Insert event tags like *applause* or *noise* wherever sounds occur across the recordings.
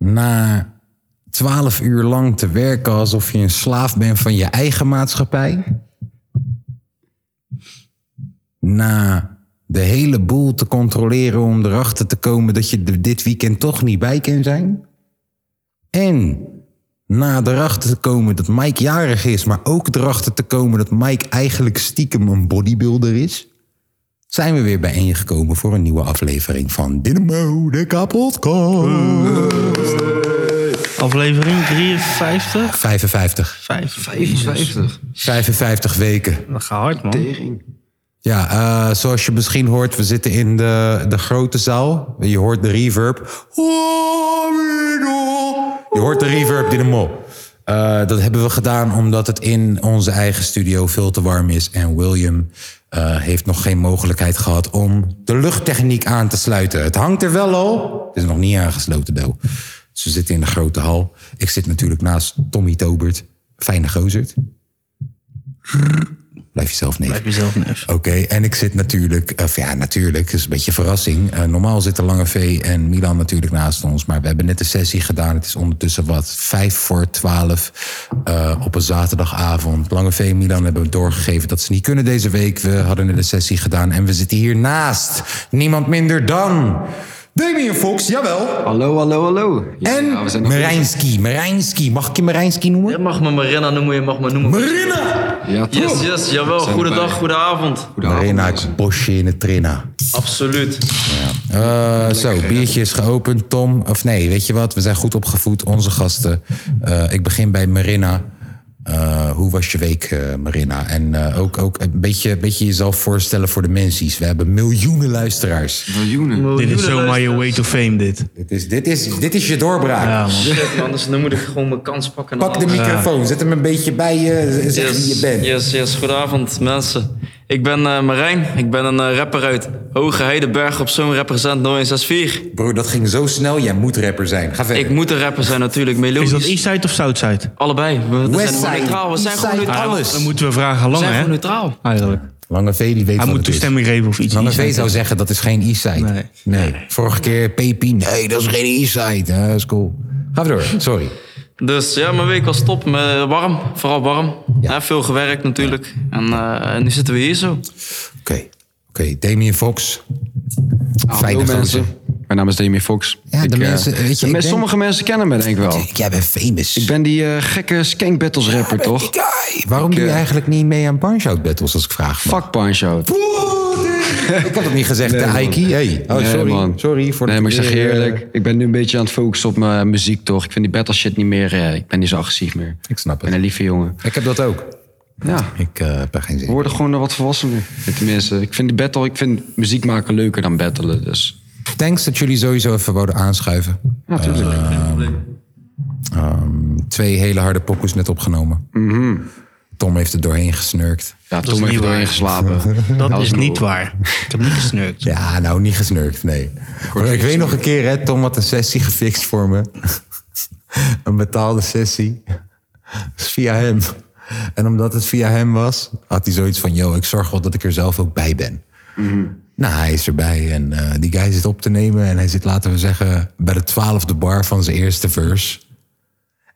na twaalf uur lang te werken alsof je een slaaf bent van je eigen maatschappij. Na de hele boel te controleren om erachter te komen dat je er dit weekend toch niet bij kan zijn. En na erachter te komen dat Mike jarig is, maar ook erachter te komen dat Mike eigenlijk stiekem een bodybuilder is. Zijn we weer bijeengekomen voor een nieuwe aflevering van Dynamo de Kapotkast. Aflevering 53? 55. 55. 55 weken. Dat gaat hard, man. Ja, eh, zoals je misschien hoort, we zitten in de, de grote zaal. Je hoort de reverb. Je hoort de reverb in de mol. Eh, dat hebben we gedaan omdat het in onze eigen studio veel te warm is. En William eh, heeft nog geen mogelijkheid gehad om de luchttechniek aan te sluiten. Het hangt er wel al. Het is nog niet aangesloten, though. Dus we zitten in de grote hal. Ik zit natuurlijk naast Tommy Tobert. Fijne gozerd. Blijf jezelf neer. Blijf jezelf neus. Oké, en ik zit natuurlijk, of ja, natuurlijk, het is een beetje een verrassing. Eh, normaal zitten Lange V en Milan natuurlijk naast ons, maar we hebben net een sessie gedaan. Het is ondertussen wat, vijf voor twaalf eh, op een zaterdagavond. Lange V en Milan hebben doorgegeven dat ze niet kunnen deze week. We hadden net een sessie gedaan en we zitten hier naast. Niemand minder dan Damien Fox, jawel. Hallo, hallo, hallo. Ja, En ja, we zijn nog Marijnski, Marijnski. Mag ik je Marijnski noemen? Je mag me Marina noemen, je mag me noemen. Marina! bezig. Ja, toch? Yes, yes, jawel. Zijn Goedendag, erbij. goedenavond. Goedenavond, Marina, mensen. bosje in het trainer. Absoluut. Eh, zo, biertje is geopend. Tom, of nee, weet je wat? We zijn goed opgevoed, onze gasten. Eh, ik begin bij Marina. Eh, hoe was je week, eh, Marina? En eh, ook, ook een beetje, beetje jezelf voorstellen voor de mensen. We hebben miljoenen luisteraars. Miljoenen. Dit is zomaar je way to fame, dit. Dit is, dit is, dit is je doorbraak. Ja, man. Shit, man, dus nu moet ik gewoon mijn kans pakken. Pak de microfoon, zet hem een beetje bij je. Zeg Yes, wie je bent. Yes, yes. Goedenavond, mensen. Ik ben eh, Marijn. Ik ben een eh, rapper uit Hoge Heidenberg op zo'n represent 0164. Broer, dat ging zo snel. Jij moet rapper zijn. Ga verder. Ik moet een rapper zijn natuurlijk, Is dat melodisch. Eastside of Southside? Allebei. We, we zijn Westside, gewoon neutraal. We zijn gewoon Eastside, neutraal. alles. Ah, Dan moeten we vragen aan We Lange, zijn hè? gewoon neutraal. Eigenlijk. Lange V, die weet Hij wat moet het is. toestemming geven of iets. Lange V Eastside. zou zeggen, dat is geen e-side. Nee. Vorige keer PP, nee, dat is geen e-side. Ja, dat is cool. Ga door, sorry. Dus ja, mijn week was top. Me- Warm, vooral warm. Ja. Ja, veel gewerkt natuurlijk. En eh, nu zitten we hier zo. Oké, oké. Damien Fox. Fijne Hallo, gozer. mensen. Mijn naam is Damien Fox. Ah, Ja, de Ik, eh, mensen, weet je, ik met ben- Sommige mensen kennen me denk ik wel. Jij bent famous. Ik ben die eh, gekke skank battles rapper, toch? Guy, Waarom doe je eh, eigenlijk niet mee aan Punch Out Battles als ik *laughs* vraag? mag? Fuck Punch Oh, Out. Ik had het niet gezegd, de Aiki. Hey. Oh, Nee, sorry. man. Sorry voor Nee, de maar ik zeg je keer, eh, eerlijk. Ik ben nu een beetje aan het focussen op mijn muziek, toch? Ik vind die battle shit niet meer... eh, ik ben niet zo agressief meer. Ik snap Ik ben een het. lieve jongen. Ik heb dat ook. Ja. Ik eh, heb er geen zin We in. worden gewoon eh, wat volwassener. Tenminste, ik vind die battle... Ik vind muziek maken leuker dan battelen, dus... Thanks dat jullie sowieso even wouden aanschuiven. Ehm, Natuurlijk. Twee hele harde pokkels net opgenomen. Mhm. Tom heeft er doorheen gesnurkt. ja, toen ben niet ik waar. doorheen *laughs* geslapen. Dat, was is een niet lul. waar. Ik heb niet *laughs* gesnurkt. Ja, nou, niet gesnurkt, nee. Maar ik weet nog een keer, hè, Tom had een sessie gefixt voor me. *laughs* een betaalde sessie. Dat is via hem. En omdat het via hem was, had hij zoiets van... yo, ik zorg wel dat ik er zelf ook bij ben. Mhm. Nou, hij is erbij en eh, die guy zit op te nemen... en hij zit, laten we zeggen, bij de twaalfde bar van zijn eerste verse.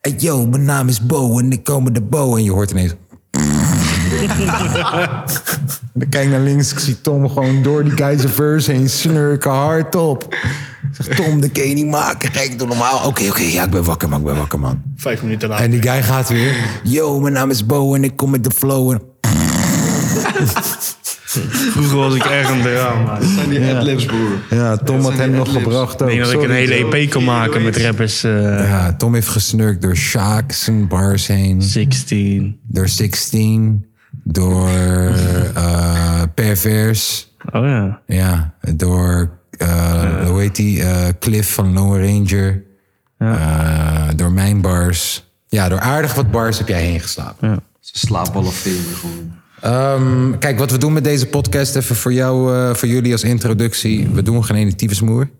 En yo, mijn naam is Bo en ik kom met de Bo. En je hoort ineens... *laughs* Ik kijk naar links, ik zie Tom gewoon door die guy's verse heen snurken hardop. Ik zeg, Tom, dat kan je niet maken. Kijk, doe normaal. Oké, oké, ja, ik ben wakker, man. Ik ben wakker, man. Vijf minuten later. En die guy gaat weer. Yo, mijn naam is Bo en ik kom met de flow. En... Vroeger was ik echt een drama. Ik En die adlibs, broer. Ja, Tom had hem nog gebracht ook. denk dat ik een hele EP kan maken met rappers. eh, Oh, Ja, Tom heeft gesnurkt door Sjaak zijn bars heen. 16. Door 16. Door eh, Pervers. Oh ja. Ja, door, eh, hoe heet die? eh, Cliff van Lone Ranger. Eh, door mijn bars. Ja, door aardig wat bars heb jij heen geslapen. Ze slapen alle veel *laughs* gewoon. Ehm, kijk, wat we doen met deze podcast, even voor jou, eh, voor jullie als introductie. We doen geen ene tyfusmoer.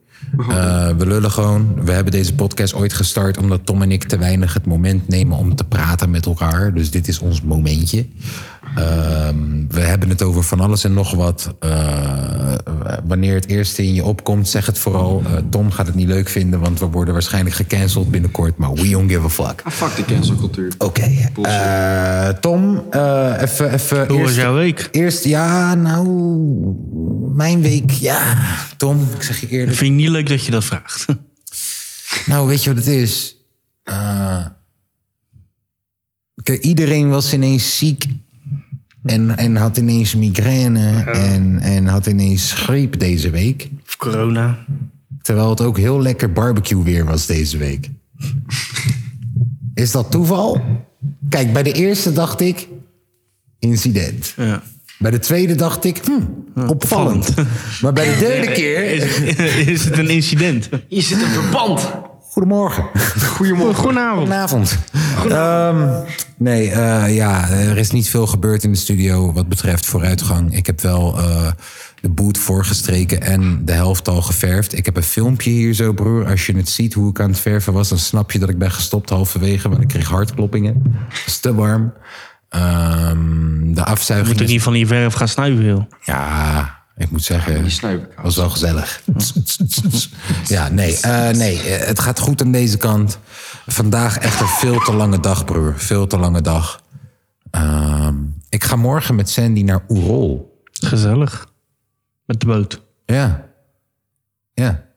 Eh, we lullen gewoon. We hebben deze podcast ooit gestart omdat Tom en ik te weinig het moment nemen om te praten met elkaar. Dus dit is ons momentje. Ehm, we hebben het over van alles en nog wat. Eh, wanneer het eerste in je opkomt, zeg het vooral. Eh, Tom gaat het niet leuk vinden, want we worden waarschijnlijk gecanceld binnenkort. Maar we don't give a fuck. Ah, fuck de cancelcultuur. Oké. eh, Tom, eh, even... even Hoe was eerst- jouw week? Eerst, ja, nou, mijn week, ja. Tom, ik zeg je eerlijk. Vind ik niet leuk dat je dat vraagt. Nou, weet je wat het is? Eh, kijk, iedereen was ineens ziek en, en had ineens migraine en, en had ineens griep deze week. Of corona. Terwijl het ook heel lekker barbecue weer was deze week. Is dat toeval? Kijk, bij de eerste dacht ik, incident. Ja. Bij de tweede dacht ik, hm, opvallend. Maar bij de derde keer, *laughs* Is, is het een incident? Hier zit een verband. goedemorgen, Goedenavond. goedenavond. Ehm, nee, eh, ja, er is niet veel gebeurd in de studio wat betreft vooruitgang. Ik heb wel eh, de boot voorgestreken en de helft al geverfd. Ik heb een filmpje hier zo, broer. Als je het ziet hoe ik aan het verven was, dan snap je dat ik ben gestopt halverwege, want ik kreeg hartkloppingen. Het is te warm. Ehm, de afzuiging. Moet ik is- niet van die verf gaan snuiven, joh. Ja, ik moet zeggen. Die snuip ik aan. was wel gezellig. Ja, nee, eh, nee, eh, het gaat goed aan deze kant. Vandaag echt een veel te lange dag, broer. Veel te lange dag. Ehm, ik ga morgen met Sandy naar Oerol. Gezellig. Met de boot. Ja. Ja.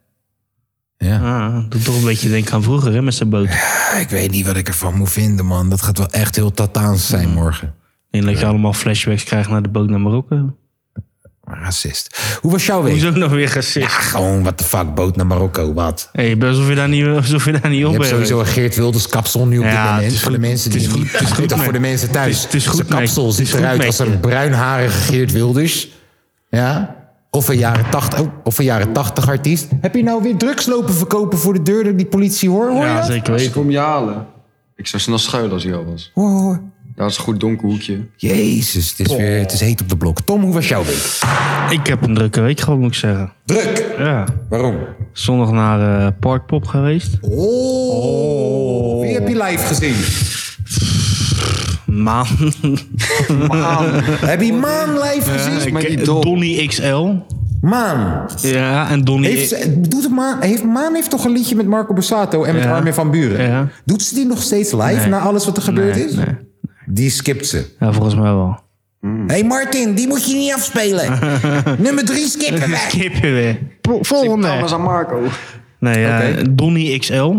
Ja. Ah, doet toch een beetje denken aan vroeger, hè, met zijn boot. Ah, Ik weet niet wat ik ervan moet vinden, man. Dat gaat wel echt heel Tataans zijn morgen. En Hmm. dat je allemaal flashbacks krijgt naar de boot naar Marokko. Racist. Hoe was jouw week? Hoezo nog weer gezicht? Gewoon, what the fuck, boot naar Marokko, wat? Hé, hey, alsof je daar niet, alsof je daar niet op Je bent. hebt sowieso een Geert Wilders kapsel nu op Ja, dit het moment. is Voor de goed- mensen het die is goed- het is goed Voor de mee. mensen thuis. Het is- het is goed Zijn mee. kapsel Het ziet is goed eruit mee. als een bruinharige Geert Wilders. Ja. Of een jaren 80, oh, of een jaren 80 artiest. Heb je nou weer drugs lopen verkopen voor de deur door die politie hoor? hoor je Ja, dat? zeker Ik weten. kom je halen. Ik zou snel schuilen als hij al was. Hoor, hoor, hoor. Dat is een goed donker hoekje. Jezus, het Oh. is, weer, het is heet op de blok. Tom, hoe was jouw week? Ik heb een drukke week gehad, moet ik zeggen. Druk. Ja. Waarom? Zondag naar eh Parkpop geweest. Oh. Wie heb je live gezien? *laughs* Maan. heb je Maan live gezien? maar niet dol. Donny XL. Maan. Ja, en Donny... Heeft ze, doet het Maan, heeft, Maan heeft toch een liedje met Marco Borsato en met Ja. Armin van Buren? Ja. Doet ze die nog steeds live Nee. na alles wat er gebeurd Nee, is? nee. Die skipt ze. Ja, volgens mij wel. Hé Hm. hey Martin, die moet je niet *laughs* afspelen. Nummer drie skippen wij. Kippen weer. Volgende. Alles aan Marco. Nee, ja, Donny XL.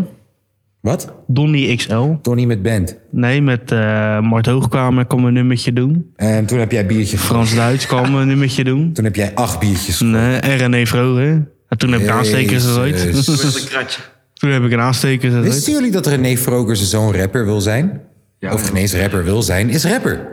Wat? Donny XL. Donnie met band. Nee, met eh Mart Hoogkamer kwam een nummertje doen. En toen heb jij biertje gegooid. Frans Duits *laughs* kwam een nummertje doen. Toen heb jij acht biertjes gegooid. Nee, en René Vroger. En toen heb ik aanstekers gezet. Jezus. *laughs* Toen heb ik een aansteker gezet. Wisten jullie dat René Vroger zijn zoon rapper wil zijn? Ja, of geen eens rapper wil zijn, is rapper.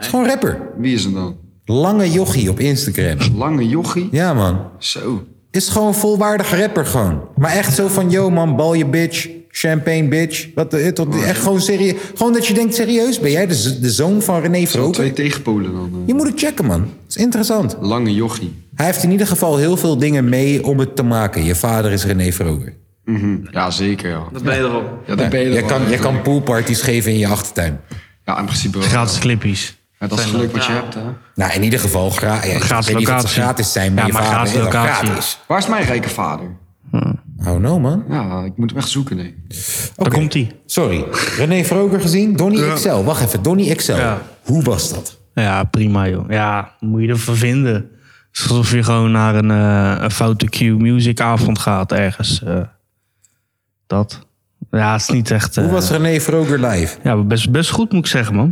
Is gewoon rapper. Wie is hem dan? Lange jochie op Instagram. Lange jochie? Ja man. Zo. Is gewoon volwaardig rapper gewoon. Maar echt zo van, yo man, bal je bitch. Champagne bitch. Wat, de- tot, Oh, echt gewoon serieus. Gewoon dat je denkt, serieus, ben jij de, z- de zoon van René Wel Vroger? Twee tegenpolen dan. eh. Je moet het checken, man. Het is interessant. Lange jochie. Hij heeft in ieder geval heel veel dingen mee om het te maken. Je vader is René Vroger. Mhm. Ja, zeker ja. Dat ben je erop. Ja, dat ben je Je er wel. kan, je kan poolparties geven in je achtertuin. Ja, in principe wel. Gratis clippies. Ja, dat is geluk wat je hebt hè. Nou, in ieder geval gra ja, Gratis ik weet niet of ze locatie. gratis zijn, maar Ja, je maar vader gratis is wel locatie. gratis. Waar is mijn rijke vader? Oh no, man. Ja, ik moet hem echt zoeken nee. Daar komt hij. Sorry. René Vroger gezien? Donnie XL. Wacht even, Donnie XL. Ja. Hoe was dat? Ja, prima joh. Ja, moet je ervan vinden. Het is alsof je gewoon naar een, eh, een foute Q music avond gaat ergens. eh. dat. Ja, het is niet echt... eh, Hoe was René Vroger live? Ja, best, best goed moet ik zeggen man.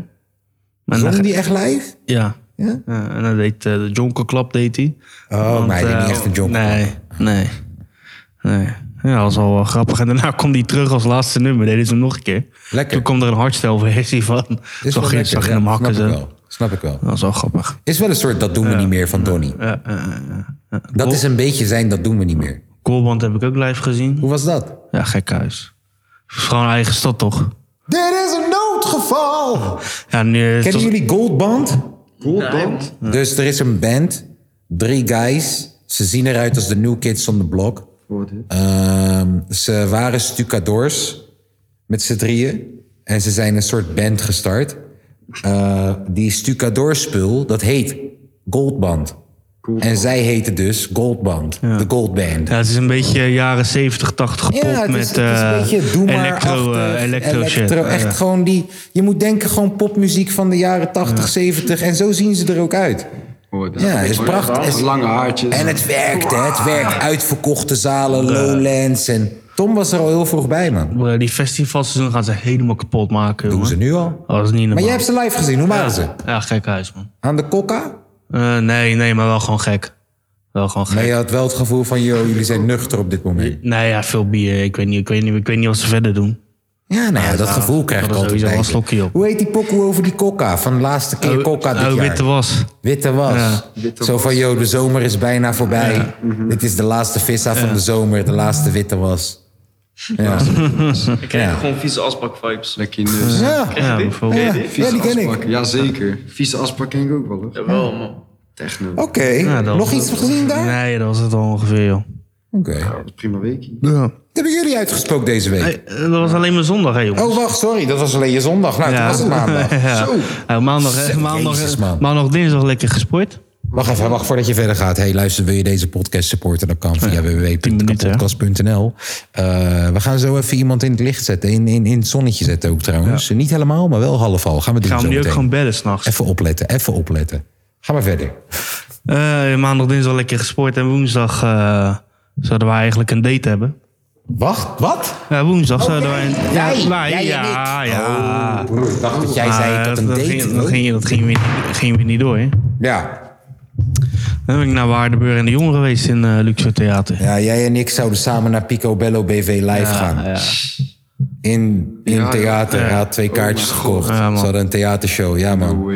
En dan- Zong die echt live? ja. Ja? Ja, en dan deed eh, de Jonker Club deed hij. Oh, Want, maar hij deed eh, niet echt een jonker. Nee, nee. Nee. Ja, dat was wel, wel grappig. En daarna kwam hij terug als laatste nummer. Deden ze hem nog een keer. Lekker. Toen kwam er een hardstyle versie van. Is wel Zag je, lekker, zag je ja, hem hakken. Snap ik zo. wel. Snap ik wel. Dat was wel grappig. Is wel een soort dat doen we niet meer van Donnie. Ja, eh, eh, eh. Dat is een beetje zijn dat doen we niet meer. Koolband heb ik ook live gezien. Hoe was dat? Ja, gekhuis. Gewoon eigen stad, toch? Dit is een noodgeval! Ja, nu is Kennen het- jullie Goldband? Goldband? Dus er is een band, drie guys. Ze zien eruit als de New Kids on the Block. Ehm, ze waren stucadoors met z'n drieën. En ze zijn een soort band gestart. Eh, die stucadoorspul, dat heet Goldband. En zij heten dus Goldband, de Goldband. ja, het is een beetje jaren 70, 80 pop het is- het met is eh, een beetje doe maar electro, eh, achtig, electro shit. Ja, Echt ja. gewoon die... Je moet denken gewoon popmuziek van de jaren 80, 70. En zo zien ze er ook uit. Ja, het is Oh, prachtig. Met Het- lange haartjes. En het werkt, hè. Het werkt. Uitverkochte zalen, Lowlands. En Tom was er al heel vroeg bij, man. Bro, Eh, Die festivalseizoen gaan ze helemaal kapot maken, Doen jongen. ze nu al. Oh, dat is niet normaal. Maar jij hebt ze live gezien. Hoe waren ze? Ja, gek huis, man. Aan de kokka? Eh, nee, nee, maar wel gewoon gek. Wel gewoon gek. Maar je had wel het gevoel van... joh, jullie zijn nuchter op dit moment. Nee, ja, veel bier. Ik weet niet, ik weet niet, ik weet niet wat ze verder doen. Ja, nou ja, dat gevoel krijg ik dat is altijd sowieso bij. wel een slokje op. Hoe heet die pokoe over die kokka? Van de laatste keer kokka dit oh, jaar. witte was. Witte was. Mhm. Ja. zo van, joh, de zomer is bijna voorbij. Dit is de laatste vissa van de zomer, de laatste witte was. Ja, Ik krijg Ja. gewoon vieze asbak vibes. Lekker in de ja. Ja, bijvoorbeeld. ja. Vieze die ken ik. asbak. Jazeker. Vieze asbak ken ik ook wel. hoor. Jawel, man. Techno. Oké, dat was nog het. iets gezien daar? Nee, dat was het al ongeveer, joh. Oké. Dat is prima weekje. Ja. eh, Dat hebben jullie uitgesproken deze week. dat was alleen maar zondag, hè, jongen. Oh, wacht, sorry, dat was alleen je zondag. Nou, toen was het maandag. *laughs* Ja. Ja, maandag, hè, Zo, maandag, eh, Jezus, man. maandag, dinsdag lekker gesport. Wacht even, wacht voordat je verder gaat. Hey, luister, wil je deze podcast supporten? Dat kan via www.podcast.nl. Eh, we gaan zo even iemand in het licht zetten. In, in, in het zonnetje zetten ook trouwens. Niet helemaal, maar wel half al. Gaan we doen Gaan we zo nu ook meteen. gewoon bedden s'nachts. Even opletten, even opletten. Ga maar verder. Eh maandag, dinsdag lekker gesport. En woensdag eh, zouden we eigenlijk een date hebben. Wacht, wat? Ja, woensdag zouden wij een... Ja, Jij, wij, jij en ja, ik. ja. Oh, Ik dacht dat jij zei ik Maar had een dat date. Ging, dat ging, dat ging, weer, niet- ging weer niet door, hè. Ja. Dan ben ik naar Waardenburg en de Jong geweest in eh Luxor Theater. ja, jij en ik zouden samen naar Pico Bello BV live gaan. ja. In, in theater. Hij had twee kaartjes gekocht. Oh, Ja, man. Ze hadden een theatershow. Ja, man.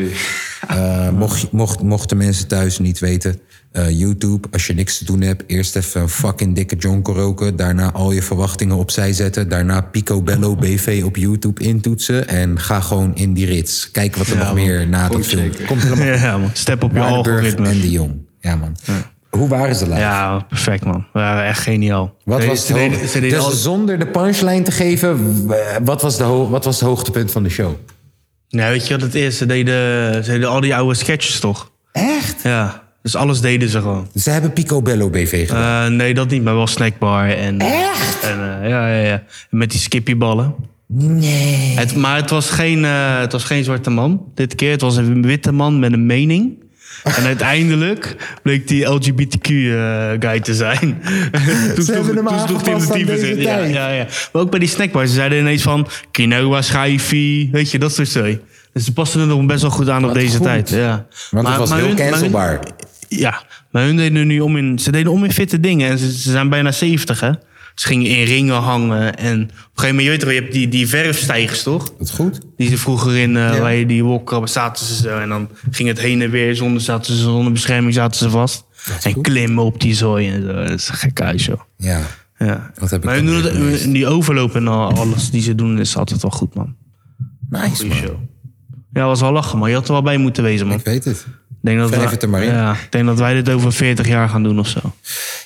Eh, mocht, je- mocht, mochten mensen thuis niet weten, eh, YouTube, als je niks te doen hebt, eerst even een fucking dikke jonko roken. Daarna al je verwachtingen opzij zetten. Daarna Picobello BV op YouTube intoetsen. En ga gewoon in die rits. Kijk wat er nog meer na dat film komt. Helemaal *laughs* Ja, man. Step op je Waardenburg en algoritme. de Jong. Ja, man. Hoe waren ze live? Ja, perfect, man. We waren echt geniaal. Wat was ze de deden- hoog- ze deden dus alles- zonder de punchline te geven, w- eh, wat was, de ho- wat was het hoogtepunt van de show? Nou, weet je wat het is? Ze deden, ze deden al die oude sketches, toch? Echt? Ja. Dus alles deden ze gewoon. Ze hebben Picobello BV gedaan. Eh, nee, dat niet, maar wel snackbar. En, Echt? En, eh, ja, ja, ja. En met die skippyballen. nee. Het, maar het was, geen, eh, het was geen zwarte man dit keer. Het was een witte man met een mening. En uiteindelijk bleek die LGBTQ-guy eh, te zijn. *laughs* toen Ze hebben hem Dus aangepast aan deze in. Ja, tijd. ja, ja. Maar ook bij die snackbar. Ze zeiden ineens van quinoa, schijfie, weet je, dat soort zooi. Dus ze pasten er nog best wel goed aan op deze goed. tijd. Ja. Want Maar- het was maar heel hun- maar hun- cancelbaar. ja, maar hun deden nu om in, ze deden om in fitte dingen. En ze, ze zijn bijna 70, hè? Ze gingen in ringen hangen. En op een gegeven moment, je weet toch, je hebt die, die verfstijgers, toch? Dat goed? Die ze vroeger in, eh waar je die wolkrabben zaten ze zo. En dan ging het heen en weer, zonder, zaten ze, zonder bescherming zaten ze vast. En klimmen op die zooi en zo. Dat is een gek huis, joh. Ja. Ja. Dat heb ik maar hun dan doen het, weer gemist. hun- die overloop en al- alles die ze doen, is altijd wel goed, man. Nice, Goeie man. show. Ja, was wel lachen, maar je had er wel bij moeten wezen, man. Ik weet het. Ik denk dat Schrijf wij- het er maar in. Ja, ik denk dat wij dit over 40 jaar gaan doen of zo.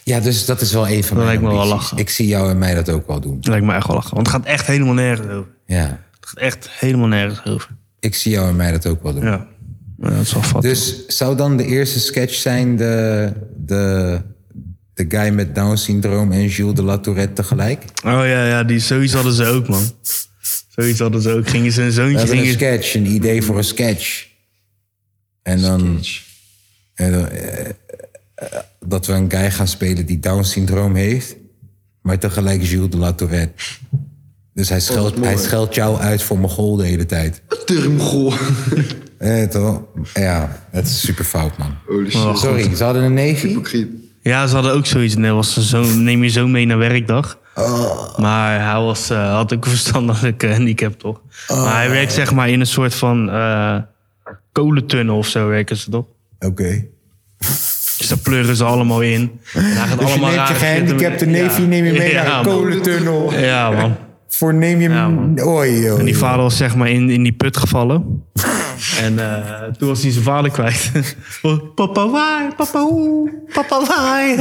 Ja, dus dat is wel een van mijn Dat lijkt me wel ambities. lachen. Ik zie jou en mij dat ook wel doen. Dat lijkt me echt wel lachen. Want het gaat echt helemaal nergens over. Ja. Het gaat echt helemaal nergens over. Ik zie jou en mij dat ook wel doen. Ja, ja dat is wel vat. Dus zou dan de eerste sketch zijn de, de, de guy met Down-syndroom en Jules de La Tourette tegelijk? Oh ja, ja die, zoiets hadden ze ook, man. Zoiets hadden ze ook. Gingen ze een We zoontje... hebben een Gingen... ze- sketch, een idee voor een sketch. En dan... En dan eh, eh, dat we een guy gaan spelen die Down-syndroom heeft... maar tegelijk Jules de La Tourette. Dus Oh, hij scheldt, hij scheldt jou uit voor Mogol de hele tijd. Termgool. Eh, toch? Ja, het is super fout, man. Oh, Holy shit. Sorry, ze hadden een neefje? Hypocriet. Dus, eh, Ja, ze hadden ook zoiets. Nee, was ze zo, neem je zo mee naar werkdag. Maar hij was, eh, had ook *laughs* een verstandelijke handicap, eh, toch? Maar hij werkt zeg maar in een soort van eh kolentunnel of zo werken ze, toch? Oké. Dus daar pleuren ze allemaal in. En hij gaat Dus je allemaal neemt je rare gehandicapte shit doen. neefje neem je mee Ja, naar de man. kolentunnel. Ja, man. Voor neem je... Ja, man. Oei, oei. En die vader was zeg maar in, in die put *laughs* gevallen. en eh, toen was hij zijn vader kwijt. *laughs* papa waar, papa hoe, papa waar.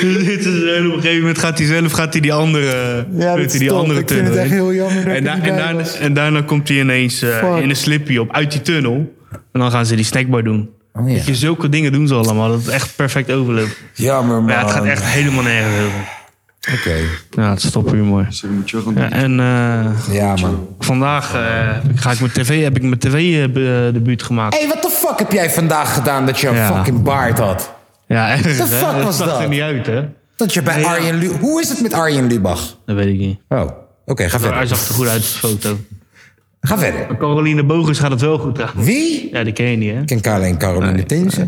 Dit is, en op een gegeven moment gaat hij zelf gaat hij die andere, Ja, weet dat hij is die top. andere Ik vind het tunnel echt in. heel jammer dat En, ik da- er niet en, bij daarna- was. en daarna komt hij ineens eh, Fuck. in een slippy op uit die tunnel. En dan gaan ze die snackbar doen. Oh, ja. Weet je, zulke dingen doen ze allemaal. Dat het echt perfect overloopt. Jammer, man. Maar ja, het gaat echt helemaal nergens over. Oké. Ja, het is mooi. Sorry, moet je wel gaan doen. Ja, en... eh, Ja, man. Vandaag eh, heb ik- ga ik mijn tv, heb ik mijn tv-debuut gemaakt. Hé, hey, wat de fuck heb jij vandaag gedaan dat je een Ja. fucking baard had? Ja, *laughs* ergens, The hè? fuck dat was zag dat? er niet uit, hè? Dat je bij Ja. Arjen Lubach... Hoe is het met Arjen Lubach? Dat weet ik niet. Oh, oké, ga Maar hij verder. zag er goed uit op de foto. Ga verder. Caroline Bogers gaat het wel goed aan. Wie? Ik Ja, die ken je niet, hè? ken alleen Caroline Teense.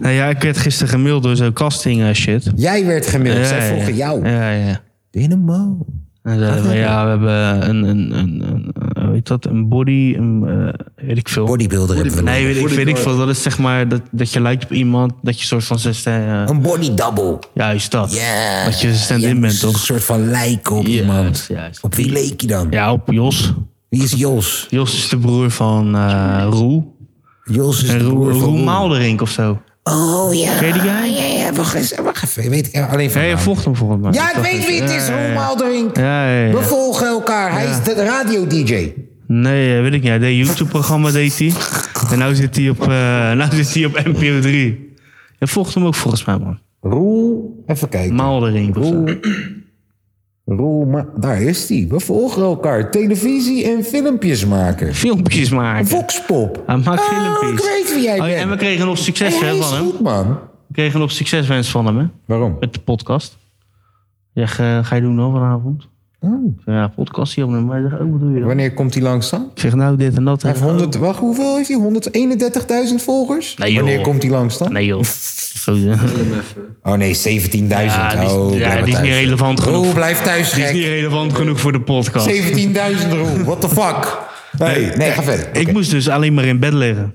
Nou ja, ik werd gisteren gemaild door zo'n casting eh, shit. Jij werd gemaild. Zij vroegen jou. Ja, ja. Dynamo. En zeiden we, ja, we hebben een, een, een, een, een- hoe heet dat, een body, een, eh, weet ik veel. Bodybuilder hebben we Nee, weet ik, weet ik veel. Dat is zeg maar dat, dat je lijkt op iemand, dat je soort van zes, eh, nog. Een body double. juist dat. Ja. Dat je stand-in Ja, bent, Een toch? soort van lijk op Juist, iemand. juist. Op wie leek je dan? Ja, op Jos. Wie is Jos? Jos is de broer van eh Roel. Jos is En de Roel, broer van Roel Roel. Maalderink of zo. Oh ja. Ken je die guy? Ja, ja, wacht eens. Wacht even. Weet ik eh, alleen van Nee, je naam. vocht hem volgens mij. Ja, ik weet wie het is. Ja, ja, Roel ja. Maalderink. Ja, ja, ja. We volgen elkaar. Hij is de radio-dj. Nee, eh, weet ik niet. Hij deed een YouTube-programma, deed hij. En nou zit hij op, eh nou zit hij op NPO 3. Je volgt hem ook volgens mij, man. Roel. Even kijken. Maalderink of zo. Roel. Roel, Ma- daar is hij. We volgen elkaar. Televisie en filmpjes maken. Filmpjes maken. Voxpop. Ah, Hij maakt filmpjes. ik weet wie jij Oh, ja, bent. en we kregen nog Hey, succes hij hè, is van hem. goed, man. We kregen nog succeswens van hem, hè. Waarom? Met de podcast. Ja, ga ga je doen hoor, vanavond? Oh. Ja, podcast hier op hem. Hij zegt, oh, wat doe je dan? Wanneer komt hij langs dan? Ik zeg, nou, dit en dat. Hij heeft 100, wacht, hoeveel heeft hij? 131.000 volgers? Nee, joh. Wanneer komt hij langs dan? Nee, joh. Zo, ja. Oh nee, 17.000. Ja, die is- oh, ja, blijf maar die is thuis. niet relevant Roel, genoeg. blijf thuis, Die is niet gek. relevant genoeg voor de podcast. 17.000 Roel, what the fuck? Nee, nee, ga verder. Oké. Ik moest dus alleen maar in bed liggen.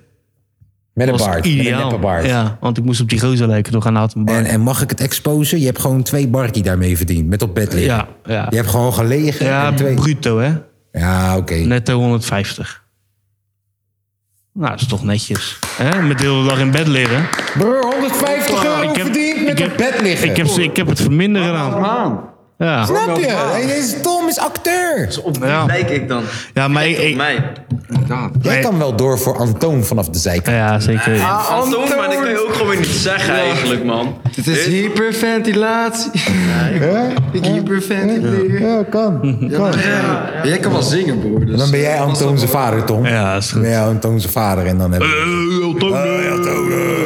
Met een Dat was baard, met een ideaal. neppe baard. Ja, want ik moest op die gozer lijken door gaan een En, baard. en mag ik het exposen? Je hebt gewoon twee barkie daarmee verdiend, met op bed liggen. Ja, ja. Je hebt gewoon gelegen Ja, en twee... bruto hè. Ja, oké. Netto 150. Nou, dat is toch netjes. Hè? Met de hele dag in bed liggen. Oh, Broer, 150 euro verdiend met op bed liggen. Ik heb, ze- ik heb het voor minder gedaan. Aan. Ja. Snap je? Hey, deze Tom is acteur. Op wie Nou Ja. lijk ik dan? Ja, maar ik... ik- Mij. Inderdaad. Jij kan wel door voor Antoon vanaf de zijkant. ja, Ah, zeker. Ah, Van Tom, maar dat kan je ook gewoon weer niet zeggen eigenlijk, man. Het is hyperventilatie. Ja, *laughs* Ik hyperventileer. ja kan. kan. Ja, Jij kan wel zingen, broer. Dus Dan ben jij Antoon zijn vader, Tom. Ja, is Dan goed. Eh, ben jij Antoon zijn vader en dan heb je...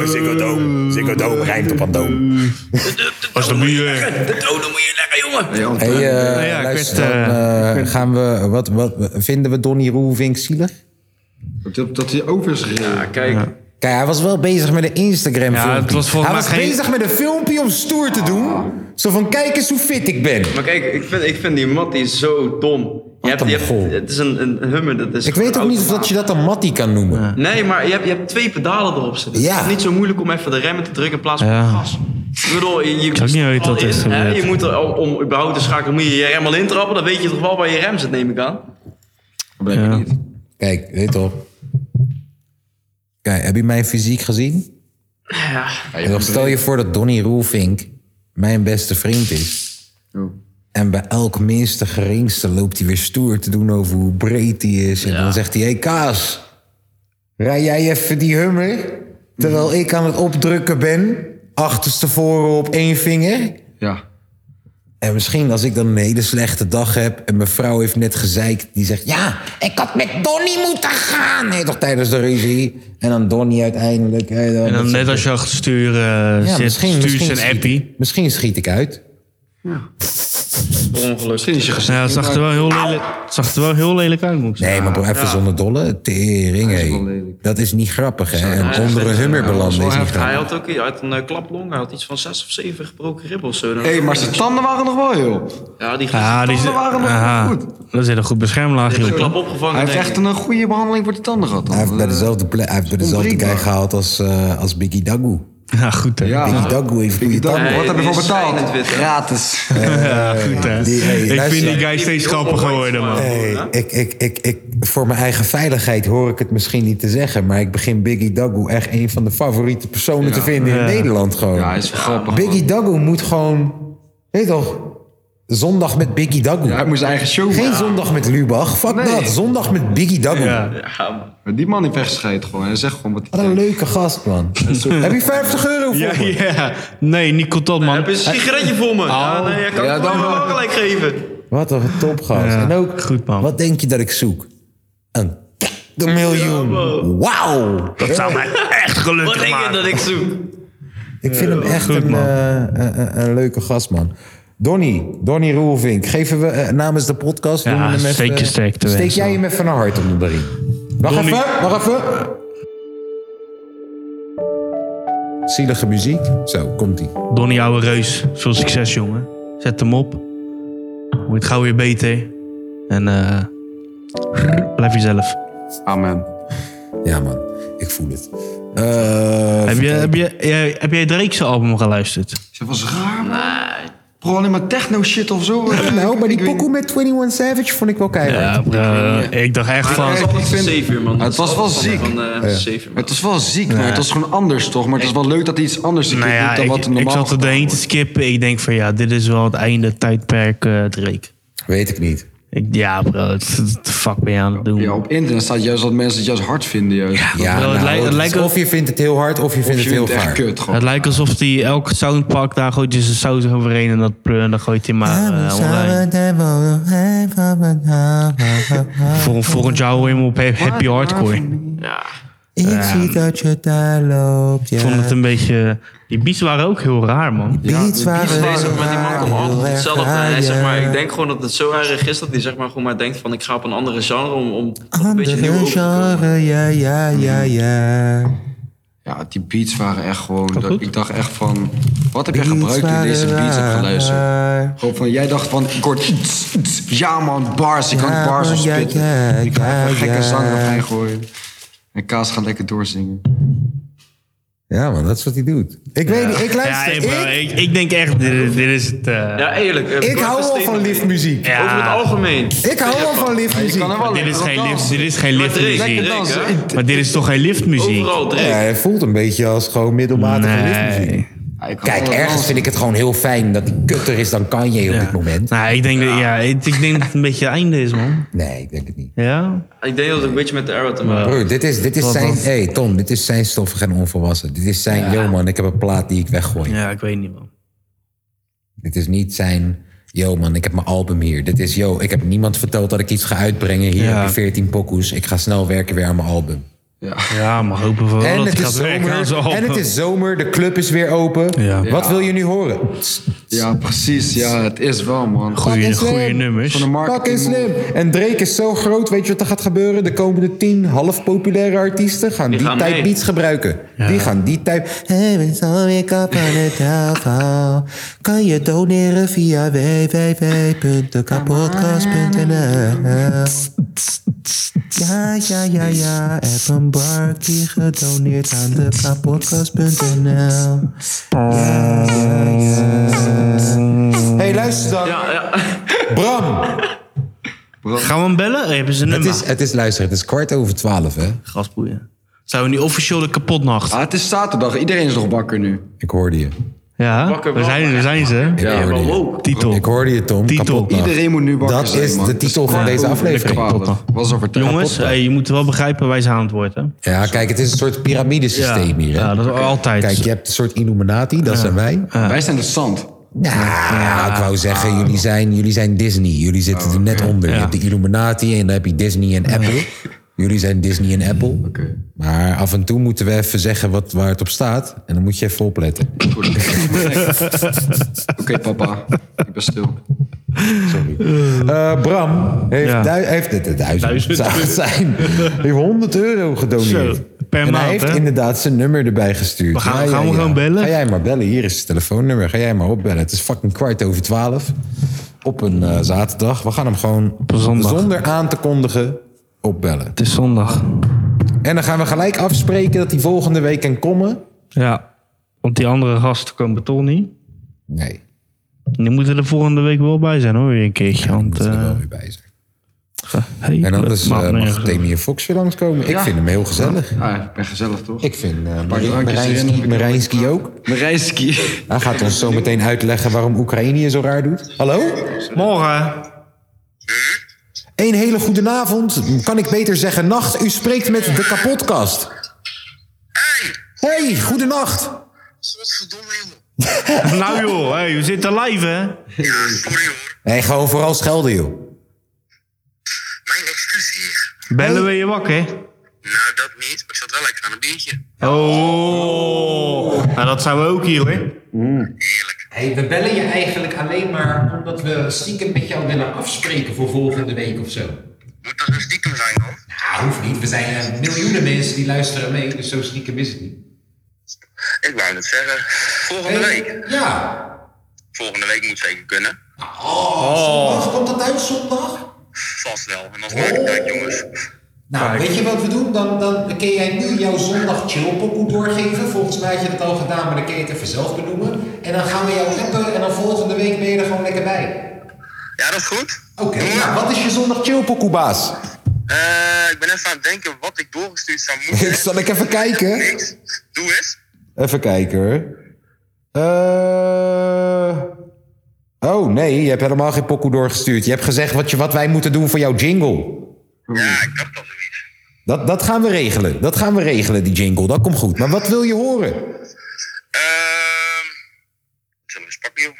Ah, Zikodoom rijmt op Antoon. Als de muur. De toon moet je leggen, jongen. Hey, Nou Antoon. Hey, eh, ja, ik luister, werd, dan, eh, gaan we... Wat, wat, vinden we Donnie Roelvink zielig? dat, dat hij over is gereden. Ja, kijk. Kijk, hij was wel bezig met een Instagram Ja, filmpje. het was volgens hij was mij geen- bezig met een filmpje om stoer te doen. Zo van, kijk eens hoe fit ik ben. Maar kijk, ik vind, ik vind die Mattie zo dom. Je hebt, een je hebt- mogol. het is een, een hummer. Dat is Ik weet ook niet of dat je dat een mattie kan noemen. Nee, maar je hebt, je hebt twee pedalen erop zitten. Ja. Het is niet zo moeilijk om even de remmen te drukken in plaats van Ja. het gas. Ik bedoel, je, je weet niet hoe je dat al in, is hè. gebeurd. Je moet er, om, om überhaupt te schakelen, moet je je rem al intrappen. Dan weet je toch wel waar je rem zit, neem ik aan. Ja. Kijk, dit op. Kijk, heb je mijn fysiek gezien? Ja. stel je voor dat Donnie Roelvink mijn beste vriend is. En bij elk minste geringste loopt hij weer stoer te doen over hoe breed hij is. En dan zegt hij, hé hey, Kaas, rij jij even die hummer? Terwijl ik aan het opdrukken ben, achterstevoren op één vinger. Ja. En misschien als ik dan een hele slechte dag heb en mijn vrouw heeft net gezeikt, die zegt: Ja, ik had met Donnie moeten gaan. Nee, toch tijdens de ruzie. En dan Donnie uiteindelijk. hè, En dan dat- net als je achter stuur eh, Ja, zit, misschien- stuur misschien je een schiet- appie. Misschien schiet ik uit. Misschien is je gezicht. Nou Ja, het zag er wel heel lelijk, het zag er wel heel lelijk uit, moet ik zeggen. Nee, maar bro, even zonder dolle. Tering, hé. wel lelijk. Dat is niet grappig, hè? En hij onder een heeft- hummer belanden is niet Hij grappig. had ook hij had een eh, klaplong. Hij had iets van zes of zeven gebroken ribben of zo. Dan- Hé, maar zijn tanden waren nog wel, joh. Ja, die Ja, die tanden waren nog goed. Daar zit een goed heeft beschermlaagje een klap op. opgevangen. Hij heeft denk echt ik. een goede behandeling voor de tanden gehad. Hij heeft bij Eh, dezelfde, plek, hij heeft bij dezelfde guy onbreekbaar. gehaald als, eh, als Biggie Dagoe. Ja, goed hè. Ja. Die Dagoe heeft goede Dagoe. tanden. Wat heb je voor betaald? Gratis. Eh, *laughs* goed hè. Die- hey, ik luister. vind die guy steeds grappiger worden, man. Hey, Ik, ik, ik, ik, voor mijn eigen veiligheid hoor ik het misschien niet te zeggen. Maar ik begin Biggie Dagoe echt een van de favoriete personen te vinden in Nederland gewoon. Ja, hij is wel grappig. Biggie Dagoe moet gewoon, weet je toch, zondag met Biggie Dagoe. Ja, hij moet zijn eigen show Geen maken. zondag met Lubach, fuck Nee. dat. Zondag met Biggie Dagoe. Ja. Maar Die man heeft weggescheiden gewoon. Hij zegt gewoon wat hij Wat een denkt. leuke gast, man. Heb je 50 euro voor Ja, me? *laughs* ja. Nee, niet contant, man. Heb je een sigaretje voor Oh. me? Ja, nee, jij kan Ja, het dan me wel. wel gelijk geven. Wat een topgast. Ja, en ook, goed, man. wat denk je dat ik zoek? Een de miljoen. Wauw. Dat zou mij echt Wat gelukkig denk je maken. dat ik zoek? Ik vind hem echt goed, een, man. eh, een, een- een leuke gast, man. Donny, Donny Roelvink, geven we eh, namens de podcast... Ja, doen we hem steek even- eh, je sterkte Steek wens, jij man. hem even een hart onder de riem. Wacht Donnie. even, wacht even. Zielige muziek. Zo, komt-ie. Donnie, ouwe reus. Veel succes, jongen. Zet hem op. Wordt gauw weer beter. En eh, blijf jezelf. Amen. Ja, man. Ik voel het. Eh, Heb, je, heb, je, jij- heb jij Drake zijn album geluisterd? Ze was raar, man. Bro, alleen maar techno shit of zo. Nou, maar die Ik weet pokoe met 21 Savage vond ik wel keihard. eh, ik dacht echt Maar van... het was altijd een savior, man. Het was wel ziek. Van, eh, savior, man. Het was wel ziek, maar het was gewoon anders toch? Maar het is wel leuk dat hij iets anders een Nou keer ja, doet dan ik, wat er ik normaal zat er gedaan doorheen te wordt. skippen. Ik denk van ja, dit is wel het einde tijdperk eh Drake. Weet ik niet. Ik, ja bro, wat de fuck ben je aan het doen? Ja, op internet staat juist dat mensen het juist hard vinden. Juist. Ja, Ja, het nou, lijkt- het is lijkt wel- of je vindt het heel hard of je vindt je het heel vindt het echt gaar. kut gewoon. Het lijkt alsof hij elk soundpak daar gooit je zijn saus overheen en dat pleur en dan gooit hij maar eh, online. Vol, volgend jaar hoor je hem op he- nou, Happy Hardcore. Ik Ik zie dat je daar loopt. Ja. vond het een beetje... Die beats waren ook heel raar man. Beats waren Deze, maar die man komt heel altijd erg hetzelfde. En hij raar, zegt maar, ja. ik denk gewoon dat het zo erg is dat hij zeg maar gewoon maar denkt van ik ga op een andere genre om, om toch een beetje nieuw Andere op te komen. genre, ja, ja, ja, ja. Ja, die beats waren echt gewoon... dat- goed. ik dacht echt van... Wat heb jij Beats gebruikt toen je deze waren beats hebt geluisterd? raar. Gewoon van, jij dacht van, ik hoor... iets, iets. Ja man, bars. Ik kan Ja, bars man, ja, opspitten. ja, ik ga ja, even gekke ja. zang erbij gooien. En Kaas gaat lekker doorzingen. Ja, man, dat is wat hij doet. Ik weet niet, ik Ja, luister. hey, bro, ik, ik, ik denk echt, dit, dit is het... eh, Ja, eerlijk. eh, ik hou wel van statement. lief muziek. ja, Over het algemeen. Ik hou wel van lief Je muziek. kan er wel dit is lekker op geen lift, dansen. dit is geen Maar Drake, liftmuziek. Drake, dansen. hè? Maar dit is toch geen liftmuziek? Overal Ja, Drake. hij voelt een beetje als gewoon middelmatige lief muziek. Ja, je kan Kijk, wel ergens dansen. vind ik het gewoon heel fijn dat hij kutter is dan Kanye op dit moment. Nou, ik denk, dat, ja, ik, ik denk dat het een beetje het einde is, man. Nee, ik denk het niet. Ja? Ik denk dat het een beetje met de era te maken Broer, dit is, dit is zijn... hey, Tom, dit is zijn stoffig en onvolwassen. Dit is zijn, yo man, ik heb een plaat die ik weggooi. Ja, ik weet niet, man. Dit is niet zijn, yo man, ik heb mijn album hier. Dit is, yo, ik heb niemand verteld dat ik iets ga uitbrengen. Hier Ja. heb je 14 pokoes. Ik ga snel werken weer aan mijn album. Ja, maar hopen voor wel En dat het, hij is gaat werken aan zijn zomer, en album. het is zomer, de club is weer open. Ja. Wat wil je nu horen? Ja, precies. Ja, het is wel, man. goede, fucking goede slim. nummers. Van de Fucking marketing. slim. En Drake is zo groot, weet je wat er gaat gebeuren? De komende tien half populaire artiesten gaan die, gaan type mee. beats gebruiken. Die gaan die type... Hey, so wake up on the telephone. Kan je doneren via www.kapodcast.nl Ja, ja, ja, ja. Heb een barkie gedoneerd aan de kapodcast.nl Ja, ja, ja. Hey, luister dan. Ja, ja. Bram. Gaan we hem bellen? Oh, hebben ze een Het nummer? is, het is, luister, het is kwart over twaalf, hè? Gasboeien. Zijn we nu officieel de kapotnacht? Ah, het is zaterdag. Iedereen is nog bakker nu. Ik hoorde je. Ja, Wakker daar wel, zijn, daar zijn Ik ze. Ja, hoorde maar je. wow. Ik Oh, Titel. hoorde je, Tom. Titel. Kapotnacht. Iedereen moet nu bakken Dat zijn, is man. de titel van deze aflevering. kapot, man. 12. Was over tijd. Jongens, hey, je moet wel begrijpen, wij zijn aan het woord, hè? Ja, kijk, het is een soort piramidesysteem hier, hè? ja, dat is altijd. Kijk, je hebt een soort Illuminati, dat zijn wij. Wij zijn het zand. Ja, Oh, ik wou zeggen, jullie zijn, jullie zijn Disney. Jullie zitten er net onder. Je hebt de Illuminati en dan heb je Disney en Apple. Jullie zijn Disney en Apple. Maar af en toe moeten we even zeggen wat, waar het op staat. En dan moet je even opletten. *laughs* Oké, papa. Ik ben stil. Eh, Bram heeft, Ja. du- heeft het, het duizend, Duizend. zou het *laughs* zijn. heeft 100 euro gedoneerd. Zo, per en maand, hij heeft hè? inderdaad zijn nummer erbij gestuurd. We gaan- gaan we gewoon bellen? Ga jij maar bellen. Hier is het telefoonnummer. Ga jij maar opbellen. Het is fucking kwart over twaalf. Op een eh, zaterdag. We gaan hem gewoon een zondag. zonder aan te kondigen opbellen. Het is zondag. En dan gaan we gelijk afspreken dat hij volgende week kan komen. Ja. Want die andere gast komen toch niet. Nee, Die moeten er volgende week wel bij zijn hoor, weer een keertje. daar want, moeten we eh, wel weer bij zijn. hey, En anders het maakt eh, mag nergens op. Demi en Fox weer langskomen. Ik vind hem heel gezellig. Ja, ik ben gezellig toch? Ik vind eh Marij- drankjes Marijnski, erin. Marijnski ook. Marijski. Hij gaat ons zo meteen uitleggen waarom Oekraïne je zo raar doet. Hallo? Morgen. Een hele goede avond. Kan ik beter zeggen nacht. U spreekt met de kapotkast. Hey! Hey, goedenacht. eh, *laughs* nou joh, hey, we zitten live hè. Nee, gewoon vooral schelden, joh. Mijn excuus hier. Bellen we je wakker? Nou, dat niet. Maar ik zat wel lekker aan een biertje. Oh, nou dat zijn we ook hier hoor. Hey, we bellen je eigenlijk alleen maar omdat we stiekem met jou willen afspreken voor volgende week of zo. Moet dat een stiekem zijn dan? Nou, hoeft niet. We zijn eh, miljoenen mensen die luisteren mee, dus zo stiekem is het niet. Ik wou net zeggen. Volgende week. Ja. Volgende week moet zeker kunnen. Oh, Zondag komt dat uit, zondag? Vast wel. En dan maak ik tijd, jongens. Nou, weet je wat we doen? Dan, dan kun jij nu jouw zondag chillpokoe doorgeven. Volgens mij had je dat al gedaan, maar dan kun je het even zelf benoemen. En dan gaan we jou appen en dan volgende week ben je er gewoon lekker bij. Ja, dat is goed. Oké, nou, Wat is je zondag chill, pokoebaas? Eh, ik ben even aan het denken wat ik doorgestuurd zou *laughs* moeten. Zal ik even kijken? Niks. Doe eens. Even kijken, hoor. Eh, Oh, nee, je hebt helemaal geen pokoe doorgestuurd. Je hebt gezegd wat, je, wat wij moeten doen voor jouw jingle. Ja, ik dacht al zoiets. Dat, dat gaan we regelen. Dat gaan we regelen, die jingle. Dat komt goed. Maar wat wil je horen? Ehm. Ik zal hem eens pakken, joh.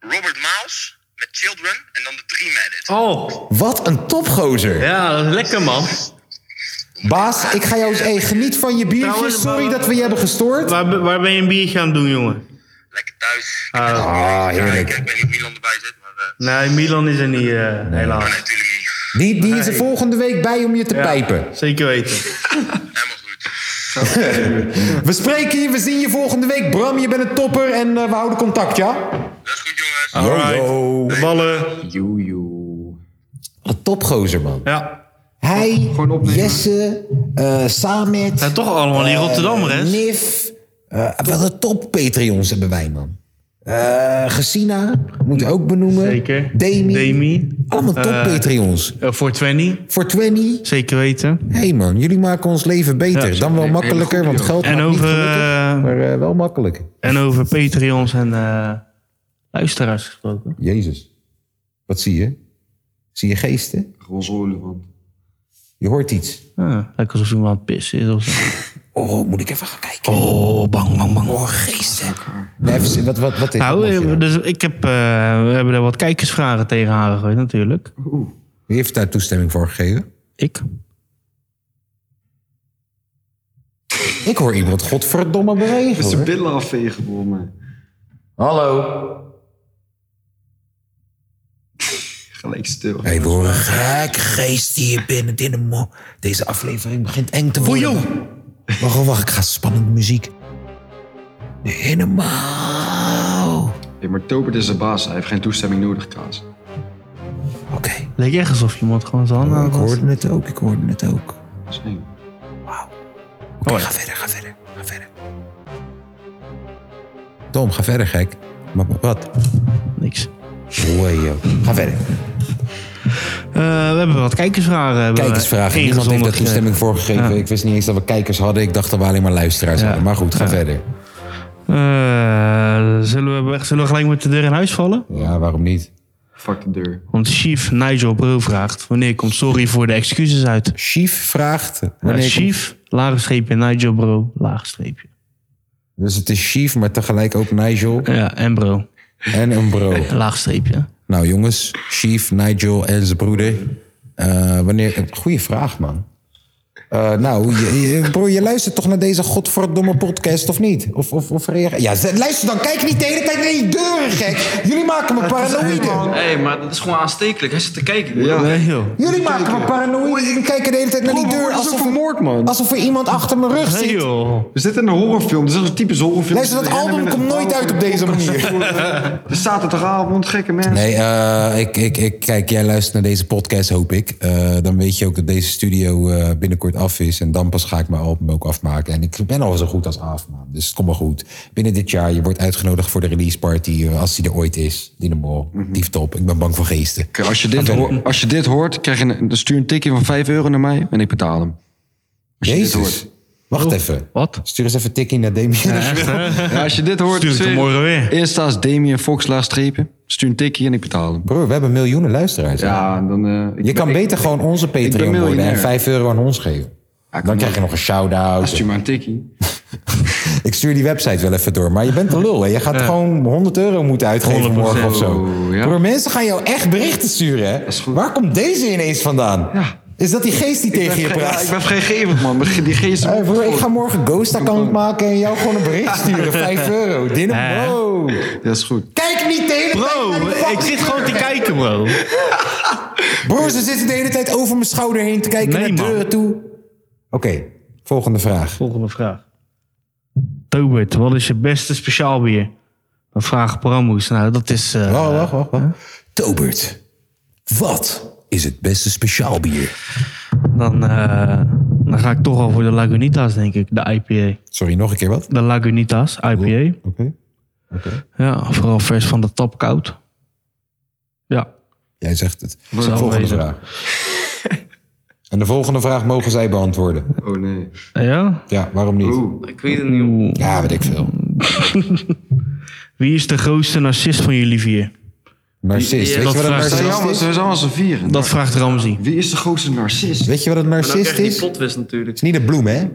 Robert Miles met Children en dan de Dream Edit. Oh, Wat een topgozer. ja, dat is lekker man. Baas, ik ga jou eens... Hey, geniet van je biertje. Trouwens, Sorry maar- dat we je hebben gestoord. Eh, Waar, ben- waar ben je een biertje aan het doen jongen? Lekker thuis. Ah, ik, heerlijk. ik weet niet of Milan erbij zit, maar. eh, Nee, Milan is er niet eh, maar helaas. nee, natuurlijk niet. Die, die is er volgende week bij om *laughs* je te pijpen. Zeker weten. Helemaal goed. We spreken je, we zien je volgende week. Bram, je bent een topper en eh, we houden contact, ja? Dat is goed, jongens. yo. De ballen. Wat topgozer, man. Ja. Hij, Jesse, eh Samet, Zijn toch allemaal die Rotterdammer eh, hè? Nif. eh, wat een top Patreons hebben wij, man. Eh Gesina, moeten we ook benoemen. Zeker. Demi. Demi. Allemaal top Eh, Patreons. eh, Voor 20. Voor 20. Zeker weten. Hé hey man, jullie maken ons leven beter. Ja, Dan wel makkelijker, goede want geld En maakt over, niet gelukkig, eh, maar eh, wel makkelijk. en over Patreons en eh, luisteraars gesproken. Jezus. Wat zie je? Zie je geesten? Roze olifant. Je hoort iets. Ah, lekker alsof iemand aan het pissen is. Of zo. *laughs* Oh, moet ik even gaan kijken? Oh, bang, bang, bang. Oh, geesten. Nee, even zien, wat, wat, wat is Nou, wat moet je eh, dan? dus ik heb, eh, we hebben er wat kijkersvragen tegen haar gegooid natuurlijk. Wie heeft daar toestemming voor gegeven? Ik? Ik hoor iemand godverdomme Met bewegen. zijn hoor. billen afvegen voor mij. Hallo. Gelijk stil. Hey, we horen een gek geest hier binnen. in de mo- Deze aflevering begint eng te worden. Wacht, wacht, ik ga spannende muziek. Helemaal. Hey, maar Tobert is de baas. Hij heeft geen toestemming nodig, Kaas. Oké. Leek echt alsof iemand gewoon zijn handen aan ik had. hoorde het ook, ik hoorde het ook. Dat is eng. Oké, ga verder, ga verder, ga verder. Tom, ga verder, gek. Maar maar wat? Niks. Oei, joh. Ga verder. Eh, we hebben wat kijkersvragen. hebben we Kijkersvragen. Niemand heeft ingezonden daar gekregen. toestemming voor gegeven. Ik wist niet eens dat we kijkers hadden. Ik dacht dat we alleen maar luisteraars Ja. hadden. Maar goed, ga Ja. verder. Eh, zullen, we, zullen we gelijk met de deur in huis vallen? Ja, waarom niet? Fuck de deur. Want Chief Nigel Bril vraagt: Wanneer komt sorry voor de excuses uit? Chief vraagt. Ja, wanneer- Chief, laagstreepje, Nigel Bro, laagstreepje. Dus het is Chief, maar tegelijk ook Nigel Ja, en Bro, en een *laughs* bro. laagstreepje. Nou jongens, Chief, Nigel en zijn broeder. Eh, wanneer... Goeie vraag, man. Eh, nou, je, je- broer, je luistert toch naar deze godverdomme podcast, of niet? Of, of, of reageer... Ja, ze- luister dan. Kijk niet de hele tijd naar die deuren, gek. Jullie maken me paranoïde. Hé, hey, maar dat is gewoon aanstekelijk. Hij zit te kijken. Ja. Nee, joh. Jullie maken me paranoïde. Jullie kijken de hele tijd naar die deur alsof, er- vermoord, man. alsof er iemand achter mijn rug Nee, zit. joh. We zitten in een horrorfilm. Dit is een typisch horrorfilm. Luister, dat We rennen album met komt een nooit uit op *laughs* deze manier. De zaterdagavond, gekke mensen. Nee, eh, ik, ik, ik, kijk, jij luistert naar deze podcast, hoop ik. Eh, dan weet je ook dat deze studio eh, binnenkort binnenkort af is. En dan pas ga ik mijn album ook afmaken. En ik ben al zo goed als af, man. Dus het komt wel goed. Binnen dit jaar, je wordt uitgenodigd voor de release party. eh, Als die er ooit is. Dino Mol, dieftop. Ik ben bang voor geesten. Kijk, Mhm. Als je, Ga dit verder. hoort, als je dit hoort, krijg je een, dan stuur een tikje van 5 euro naar mij en ik betaal hem. Als je dit Jezus. hoort. Oh, Wacht even. Wat? Stuur eens even een tikkie naar Damien. Ja, als je dit hoort, Stuur het hem zweer- morgen weer. Insta is Damien Fox laagstrepen. Stuur een tikje en ik betaal hem. Bro, we hebben miljoenen luisteraars. hè? Ja, dan... eh, ik je ben- kan ik- beter gewoon onze Patreon worden en miljonair. 5 euro aan ons geven. dan krijg je nog een shout-out. Stuur maar een tikkie. Nou, *laughs* Ik stuur die website wel even door. Maar je bent een lul. Hè? Je gaat gewoon 100 euro moeten uitgeven 100%. morgen of zo. Oh, ja. Bro, mensen gaan jou echt berichten sturen. Hè? Waar komt deze ineens vandaan? Is dat die geest die Ik ben tegen je vri- praat? ja, ik ben vrijgevig, man. Die geest... Hey, broer, ik ga morgen Ghost-account maken en jou gewoon een bericht *laughs* sturen. 5 euro. Dinner, Hè? bro. Dat is goed. Kijk niet de hele tijd naar Bro, die ik fucking zit gewoon te deur. kijken, bro. Broer, ze zitten de hele tijd over mijn schouder heen te kijken Nee, naar man. deuren toe. Oké, volgende vraag. Volgende vraag. Tobert, wat is je beste speciaalbier? Een vraag Bramhoes. Nou, dat is... eh, Wacht, wacht, wacht. wacht. Tobert, wat is het beste speciaalbier? dan, eh, dan ga ik toch al voor de Lagunitas, denk ik. De IPA. Sorry, nog een keer wat? Oh, De Lagunitas, IPA. Oké. Ja, vooral vers van de tap koud. Ja. Jij zegt het. Zo volgende wezen. vraag. *laughs* En de volgende vraag mogen zij beantwoorden. Oh nee. Ja? Ja, waarom niet? Ik weet het niet, joh. Ja, weet ik veel. Wie is de grootste narcist van jullie vier? Narcist. Ja, Weet dat je wat een vraagt eh, We zijn narcist allemaal, is? we zijn allemaal z'n vieren. Dat vraagt Ramzi. Wie is de grootste narcist? Weet je wat een Maar dan krijg narcist je die is? Het plotwist natuurlijk. is niet een bloem, hè?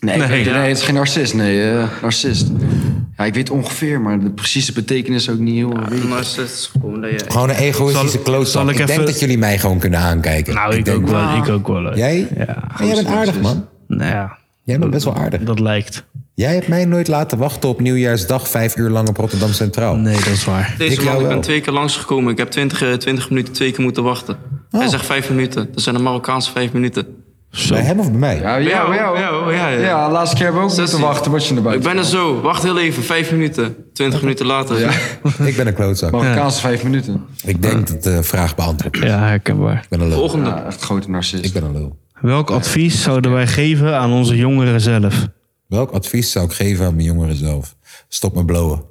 Nee, Nee. nee. het is geen narcist. Nee, eh, narcist. Ja, ik weet ongeveer, maar de precieze betekenis ook niet heel... weet ik. Een narcist is gewoon dat je... Gewoon een egoïstische zal- zal klootzak. ik Ik denk even- dat jullie mij gewoon kunnen aankijken. Nou, ik, denk- ook wel, ik ook wel. Jij? Ja. Maar jij bent aardig, man. Nou ja, Jij bent best wel aardig. dat lijkt. Jij hebt mij nooit laten wachten op nieuwjaarsdag vijf uur lang op Rotterdam Centraal. Nee, dat is waar. Deze Ik man, jou ik ben wel. twee keer langsgekomen. Ik heb 20, eh, 20 minuten twee keer moeten wachten. Oh. Hij zegt vijf minuten. Dat zijn de Marokkaanse vijf minuten. Bij hem of bij mij? Ja, Ja, jou, hoor, jou. ja, Oh, hoor, ja, ja. Ja, laatste keer hebben we ook Zestien. moeten wachten wat je erbij Ik ben er zo. Wacht heel even. Vijf minuten. Twintig minuten later. *laughs* Ik ben een klootzak. Marokkaanse vijf minuten. Ik denk dat de vraag beantwoord is. Ja, herkenbaar. Ik ben een lul. Volgende. Ja, echt grote narcist. Ik ben een lul. Welk advies zouden wij geven aan onze jongeren zelf? Welk advies zou ik geven aan mijn jongeren zelf? Stop met blowen.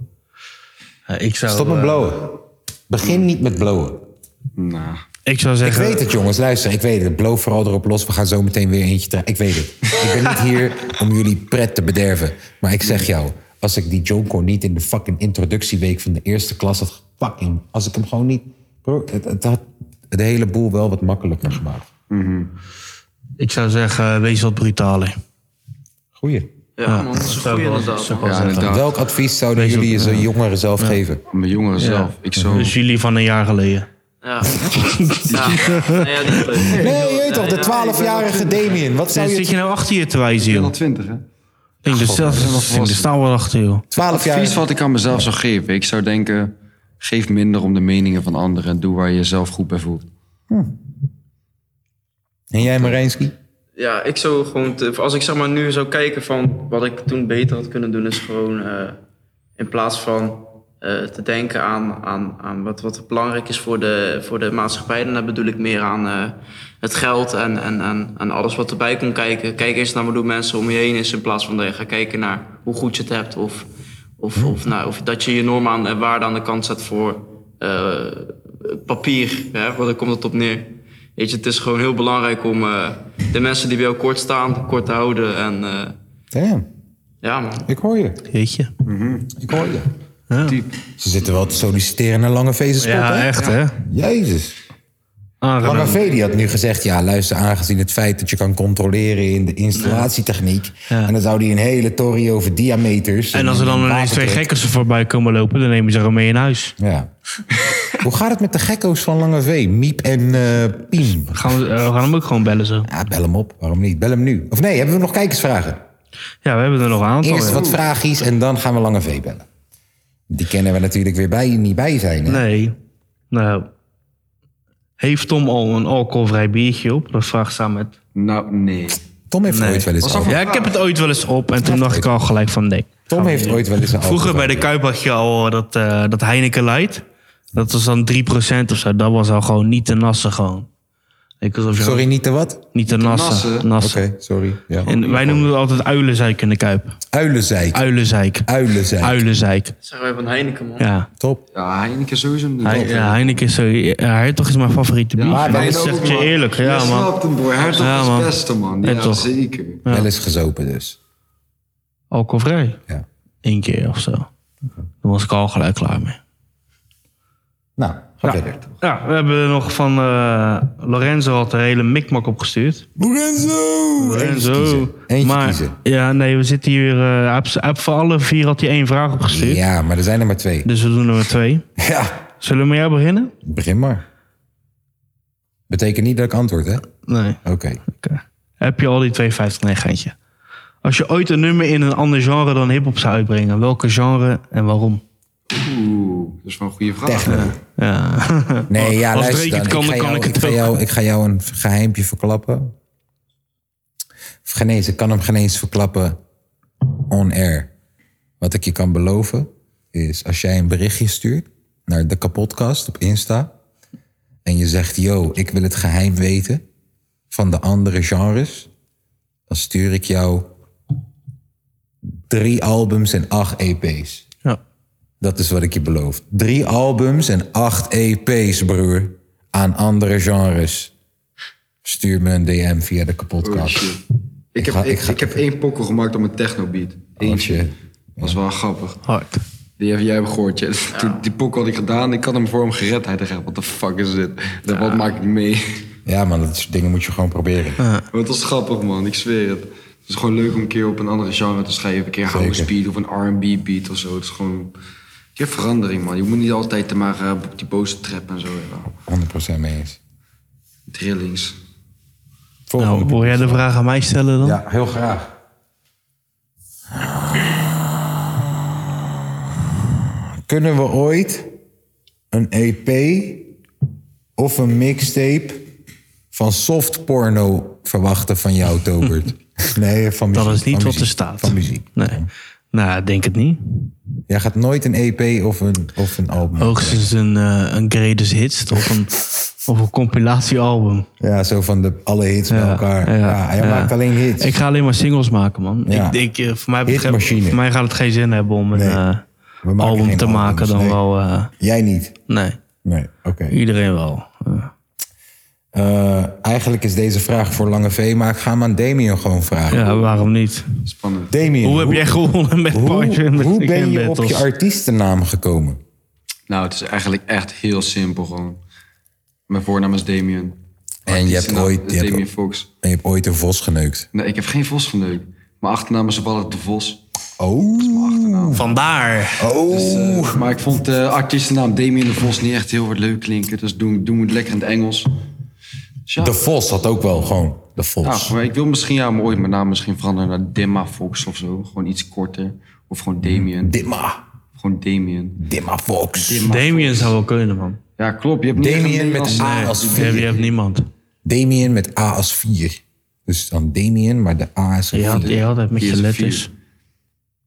ik, zou, eh, Stop met blowen. Begin niet met blowen. Nou, ik zou Ik zeggen... weet het, jongens. Luister, ik weet het. Blow vooral erop los. We gaan zo meteen weer eentje trekken. Ik weet het. Ik ben niet hier om jullie pret te bederven. Maar ik zeg jou, als ik die Jonko niet in de fucking introductieweek van de eerste klas had fucking... Als ik hem gewoon niet... Bro, het, het had de hele boel wel wat makkelijker gemaakt. Ik zou zeggen, eh, wees wat brutaler. Goeie. Ja, man. Dat is een Ah, zou goeie ik wel- inderdaad. zou ik wel man. ja, zeggen. inderdaad. Welk advies zouden Wees jullie je ook- zo jongeren zelf geven? Mijn jongeren zelf. Ik zou... Dus jullie van een jaar geleden. Ja. Ja. Nee, ja, die is leuk. Nee, je weet toch, de 12-jarige Damien. Wat zou Zit je... Oh, je nou achter je te wijzen, Wel joh? 20, hè? Ik denk, dat zelfs- ik denk, er staan wel achter, joh. 12 jaar. Advies wat ik aan mezelf zou geven. Ik zou denken, geef minder om de meningen van anderen. En doe waar je jezelf goed bij voelt. Hm. En jij, Marijnski? Ja, ik zou gewoon, te- als ik zeg maar nu zou kijken van wat ik toen beter had kunnen doen, is gewoon eh, in plaats van eh, te denken aan, aan, aan wat, wat belangrijk is voor de, voor de maatschappij, dan bedoel ik meer aan eh, het geld en, en, en, en alles wat erbij komt kijken. Kijk eens naar wat doen mensen om je heen is, in plaats van dat je gaat kijken naar hoe goed je het hebt of, of, of, nou, of dat je je normen aan- en waarden aan de kant zet voor eh, papier, hè, want daar komt het op neer. Weet je, het is gewoon heel belangrijk om eh, de mensen die bij jou kort staan, kort te houden. En eh, Damn, ja, man. ik hoor je. Mhm, Weet je? Ik hoor je. Diep. Ze zitten wel te solliciteren naar Lange Vee zijn spot, Ja, hè? echt, hè? Ah, Jezus. Lange Aangenomen. V die had nu gezegd, ja luister, aangezien het feit dat je kan controleren in de installatietechniek. En dan zou die een hele torie over diameters. En als er dan ineens twee waterdruk. gekkers er voorbij komen lopen, dan nemen ze er mee in huis. Ja. *laughs* Hoe gaat het met de gekko's van Lange V? Miep en eh Piem. Gaan we, eh, we gaan hem ook gewoon bellen zo. Ja, bel hem op. Waarom niet? Bel hem nu. Of nee, hebben we nog kijkersvragen? Ja, we hebben er nog een aantal. Eerst ja. wat vraagjes en dan gaan we Lange V bellen. Die kennen we natuurlijk weer bij, niet bij zijn. Hè? Nee. Nou. Heeft Tom al een alcoholvrij biertje op? Dat vraagt samen met. Nou, nee. Tom heeft ooit wel eens al. Ja, ik heb het ooit wel eens op en toen dacht ik al gelijk van nee. Tom heeft ooit wel eens een Vroeger bij de Kuip had je al dat, eh, dat Heineken Light. Dat was dan 3% of zo. Dat was al gewoon niet te nassen gewoon. Ik alsof je- Sorry, niet de wat? Niet de nassen. nassen. Oké, sorry. Ja. En wij noemen het altijd uilenzeik in de Kuip. Uilenzeik? Uilenzeik. Uilenzeik. Uilenzeik. Zeggen wij van Heineken, man. Ja. Top. Ja, Heineken sowieso. in de Hij, top, hè. ja, Heineken is, zo- ja, Hertog is mijn favoriete bier. maar dat Heineken zeg ook, je man. eerlijk. Ja, Je man. snapt hem, broer. Hertog is het beste, man. Ja, Hertog. zeker. Ja. Wel eens gezopen dus. Alcoholvrij? Ja. Eén keer of zo. Dan was ik al gelijk klaar mee. Nou, ga verder. Ja, we hebben er nog van eh, Lorenzo had een hele mikmak opgestuurd. Lorenzo! Lorenzo. Eentje maar, kiezen. Ja, nee, we zitten hier. eh, hij heeft- hij heeft voor alle vier had hij één vraag opgestuurd. Ja, maar er zijn er maar twee. Dus we doen er maar *laughs* twee. Ja, Zullen we met jou beginnen? begin maar. Betekent niet dat ik antwoord, hè? Oké. Nee. Oké. Heb je al die 250? Nee, geintje. Als je ooit een nummer in een ander genre dan hip-hop zou uitbrengen, welke genre en waarom? Oeh, dat is wel een goede vraag. Techno. *laughs* Ja. Nee, ja, Als luister Drake dan. het kan, ik, dan ga kan jou, ik het ga ook. jou, ik ga jou een geheimpje verklappen. Of geen eens, ik kan hem geen eens verklappen on air. Wat ik je kan beloven is als jij een berichtje stuurt naar de kapotkast op Insta. En je zegt, yo, ik wil het geheim weten van de andere genres. Dan stuur ik jou drie albums en acht E EP's. Ja. Dat is wat ik je beloof. Drie albums en acht EP's, broer. Aan andere genres. Stuur me een DM via de Oh, kapotkast. shit. Ik heb, ga- ik, ik ga- ik heb één pokkel gemaakt op een technobeat. Oh, Eentje. shit. Dat was wel grappig. Hard. Die heb jij gehoord. Ja. Toen- *laughs* Die pokkel had ik gedaan. Ik had hem voor hem gered. Hij dacht echt, wat de fuck is dit? Dat, Wat maak ik mee? Ja, man, dat soort dingen moet je gewoon proberen. Maar het was grappig, man. Ik zweer het. Het is gewoon leuk om een keer op een andere genre te schrijven. Een keer house Zeker. speed of een R&B beat of zo. Het is gewoon... een keer verandering, man. Je moet niet altijd te maar eh, op die boze trap en zo. Ja. 100% mee eens. Drillings. Nou, wil jij de vraag aan mij stellen dan? Ja, heel graag. Kunnen we ooit een EP of een mixtape van soft porno verwachten van jou, *laughs* Tobert? Nee, van muziek. Dat is niet van wat er muziek, staat. Van muziek. Nee. Nou, ik denk het niet. Jij gaat nooit een EP of een, of een album. Hoogstens een, eh een greatest hits of *laughs* een, of een compilatiealbum. Ja, zo van de, alle hits bij elkaar. Ja, hij ja. maakt alleen hits. Ik ga alleen maar singles maken, man. Ja. Ik, ik, eh, voor, mij betreft- Hitmachine. voor mij gaat het geen zin hebben om een Nee. eh, We maken album geen te albums, maken dan nee. wel. eh, Jij niet? nee, Nee, oké. iedereen wel. Eh, Eh, eigenlijk is deze vraag voor Lange V, maar ik ga hem aan Damien gewoon vragen. ja, waarom niet? Spannend. Damien, Hoe heb jij gewonnen *laughs* met Porsche en hoe, met hoe de ben je op battles? je artiestennaam gekomen? Nou, het is eigenlijk echt heel simpel gewoon. Mijn voornaam is Damien. En je hebt Artiestennaam ooit- is je hebt Damien ook- Fox. En je hebt ooit een vos geneukt. Nee, ik heb geen Vos van leuk. Mijn achternaam is toevallig De Vos. Oh, Vandaar. Dus, eh, maar ik vond de artiestennaam Damien De Vos niet echt heel wat leuk klinken. Dus doen, doen we het lekker in het Engels. Dus ja, de vos had ook wel gewoon de Nou, vos. ja, Nou, maar ik wil misschien ja, mooi mijn naam misschien veranderen naar Demma Fox of zo. Gewoon iets korter. Of gewoon Damien. Dimma, gewoon Damien. Dimma Fox. Damien zou wel kunnen, man. Ja, klopt. Je hebt niet echt Damien een met Nederlandse A naam. als Je hebt, je 4. hebt niemand. Damien met A als 4. Dus dan Damien, maar de A is Je een had, 4. je had het met Hier je is een letters. vier.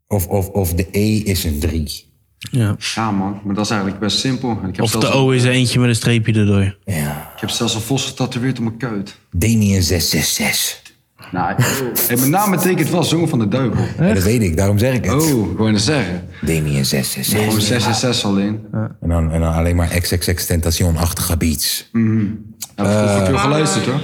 Of, of, of de E is een 3. Ja. Ja, man. Maar dat is eigenlijk best simpel. Ik heb, Of zelfs, de O is er eentje met een streepje erdoor. Ja. ik heb zelfs een vos getatoeëerd op mijn kuit. Damien 666. Nou, hey, mijn naam betekent wel zoon van de duivel. Ja, dat weet ik, daarom zeg ik het. Oh, ik wou net zeggen. Damien 666. Gewoon 6 en 6 alleen. Ja, En dan, en dan alleen maar XXX Tentacion-achtige beats. vroeger Nou, veel geluisterd hoor.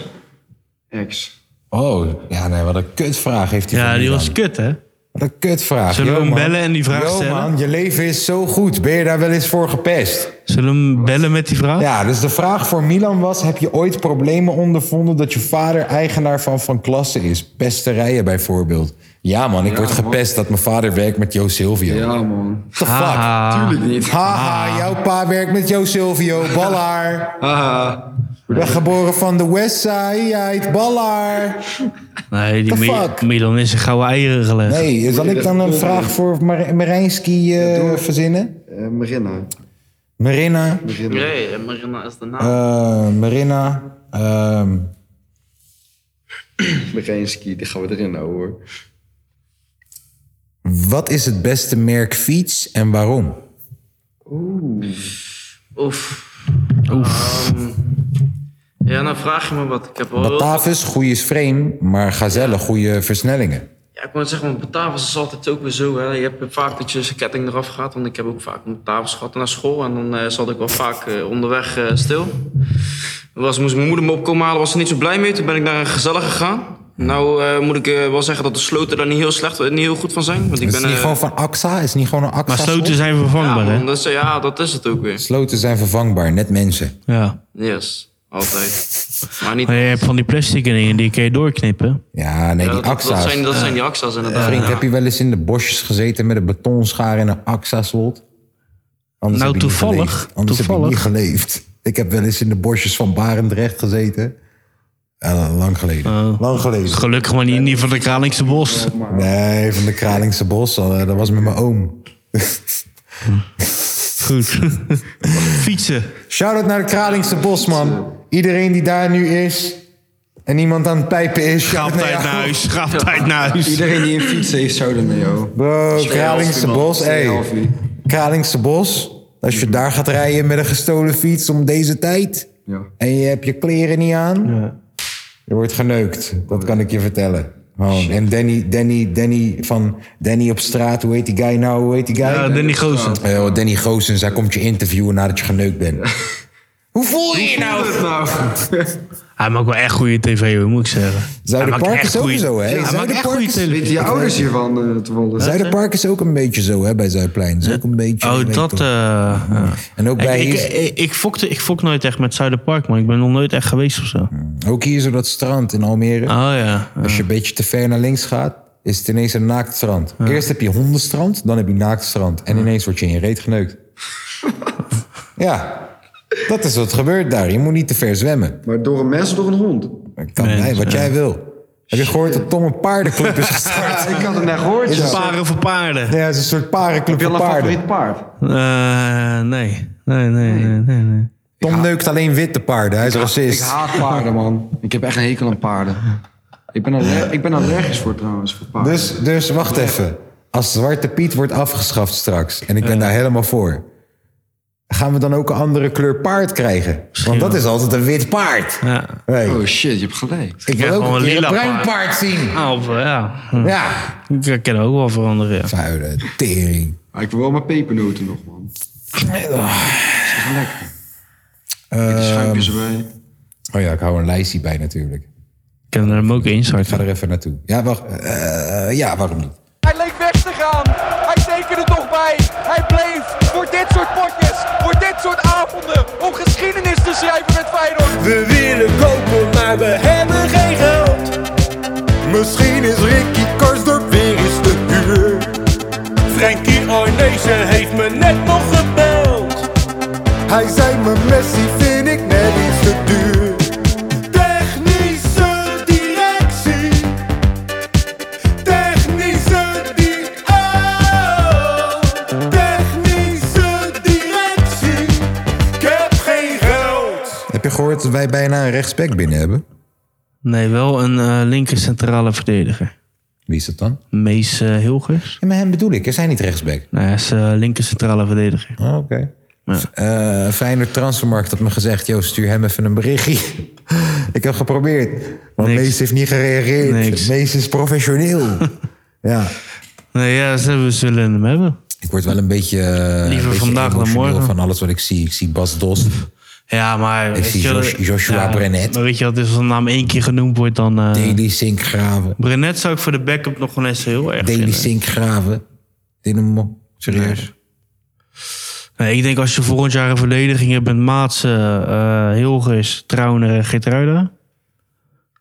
Ex. Eh, Oh, ja, nee, wat een kutvraag heeft hij. Ja, van die Milan. was kut, hè? Wat een kutvraag. Zullen we Yo, hem man. bellen en die vraag Yo, stellen? man, je leven is zo goed. Ben je daar wel eens voor gepest? Zullen we hem bellen met die vraag? Ja, dus de vraag voor Milan was... heb je ooit problemen ondervonden dat je vader eigenaar van Van Klasse is? Pesterijen bijvoorbeeld. Ja, man, ik word man. gepest dat mijn vader werkt met Jo Silvio. What Ja, man. the fuck? Tuurlijk niet. Haha, jouw pa werkt met Jo Silvio. Ballaar. Haha. Ben geboren van de Westside. ja, het Ballaar. Nee, die The Mi- fuck? Milan is in gouden eieren gelegd. Nee, zal ik dan een vraag voor Mar- Marijnski eh, verzinnen? Eh, Marina. Marina, Nee, Marina is de naam. eh, Marina, ehm, Marijnski, die gaan we erin houden hoor. wat is het beste merk fiets en waarom? Oef. Oef. ehm, Ja, nou vraag je me wat. Ik heb al heel- Batavus, goede frame, maar gazelle, goede versnellingen. Ja, ik moet zeggen, want Batavus is altijd ook weer zo. Hè. Je hebt vaak dat je zijn ketting eraf gaat. Want ik heb ook vaak een Batavus gehad naar school. En dan eh, zat ik wel vaak eh, onderweg eh, stil. Was, moest mijn moeder me opkomen halen, was ze niet zo blij mee. Toen ben ik naar een gezellig gegaan. Nou eh, moet ik eh, wel zeggen dat de sloten daar niet heel, slecht, eh, niet heel goed van zijn. Want ik Is het ben, niet eh, gewoon van AXA? Is het niet gewoon een AXA? ja, man, dat is, ja, dat is het ook weer. Sloten zijn vervangbaar, net mensen. Ja. Yes, altijd. Maar niet... Maar je hebt van die plastic dingen, die kun je doorknippen. Ja, nee, Ja, die dat- AXA's. Dat zijn, dat zijn die AXA's inderdaad. Vriend, ja. heb je wel eens in de bosjes gezeten met een betonschaar en een AXA-slot? Anders Nou, heb je niet toevallig, geleefd. Anders toevallig. heb je niet geleefd. Ik heb wel eens in de bosjes van Barendrecht gezeten. Eh, lang geleden. Oh. Lang geleden. Gelukkig maar niet, niet van de Kralingse Bos. Nee, van de Kralingse Bos. eh, Dat was met mijn oom. *laughs* Goed. Fietsen. *laughs* Shout-out naar de Kralingse Bos, man. Iedereen die daar nu is en iemand aan het pijpen is. Ga op shout-out tijd jou. naar huis. Ga op tijd naar huis. Iedereen die een fiets heeft, zou dan mee, joh. Bro, Kralingse man. Bos, hey. Tweeënhalf uur. Kralingse Bos. Als je daar gaat rijden met een gestolen fiets om deze tijd. Ja. En je hebt je kleren niet aan. Je wordt geneukt. Dat kan ik je vertellen. Gewoon. En Danny, Danny, Danny van Danny op straat. Hoe heet die guy nou? Hoe heet die guy? Ja, Danny Goossens. Eh, Danny Goossens. Hij komt je interviewen nadat je geneukt bent. Hoe voel je je nou? *laughs* Hij maakt wel echt goede tv, hoor, moet ik zeggen. Zuiderpark Hij maakt is ook zo, hè? Hij maakt echt Zuiderpark goede is- Weet televisie. je ouders hiervan eh, toevallig? Zuiderpark is ook een beetje zo, hè? Bij Zuidplein. Is ook een beetje... je Oh, weet dat... toch. eh, ja. En ook bij... ik, ik, ik, ik, fokte, ik fok nooit echt met Zuiderpark, man. Ik ben nog nooit echt geweest of zo. Oh Hmm. Ook hier zo dat strand in Almere. Ah, ja. Als je een beetje te ver naar links gaat, is het ineens een naakt strand. Eerst heb je hondenstrand, dan heb je naakt strand. En ineens word je in je reet *laughs* geneukt. ja, dat is wat gebeurt daar. Je moet niet te ver zwemmen. Maar door een mens of door een hond? Dat kan mij, wat jij wil. Heb je gehoord dat Tom een paardenclub is gestart? Ja, ik had het net gehoord, ja. Paren voor paarden. Ja, het is een soort parenclub Heb je voor al een paarden. favoriet paard? *laughs* Eh, nee. Nee, nee, nee, nee. nee. Tom neukt alleen witte paarden. Hij is Ik racist. haat paarden, man. Ik heb echt een hekel aan paarden. Ik ben, aller- ik ben allergisch voor trouwens, voor paarden. Dus, dus wacht even. Als Zwarte Piet wordt afgeschaft straks, en ik ben daar helemaal voor, gaan we dan ook een andere kleur paard krijgen? Want dat is altijd een wit paard. Ja. Hey, Oh shit, je hebt gelijk. ik wil krijg ook gewoon een, een keer een lila bruin paard. paard zien. Ah, of, eh, ja. Hm. Ja, Ik kan ook wel veranderen, ja. vuile tering. oh. Maar ik wil wel mijn pepernoten nog, man. Dat is toch lekker. Lekker schuimpjes erbij. Ehm, Oh ja, ik hou een lijstje bij natuurlijk. Ik kan er hem ook Ik ga instarten. er even naartoe. Ja, wacht. eh, eh, ja, waarom niet? Hij leek weg te gaan. Hij tekende toch bij. Hij bleef voor dit soort potjes, voor dit soort avonden, om geschiedenis te schrijven met Feyenoord. We willen kopen, maar we hebben geen geld. Misschien is Ricky Karsdorp weer eens te duur. Frankie Arnezen heeft me net nog gebeld. Hij zei me Messi vind ik net iets te duur. Technische directie. Technische di- oh. Technische directie. Ik heb geen geld. Heb je gehoord dat wij bijna een rechtsback binnen hebben? Nee, wel een eh, linker centrale verdediger. Wie is dat dan? Mees eh, Hilgers. Ja, maar hem bedoel ik. Is hij niet rechtsback? Nee, hij is eh, linker centrale verdediger. Oh, oké. Eh, Feyenoord Transfermarkt had me gezegd... Joost, stuur hem even een berichtje. *laughs* ik heb geprobeerd. Want Niks. Mees heeft niet gereageerd. Niks. Mees is *laughs* professioneel. ja. Nee, ja, ze- we zullen hem hebben. Ik word wel een beetje, eh, Liever een beetje vandaag dan emotioneel morgen. van alles wat ik zie. Ik zie Bas Dost. Ja, maar... weet zie je wel- Jos- Joshua Brenet. Maar weet je wat, dus als de naam één keer genoemd wordt, dan... eh Daily Sinkgraven. Brenet zou ik voor de backup nog wel eens heel erg Daily vinden. Sinkgraven. Dynamo. Serieus. Nee, ik denk als je volgend jaar een verdediging hebt met Maatsen, eh Hilgers, Trauner en Geertruida,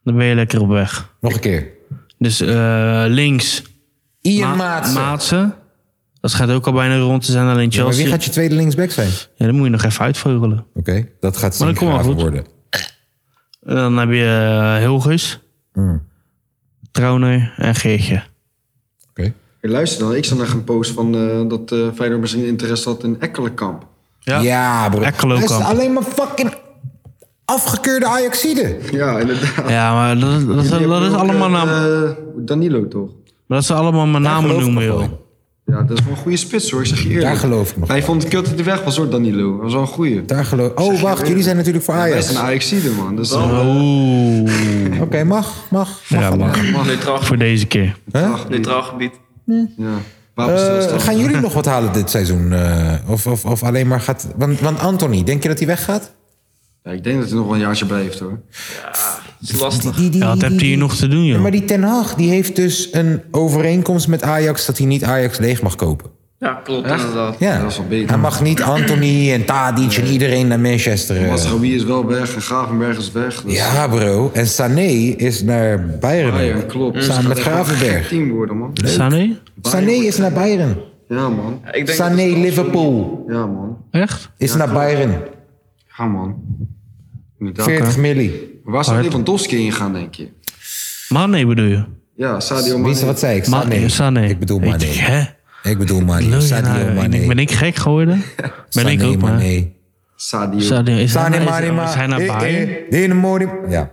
dan ben je lekker op weg. Nog een keer. Dus eh, links Ian Ma- Maatsen. Maatsen. Dat schijnt ook al bijna rond te zijn, alleen Ja, maar Chelsea. wie Ja, gaat je tweede linksback zijn? Oké, dan moet je nog even uitvogelen. dat gaat Maar dat komt wel Sinkgraven goed. worden. En dan heb je eh, Hilgers, Hmm. Trauner en Geertje. Oké. Hey, luister dan, ik zag nog een post van eh, dat eh Feyenoord misschien interesse had in Ekkelenkamp. Ja, Ja, bro. Ekkelo Hij is kan. alleen maar fucking afgekeurde Ajaxide. Ja, inderdaad. Ja, maar dat, dat, dat, Die hebben is ook, allemaal eh, naam, eh, Danilo toch? dat ze allemaal maar namen geloof ik noemen, nog joh. wel Ja, dat is wel een goede spits hoor, ik zeg je eerlijk. Daar geloof ik nog. Wij vonden het kut dat hij weg was hoor, Danilo. Dat was wel een goeie. Daar geloof Oh, wacht, jullie zijn natuurlijk voor Wij Ajax. zijn Ajaxide man. Dus Oké, mag, mag. Ja, mag. mag. Voor deze keer. Neutraal gebied. Ja. Eh, gaan jullie nog wat halen dit seizoen? eh, of, of, of alleen maar gaat... Want, want Anthony, denk je dat hij weggaat? Ja, ik denk dat hij nog wel een jaartje blijft hoor. Het is lastig. Ja, wat hebt hij hier nog te doen, Ja, joh? maar die Ten Hag die heeft dus een overeenkomst met Ajax... dat hij niet Ajax leeg mag kopen. Ja, klopt inderdaad. Ja, hij mag niet Anthony en Tadic en iedereen naar Manchester. eh. Masraoui is wel weg en Gravenberg is weg. Dus Ja, bro. En Sané is naar Bayern. Ah ja, klopt. Samen met Het gaat echt een Gravenberg. Team worden man. Sané? Sané is naar Bayern. Ja man. Ik denk Sané Liverpool Ja man. Echt? is naar Bayern. Ga man. Inderdaad. 40 milli. Waar zou Lewandowski in gaan denk je? Mane bedoel je? Ja, Sadio Wie is Mane. wat zei ik? Mane, Sané. Sané. Ik bedoel Weet je, hè? Mané. Ik bedoel Mané. Lul je Sadio nou? Mané. Ben ik gek *laughs* geworden? Ben ik ook, maar. Mané. Sadio. Sadio, is hij Sané, nou- is Mané, hij- is hij naar Mané. Eh, Bayern? eh, Dinamo, Dinamo. Ja.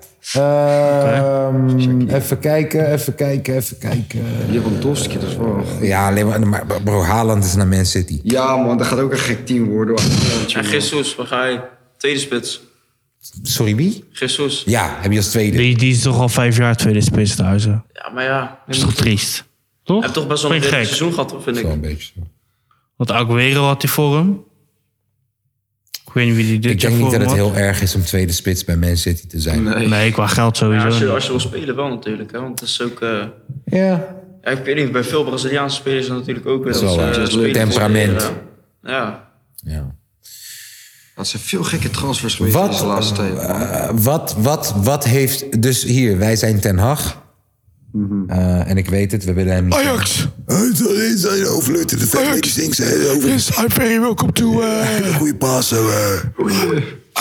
Ehm, even kijken, even kijken, even kijken. Lewandowski, dat is wel... Ja, alleen maar, maar bro, Haaland is naar Man City. Ja man, dat gaat ook een gek team worden. En Jesus, waar ga je? Tweede spits. Sorry, wie? Jesus. Ja, heb je als tweede. Die, die is toch al vijf jaar tweede spits thuis. hè? Ja, maar ja. Dat is toch triest? Toch? Hij heeft toch best wel een Vind je redelijk gek? seizoen gehad, hoor, vind ik. Een beetje. Want Aguero had hij voor hem. Ik weet niet wie die dit Ik denk jaar niet voor dat het hem heel erg is om tweede spits bij Man City te zijn. had. Nee, qua geld Ja, sowieso. als, je, niet. als je wil spelen wel natuurlijk, hè, want het is ook... eh, Ja. ja, ik weet niet, bij veel Braziliaanse spelers is dat natuurlijk ook weer... Dat is wel ze, waar. eh, spelen Temperament. voor, eh, ja. Dat zijn veel gekke transfers geweest Wat? deze laatste tijd. man. Eh, wat, wat, wat heeft... Dus hier, wij zijn Ten Hag. Eh, en ik weet het, we willen hem niet... Ajax. Sorry, zijn overleut in de verdediging. Yes, I'm very welcome to. Uh, Goeie paas.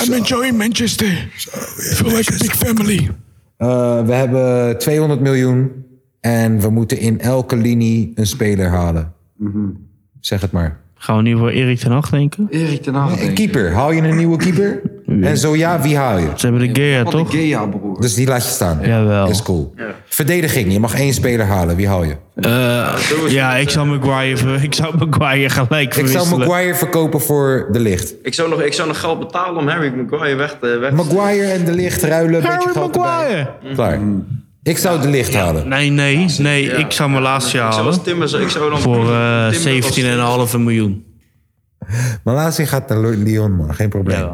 I'm enjoying Manchester. I feel like a big family. Eh, we hebben 200 miljoen. En we moeten in elke linie een speler halen. Zeg het maar. Gaan we nu voor Erik ten Hag denken? Erik ten Hag. Een Eh, keeper. Haal je een nieuwe keeper? En zo ja, wie haal je? Ze hebben de Gea, Wat een Gea, broer. Dus die laat je staan. Jawel. Is cool. Verdediging. Je mag één speler halen. Wie haal je? Eh, ja, ik zou Maguire, ver- ik zou Maguire gelijk Ik verwisselen. zou Maguire verkopen voor De Licht. Ik zou, nog, ik zou nog geld betalen om Harry Maguire weg te... Weg Maguire en De Licht ruilen. Een beetje geld Maguire! erbij. Klaar. Mm. Ik zou De Licht halen. Nee, nee, nee. Ik zou mijn laatste Ik zou halen. als Timmer... zou- Ik zou dan Voor eh, Timber als- 17,5 miljoen. Malazi gaat naar Lyon, man. Geen probleem.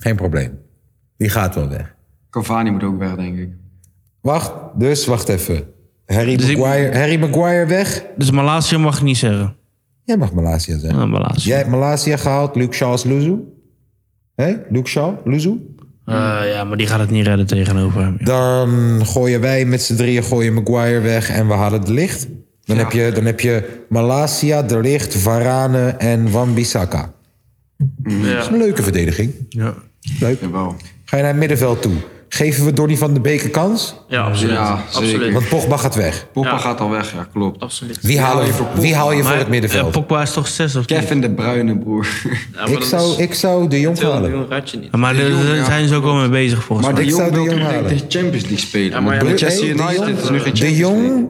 Geen probleem. Die gaat wel weg. Cavani moet ook weg, denk ik. Wacht, dus wacht even. Harry, Maguire, Harry Maguire weg. Dus Malasia mag ik niet zeggen. Jij mag Malasia zeggen. Ja, Malasia. Jij hebt Malasia gehaald, Luke Shaw als Luzu. Hé, Luke Shaw, Luzu. Eh, ja, maar die gaat het niet redden tegenover hem. Dan gooien wij met z'n drieën gooien Maguire weg en we halen de licht. Dan, heb, je, dan heb je Malasia, de licht, Varane en Wan-Bissaka. Dat is een leuke verdediging. Ja. Leuk. Ga je naar het middenveld toe. Geven we Donny van de Beek een kans? Ja, absoluut. absoluut. Want Pogba gaat weg. Pogba gaat al weg, ja, klopt. Absoluut. Wie haal je, wie haal je voor het middenveld? Pogba is toch 6 of Kevin de Bruyne, broer. ik, zou, ik zou de Jong halen. Maar daar De Jong, daar ja. zijn ze ook wel mee bezig volgens Maar mij. de Jong wil toch halen. de Champions League spelen. maar maar ja, Manchester de Jong- United is nu geen De Jong,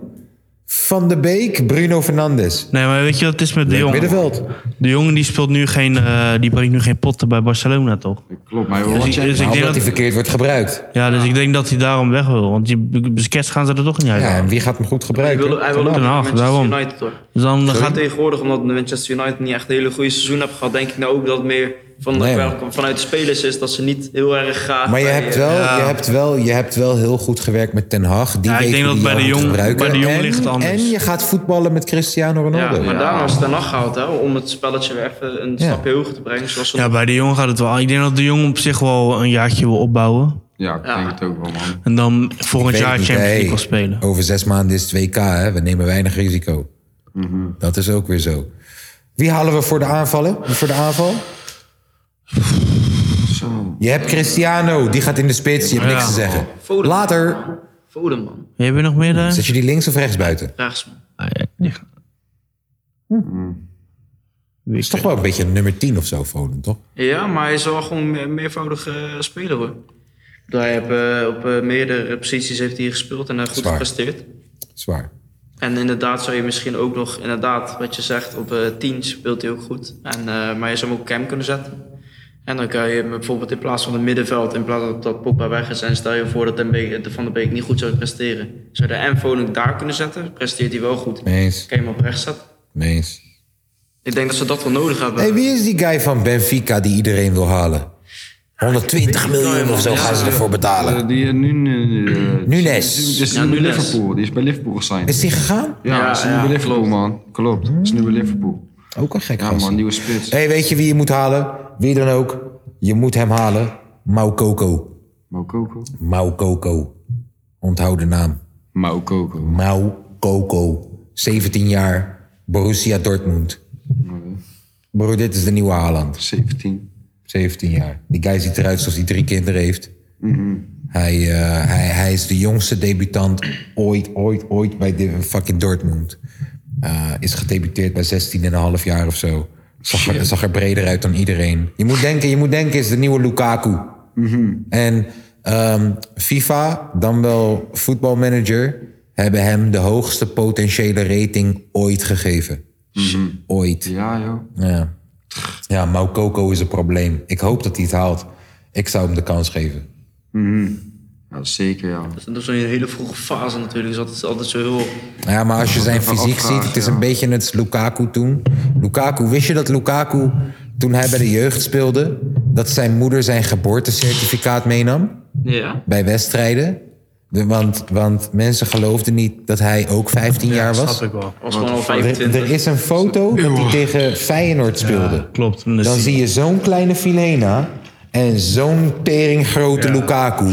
Van de Beek, Bruno Fernandes. Nee, maar weet je wat het is met de Leuk Jong? middenveld. De jongen die speelt nu geen, eh, die brengt nu geen potten bij Barcelona, toch? Klopt, maar Dus ik- dus ik Nou, denk omdat dat- hij verkeerd wordt gebruikt. Ja, dus ik denk dat hij daarom weg wil. Want die Busquets gaan ze er toch niet uit. Ja, en wie gaat hem goed Hij gebruiken? wil, hij wil ook Ten naar Hag, Manchester daarom. United hoor. Dus dan Zo gaat... tegenwoordig, omdat Manchester United niet echt een hele goede seizoen hebben gehad, denk ik nou ook dat het meer van Nee, wel- vanuit de spelers is dat ze niet heel erg graag. Maar je bij- eh, hebt, wel, je, hebt wel, je hebt wel heel goed gewerkt met Ten Hag. Die Ja, ik weet denk hoe dat die bij de jou moet Jong- gebruiken. bij de Jong En- ligt het anders. En je gaat voetballen met Cristiano Ja, Ronaldo. maar daarom is het dan gehaald, hè, om het spelletje weer even een Ja. stapje hoger te brengen. Zoals ze Ja, bij de Jong gaat het wel. Ik denk dat de Jong op zich wel een jaartje wil opbouwen. Ja, ik denk het ook wel, man. En dan volgend Ik jaar weet niet, Champions hey, League wil spelen. Over zes maanden is het 2K, hè? we nemen weinig risico. Mhm. Dat is ook weer zo. Wie halen we voor de aanvallen? Voor de aanval? Je hebt Cristiano, die gaat in de spits, je hebt niks Ja. te zeggen. Later. Foden, man. Wie hebben we nog meer Ah, daar? Zet je die links of rechts buiten? Hm. Rechts, man. Is toch wel een beetje een nummer 10 of zo, Foden, toch? Ja, maar hij is wel gewoon me- meervoudig eh, speler, hoor. Hij heeft, eh, op eh, meerdere posities heeft hij gespeeld en hij heeft goed Zwaar. gepresteerd. Zwaar. En inderdaad zou je misschien ook nog, inderdaad, wat je zegt, op eh 10 speelt hij ook goed. En, eh, maar je zou hem ook cam kunnen zetten. En dan kan je hem bijvoorbeeld in plaats van het middenveld, in plaats dat, dat Poppa weg is, en stel je voor dat Den Beek- Van der Beek niet goed zou presteren, zou je de M Volink daar kunnen zetten, presteert hij wel goed. Meens. Kan je hem op rechts zetten. Meens. Ik denk dat ze dat wel nodig hebben. Hey, wie is die guy van Benfica die iedereen wil halen? 120 miljoen of zo gaan ze ervoor betalen. Eh, die eh, nu, eh, Nunes. Die is Ja, nu bij Nunes. Liverpool. Die is bij Liverpool gesigned. Is die gegaan? Ja, Ja, is nu ja, bij Liverpool, man. Klopt. Is nu bij Liverpool. Ook een gek Ja, man, nieuwe spits. Hey, weet je wie je moet halen? Wie dan ook. Je moet hem halen. Maukoko. Maukoko? Maukoko. Onthoud de naam. Maukoko. Maukoko. 17 jaar. Borussia Dortmund. Bro, dit is de nieuwe Haaland. 17. 17 jaar. Die guy ziet eruit alsof hij drie kinderen heeft. Mhm. Hij, eh, hij, hij is de jongste debutant ooit, ooit, ooit bij de fucking Dortmund. Eh, is gedebuteerd bij 16,5 jaar of zo. Zag er, zag er breder uit dan iedereen. Je moet denken, je moet denken, is de nieuwe Lukaku. Mhm. En ehm, FIFA, dan wel voetbalmanager, hebben hem de hoogste potentiële rating ooit gegeven. Ooit. Mhm. Ja, joh. Ja. ja, Maukoko is een probleem. Ik hoop dat hij het haalt. Ik zou hem de kans geven. Ja, zeker, ja. Dus Dat is een hele vroege fase natuurlijk, dus dat is altijd zo heel... Ja, maar als je zijn Even fysiek afvragen, ziet, het is ja. een beetje het Lukaku toen. Lukaku, wist je dat Lukaku, toen hij bij de jeugd speelde, dat zijn moeder zijn geboortecertificaat meenam? Ja. Bij wedstrijden? De- Want, want mensen geloofden niet dat hij ook 15 jaar was. snap ik wel. Was gewoon al Er- 25. Er is een foto dat hij tegen Feyenoord speelde. klopt. Dan, Dan zie- zie je zo'n kleine Filena en zo'n teringgrote Lukaku.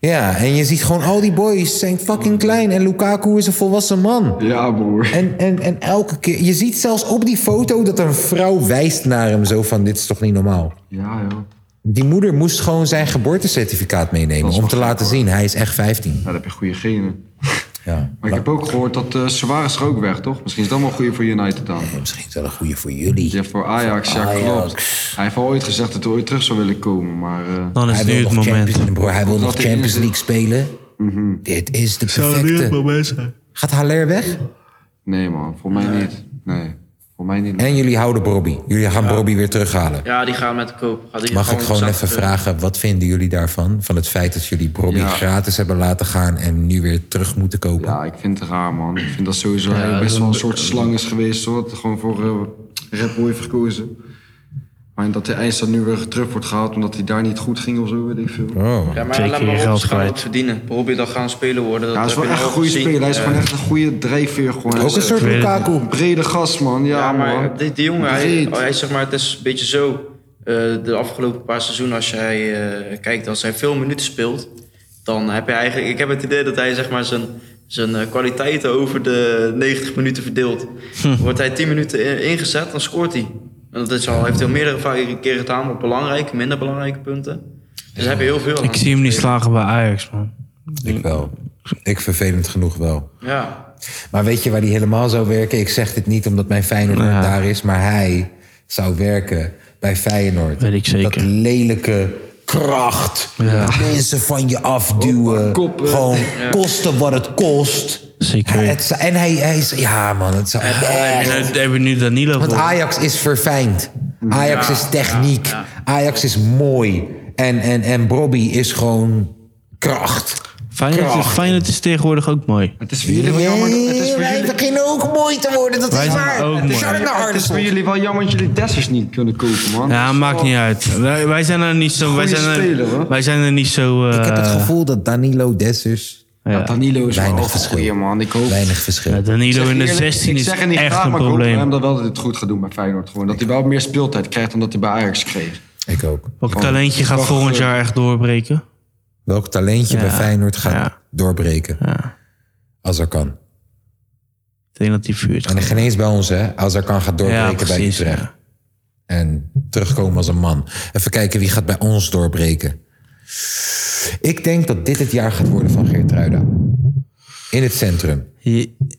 Ja, en je ziet gewoon al die boys zijn fucking klein. En Lukaku is een volwassen man. Ja, broer. En, en, en elke keer... Je ziet zelfs op die foto dat een vrouw wijst naar hem zo van... Dit is toch niet normaal? Ja, joh. Die moeder moest gewoon zijn geboortecertificaat meenemen... om te laten zien, hij is echt 15. Ja, dat heb je goede genen. Ja. Maar ik heb ook gehoord dat eh Suarez is er ook weg, toch? Misschien is dat wel een goede voor United dan. misschien is dat een goede voor jullie. Ja, voor Ajax, ja, Ajax. klopt. Hij heeft al ooit gezegd dat hij ooit terug zou willen komen, maar... eh, Hij wil nog Champions, broer, hij wil nog Champions League spelen. Mhm. Dit is de perfecte. Gaat Haller weg? Nee, man. Voor mij niet. Nee. Voor mij niet. En jullie houden Bobby. Jullie gaan Bobby weer terughalen. Ja, die gaan met de koop. Gaat die Mag ik gewoon eh, even zakken. vragen, wat vinden jullie daarvan? Van het feit dat jullie Bobby Ja. gratis hebben laten gaan en nu weer terug moeten kopen? Ja, ik vind het raar, man. Ik vind dat sowieso Ja, hij dat best is wel een een- soort slang is geweest, hoor. Dat gewoon voor eh, Red Bull heeft gekozen. Maar dat de eindstand nu weer terug wordt gehaald omdat hij daar niet goed ging of zo, weet ik veel. Oh. Ja, maar laat maar op, ze gaan ook verdienen. Probeer dan gaan spelen worden. Dat Ja, hij is heb wel je echt nu een al goede gezien. speler. Hij is gewoon Eh, echt een goede drijfveer. Gewoon. Ook een soort Lukaku. Een brede gast, man. Ja, Ja, man. maar die, die jongen, hij, Breed. hij is zeg maar, het is een beetje zo. eh, de afgelopen paar seizoenen, als jij eh, kijkt, als hij veel minuten speelt, dan heb je eigenlijk. Ik heb het idee dat hij zeg maar, zijn, zijn eh, kwaliteiten over de 90 minuten verdeelt. Hm. Wordt hij 10 minuten in- ingezet, dan scoort hij. En dat is al, heeft hij al meerdere va- keren gedaan op belangrijke, minder belangrijke punten. Dus daar heb je heel veel aan. ik zie hem niet slagen bij Ajax, man. Ik wel. Ik vervelend genoeg wel. Ja. Maar weet je waar die helemaal zou werken? Ik zeg dit niet omdat mijn Feyenoord daar is, maar hij zou werken bij Feyenoord. Weet ik zeker. Dat lelijke kracht. Mensen van je afduwen. Gewoon eh. Ja. kosten wat het kost. Zeker. en hij, hij is... Ja man, het zou... Daar hebben we nu Danilo Want voor. Ajax is verfijnd. Ajax Ja, is techniek. Ajax is mooi. En, en, en Bobby is gewoon kracht. Feyenoord, is- Kracht. Feyenoord is tegenwoordig ook mooi. Het is Nee, wij beginnen ook mooi te worden. Dat Wij is zijn waar. ook mooi. Shout-out naar Het is Arneson. voor jullie wel jammer dat jullie Dessers niet kunnen kopen, man. Ja, maakt niet uit. Wij, wij zijn er niet zo... Wij Goeie zijn er, speler, hoor. wij zijn er niet zo... Ik heb het eh, gevoel dat Danilo Dessers... Ja, Danilo is weinig wel verschil. goeie, man. Ik hoop... Weinig verschil. Ik zeg Danilo je in de eerlijk, 16 ik is zeg het niet echt graag, een maar ik hoop voor probleem. hem dat wel dat hij het goed gaat doen bij Feyenoord. Gewoon. Dat hij wel meer speeltijd krijgt dan dat hij bij Ajax kreeg. Ik ook. Welk talentje gaat volgend eh, jaar echt doorbreken? Welk talentje Ja. bij Feyenoord gaat doorbreken. Als er kan. Ik denk dat die vuurt. En geen eens bij ons, hè. Als er kan gaat Ja, doorbreken bij precies, Utrecht. En terugkomen als een man. Even kijken wie gaat bij ons doorbreken. Ik denk dat dit het jaar gaat worden van Geertruida. In het centrum.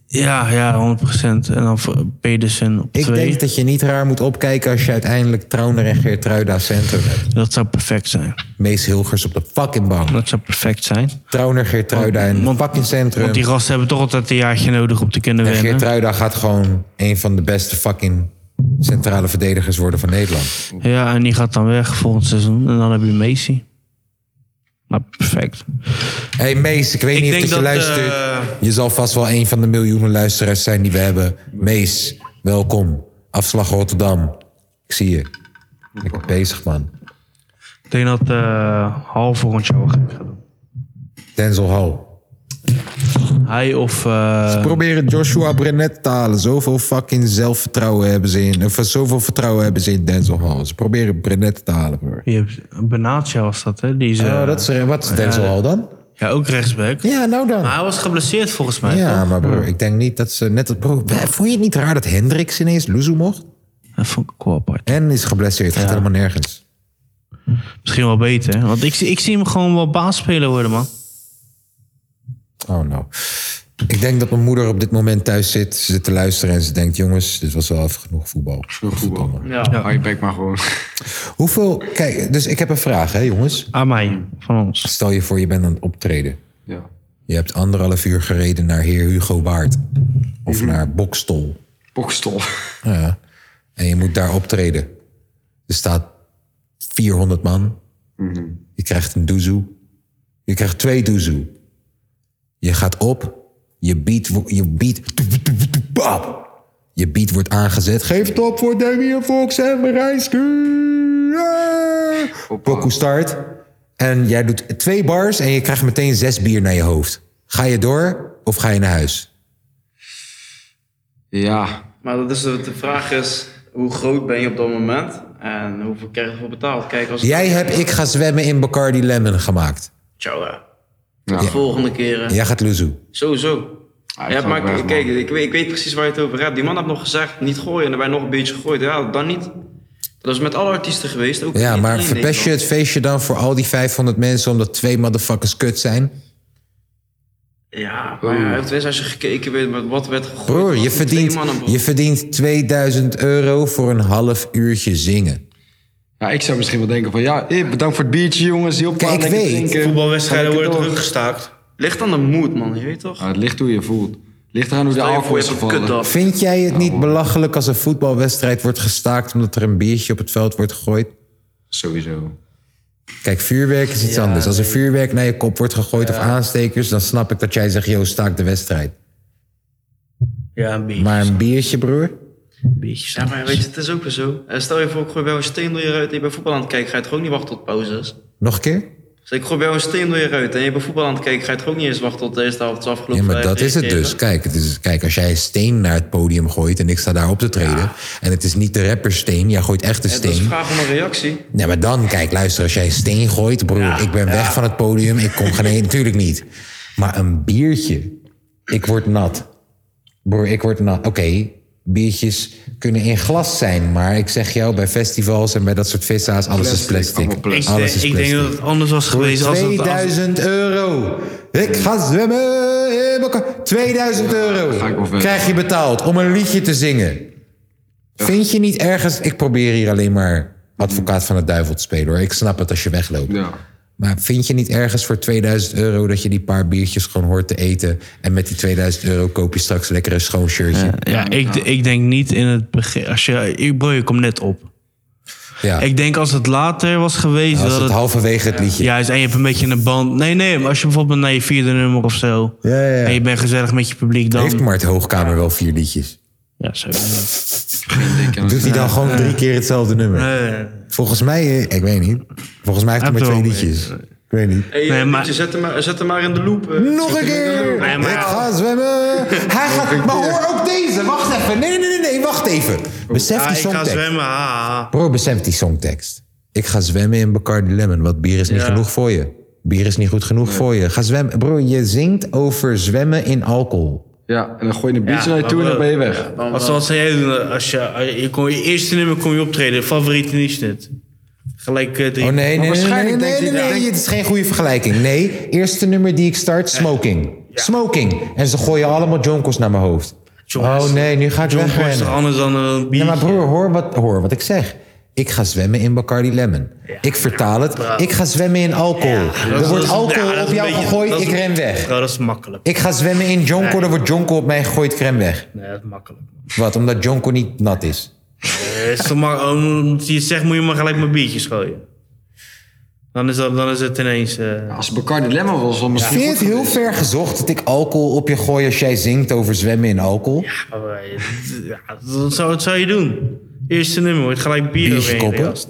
Ja, ja, 100%. En dan voor Pedersen op Ik twee. denk dat je niet raar moet opkijken als je uiteindelijk Trauner en Geertruida centrum hebt. Dat zou perfect zijn. Mees Hilgers op de fucking bank. Dat zou perfect zijn. Trauner, Geertruida in het fucking centrum. Want die gasten hebben toch altijd een jaartje nodig om te kunnen en winnen. Geertruida gaat gewoon een van de beste fucking centrale verdedigers worden van Nederland. Ja, en die gaat dan weg volgend seizoen. En dan heb je Messi. Maar perfect. hey Mees, Dus ik weet Ik niet of denk dat je dat, luistert. eh, Je zal vast wel een van de miljoenen luisteraars zijn die we hebben. Mees, welkom. Afslag Rotterdam. Ik zie je. Ik ben bezig, man. Ik denk dat eh Hal volgend jaar wel gek gaat doen. Denzel Hal. Hij of... eh, Ze proberen Joshua Brenet te halen. Zoveel fucking zelfvertrouwen hebben ze in. Of eh, zoveel vertrouwen hebben ze in Denzel Hall. Ze proberen Brenet te halen, broer. Je hebt, Benatia was dat, hè? Die is, Oh, dat is er- wat is Denzel Hall dan? Ja, ook rechtsback. Ja, nou dan. Maar hij was geblesseerd volgens mij. Ja, toch? maar broer, ik denk niet dat ze net... Dat, broer, vond je het niet raar dat Hendricks ineens Luzu mocht? Dat vond ik wel apart. En is geblesseerd. Gaat helemaal nergens. Misschien wel beter. hè? Want ik, zie- ik zie hem gewoon wel baas spelen worden, man. Oh no. Ik denk dat mijn moeder op dit moment thuis zit. Ze zit te luisteren en ze denkt... jongens, dit was wel even genoeg voetbal. voetbal. Ja. Hou je bek maar gewoon. *laughs* Hoeveel... Kijk, dus ik heb een vraag, hè jongens. Aan mij, van ons. Stel je voor, je bent aan het optreden. Ja. Je hebt anderhalf uur gereden naar heer Hugo Waard. Of naar Bokstol. Bokstol. Ja. En je moet daar optreden. Er staat 400 man. Je krijgt een doezoe. Je krijgt twee doezoe. Je gaat op. Je beat... wo- Je beat... Bap! Je beat wordt aangezet. Geef het op voor Damien Fox en Marijnski. Ja! Mm, eh. Pokoe start. En jij doet twee bars en je krijgt meteen zes bier naar je hoofd. Ga je door of ga je naar huis? Ja. Maar dat is de, de vraag is, hoe groot ben je op dat moment? En hoeveel krijg je ervoor betaald? Kijk, als Jij hebt Ik ga zwemmen in Bacardi Lemon gemaakt. Ciao, hè. Ja. De volgende keren. Jij gaat loezoe. Sowieso. Ja, gaat maar weg, man. kijk, ik weet, ik weet precies waar je het over hebt. Die man had nog gezegd, niet gooien. En daarbij nog een beetje gegooid. Ja, dan niet. Dat is met alle artiesten geweest. Ook Ja, niet maar alleen verpest je Nederland. het feestje dan voor al die 500 mensen omdat twee motherfuckers kut zijn? Ja, maar ja, tenminste, als je gekeken bent met wat werd gegooid. Broer, was je het twee verdient, mannen, broer. je verdient 2000 euro voor een half uurtje zingen. Ja, ik zou misschien wel denken van ja, eh, bedankt voor het biertje jongens. Heel Kijk, ik weet. Voetbalwedstrijden worden teruggestaakt. Ligt aan de moed, man. Je weet toch? het ligt hoe je voelt. Ligt eraan hoe de Stel je alcohol voor, is je hebt een gevallen. Vind jij het niet belachelijk als een voetbalwedstrijd wordt gestaakt omdat er een biertje op het veld wordt gegooid? Sowieso. Kijk, vuurwerk is iets anders. Als er vuurwerk naar je kop wordt gegooid of aanstekers, dan snap ik dat jij zegt: yo, staak de wedstrijd. Ja, een beetje. Maar een biertje, broer? Ja, maar weet je, het is ook weer zo. Eh, Stel je voor, ik gooi bij een steen door je ruit en je bent voetbal aan het kijken. Ga je toch ook niet wachten tot pauzes? Nog een keer? Dus ik gooi bij een steen door je ruit en je bent voetbal aan het kijken. Ga je toch ook niet eens wachten tot de eerste helft is Ja, afgelopen. maar Eh, dat is het reageren? dus. Kijk, het is, kijk, als jij een steen naar het podium gooit en ik sta daar op te treden. En het is niet de rappersteen, jij gooit echt een Ja, dat is steen. vraag om een reactie. Nee, maar dan, kijk, luister, als jij een steen gooit, broer, ik ben weg van het podium, ik kom geen heen, natuurlijk niet. Maar een biertje, ik word nat. Broer, ik word nat. Oké, biertjes kunnen in glas zijn, maar ik zeg jou, bij festivals en bij dat soort vissa's, alles is plastic. Ik, denk- Alles is ik denk plastic. dat het anders was Voor geweest als het... Als... 2000 euro. Ik ga zwemmen. in elkaar. 2000 euro krijg je betaald om een liedje te zingen. Vind je niet ergens... Ik probeer hier alleen maar advocaat van de duivel te spelen hoor. Ik snap het als je wegloopt. Maar vind je niet ergens voor 2000 euro dat je die paar biertjes gewoon hoort te eten... en met die 2000 euro koop je straks lekker een schoon shirtje? Ja, ik, ik denk niet in het begin. Als je, ik, bro, je komt net op. Ja. Ik denk als het later was geweest... Als dat het halverwege het liedje... Juist, en je hebt een beetje een band. Nee, nee, maar als je bijvoorbeeld naar je vierde nummer of zo... en je bent gezellig met je publiek dan... Heeft Mart Hoogkamer wel vier liedjes? Ja, zo. Doet hij dan gewoon drie keer hetzelfde nummer? Volgens mij, eh, ik weet niet. Volgens mij heeft hij maar twee liedjes. Ik weet niet. Hey, eh, Pietje, zet, hem maar, zet hem maar in de loop. eh. Nog een keer! Ik ga zwemmen! Hij gaat, maar hoor ook deze! Wacht even! Nee, nee, nee, nee, wacht even! Besef die songtekst. Bro, besef die songtekst. Ik ga zwemmen in Bacardi Lemon, want bier is niet Ja. genoeg voor je. Bier is niet goed genoeg voor je. Ga zwemmen. Bro, je zingt over zwemmen in alcohol. Ja, en dan gooi je een biertje Ja, naar je toe en maar dan ben je weg. Wat wat zou jij doen als je... als Je, je, kon, je eerste nummer kon je optreden. Favoriete niche dit. Gelijk eh, drie. Oh nee, nee, nee, nee, nee, nee, nee, nee, het is geen goede vergelijking. Nee, eerste nummer die ik start, Smoking. Smoking. En ze gooien allemaal jonkels naar mijn hoofd. oh nee, nu ga ik John Boy is wegrennen. toch anders dan een bier? Ja, maar broer, hoor wat, hoor wat ik zeg. Ik ga zwemmen in Bacardi Lemon. ik vertaal het. Ik ga zwemmen in alcohol. er wordt alcohol op jou gegooid, ik ren weg. Ja, dat is makkelijk. Ik ga zwemmen in jonko, Nee. er wordt jonko op mij gegooid, ik ren weg. Nee, dat is makkelijk. Wat, omdat jonko niet nat is? Eh, is toch maar, omdat je zegt, moet je maar gelijk mijn biertjes gooien. Dan is, dat, dan is het ineens... eh, Als Bacardi Lemon was, dan Ik misschien... vind het heel ver gezocht dat ik alcohol op je gooi als jij zingt over zwemmen in alcohol. Oh, Ja, dat zou, dat zou je doen. Eerste nummer, wordt gelijk bier Biertje overheen koppen? gejast.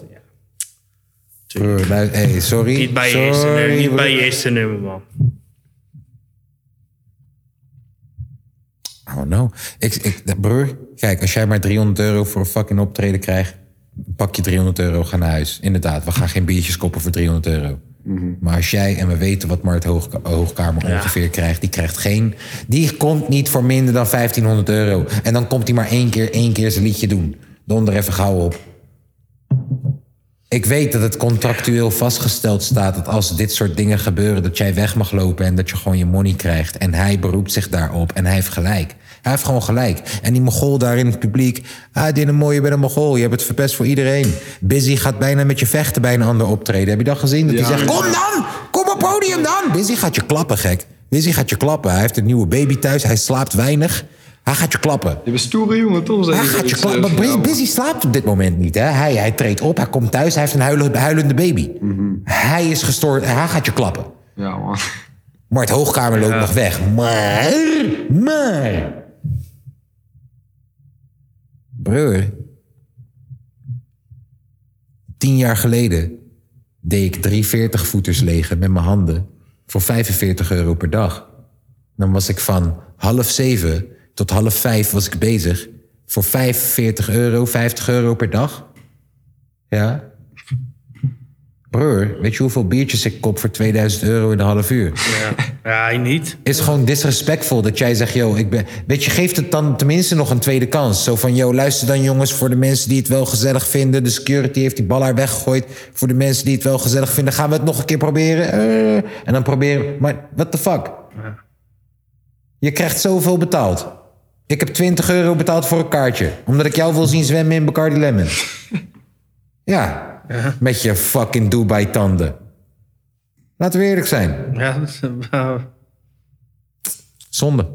Broer, lu- hey, sorry. Niet bij je sorry, eerste nummer, niet broer. bij je eerste nummer, man. Oh no. Ik, ik, broer, kijk, als jij maar 300 euro voor een fucking optreden krijgt, pak je 300 euro, ga naar huis. Inderdaad, we gaan geen biertjes koppen voor 300 euro. Maar als jij, en we weten wat Mart Hoog, Hoogkamer ongeveer krijgt, die krijgt geen. Die komt niet voor minder dan 1500 euro. En dan komt hij maar één keer, één keer zijn liedje doen. Donder even gauw op. Ik weet dat het contractueel vastgesteld staat dat als dit soort dingen gebeuren, dat jij weg mag lopen en dat je gewoon je money krijgt. En hij beroept zich daarop en hij heeft gelijk. Hij heeft gewoon gelijk. En die Mogol daar in het publiek. Ah, dit een mooie, je bent een Mogol. Je hebt het verpest voor iedereen. Busy gaat bijna met je vechten bij een ander optreden. Heb je dat gezien? Dat hij Ja. zegt: Kom dan! Kom op podium dan! Busy gaat je klappen, gek. Busy gaat je klappen. Hij heeft een nieuwe baby thuis. Hij slaapt weinig. Hij gaat je klappen. Je bent stoere jongen, toch? Hij gaat je klappen. Maar Busy- Busy slaapt op dit moment niet. Hè? Hij, hij treedt op, hij komt thuis, hij heeft een huilende, huilende baby. Hij is gestoord, hij gaat je klappen. Ja, man. Mart Hoogkamer loopt nog weg. Maar, maar... Broer. Tien jaar geleden deed ik drie 40 voeters legen met mijn handen voor 45 euro per dag. Dan was ik van half zeven tot half vijf was ik bezig voor 45 euro, 50 euro per dag. Ja. Broer, weet je hoeveel biertjes ik kop voor 2000 euro in een half uur? Ja, ik niet. Is gewoon disrespectvol dat jij zegt, yo, ik ben... Weet je, geeft het dan tenminste nog een tweede kans. Zo van, yo, luister dan jongens voor de mensen die het wel gezellig vinden. De security heeft die ballaar weggegooid. Voor de mensen die het wel gezellig vinden, gaan we het nog een keer proberen. Eh, en dan proberen... Maar what the fuck? Je krijgt zoveel betaald. Ik heb 20 euro betaald voor een kaartje. Omdat ik jou wil zien zwemmen in Bacardi Lemon. *laughs* ja, met je fucking Dubai-tanden. Laten we eerlijk zijn. Ja, dat is- nou, Zonde.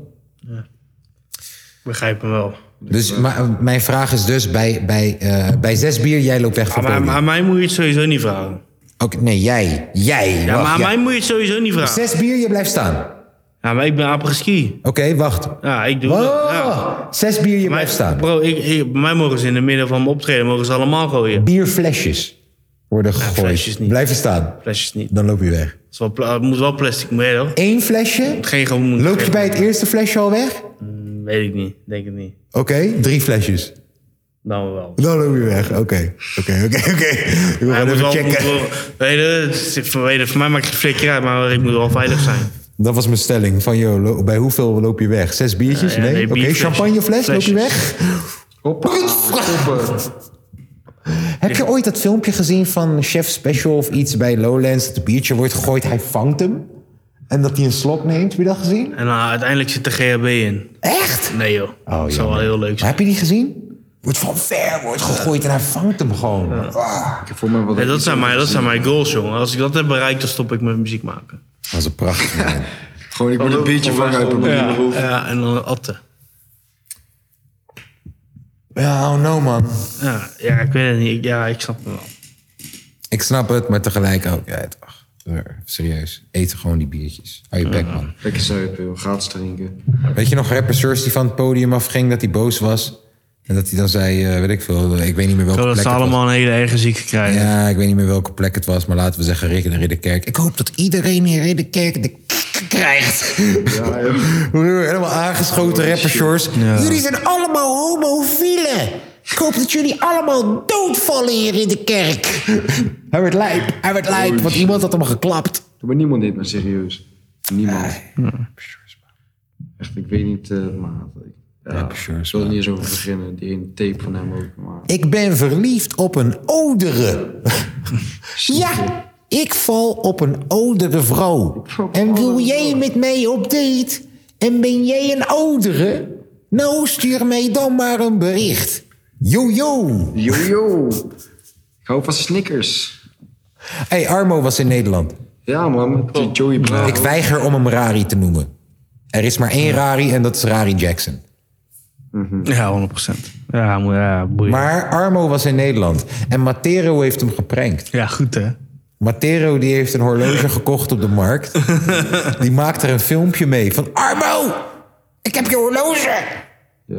ik begrijp hem wel. Dus maar, uh, mijn vraag is dus, bij, bij, eh, bij zes bier, jij loopt weg van Maar aan, podium. aan mij moet je het sowieso niet vragen. Oké, nee, jij. Jij. Ja, maar aan mij moet je het sowieso niet vragen. Zes bier, je blijft staan. Ja, maar ik ben apreski. Oké, wacht. Ja, ik doe Wow, dat. Ja. Zes bier, je blijft staan. Bro, ik, ik, bij mij mogen ze in het midden van mijn optreden mogen ze allemaal gooien. Bierflesjes worden gegooid. Blijf je staan. Flesjes niet. Dan loop je weg. Het is wel pla- het moet wel plastic mee, hoor. Eén flesje? Geen gewoon. Mm, Loop je bij het eerste flesje al weg? Weet ik niet, denk het niet. Oké, drie flesjes. Dan wel. Dan loop je weg. Oké, oké, oké, oké. Ik wil Hij gewoon moet even wel, moet checken. wel, weet je, het is- weet je, voor mij maakt het flikker uit, maar ik moet wel veilig zijn. Dat was mijn stelling. Van, joh, lo- bij hoeveel loop je weg? Zes biertjes? Ja, ja, nee? nee, Oké, bierflesjes. champagnefles, loop je Flesjes. weg? Heb je ooit dat filmpje gezien van Chef Special of iets bij Lowlands? Dat een biertje wordt gegooid, hij vangt hem. En dat hij een slok neemt. Heb je dat gezien? En dan uiteindelijk zit de GHB in. Echt? Nee joh. Oh, dat zou wel heel leuk zijn. heb je die gezien? Wordt van ver wordt gegooid en hij vangt hem gewoon. Ah. Nee, dat, zijn mijn, dat zijn mijn goals, jongen. Als ik dat heb bereikt, dan stop ik met muziek maken. Dat is een prachtig man. Gewoon, ik word een biertje vangen uit mijn ja. broek. ja, en dan atten. Ja, oh no man. Ja, ja, ik weet het niet. Ik- Ja, ik snap het wel. Ik snap het, maar tegelijk ook. Ja, het, ach, er, serieus. Eten gewoon die biertjes. Hou je bek, man. Lekker zuipen, joh. Gratis drinken. Weet je nog rapper Surf die van het podium afging, dat hij boos was? En dat hij dan zei, eh, weet ik veel, ik weet niet meer welke Zodat plek ze het was. allemaal een hele eigen ziekte krijgen. Ja, ik weet niet meer welke plek het was, maar laten we zeggen Rick en Ridderkerk. Ik hoop dat iedereen in Ridderkerk de k- krijgt. *laughs* Broer, Helemaal aangeschoten rapper Shores. Jullie zijn allemaal homofielen. Ik hoop dat jullie allemaal doodvallen hier in de kerk. Hij werd lijp, hij werd lijp, want iemand had hem geklapt. Maar niemand neemt me serieus. Niemand. Echt, ik weet niet, eh maar... Ja, ik wil er niet eens over beginnen. Die ene tape van hem ook. Maar... *laughs* Ik ben verliefd op een odere. ja, Ik val op een oudere vrouw. En wil jij met mij op date? En ben jij een oudere? Nou, stuur mij dan maar een bericht. Jojo. Jojo. Ik hou van Snickers. hey, Armo was in Nederland. Ja, man. Joey Bravo. Ik weiger om hem Rari te noemen. Er is maar één Rari en dat is Rari Jackson. Ja, 100%. Mhm. Ja, moet- ja boeien. Maar Armo was in Nederland. En Matero heeft hem geprankt. Ja, goed hè. Matero die heeft een horloge gekocht op de *laughs* markt. Die maakt er een filmpje mee van... Armo! Ik heb je horloge!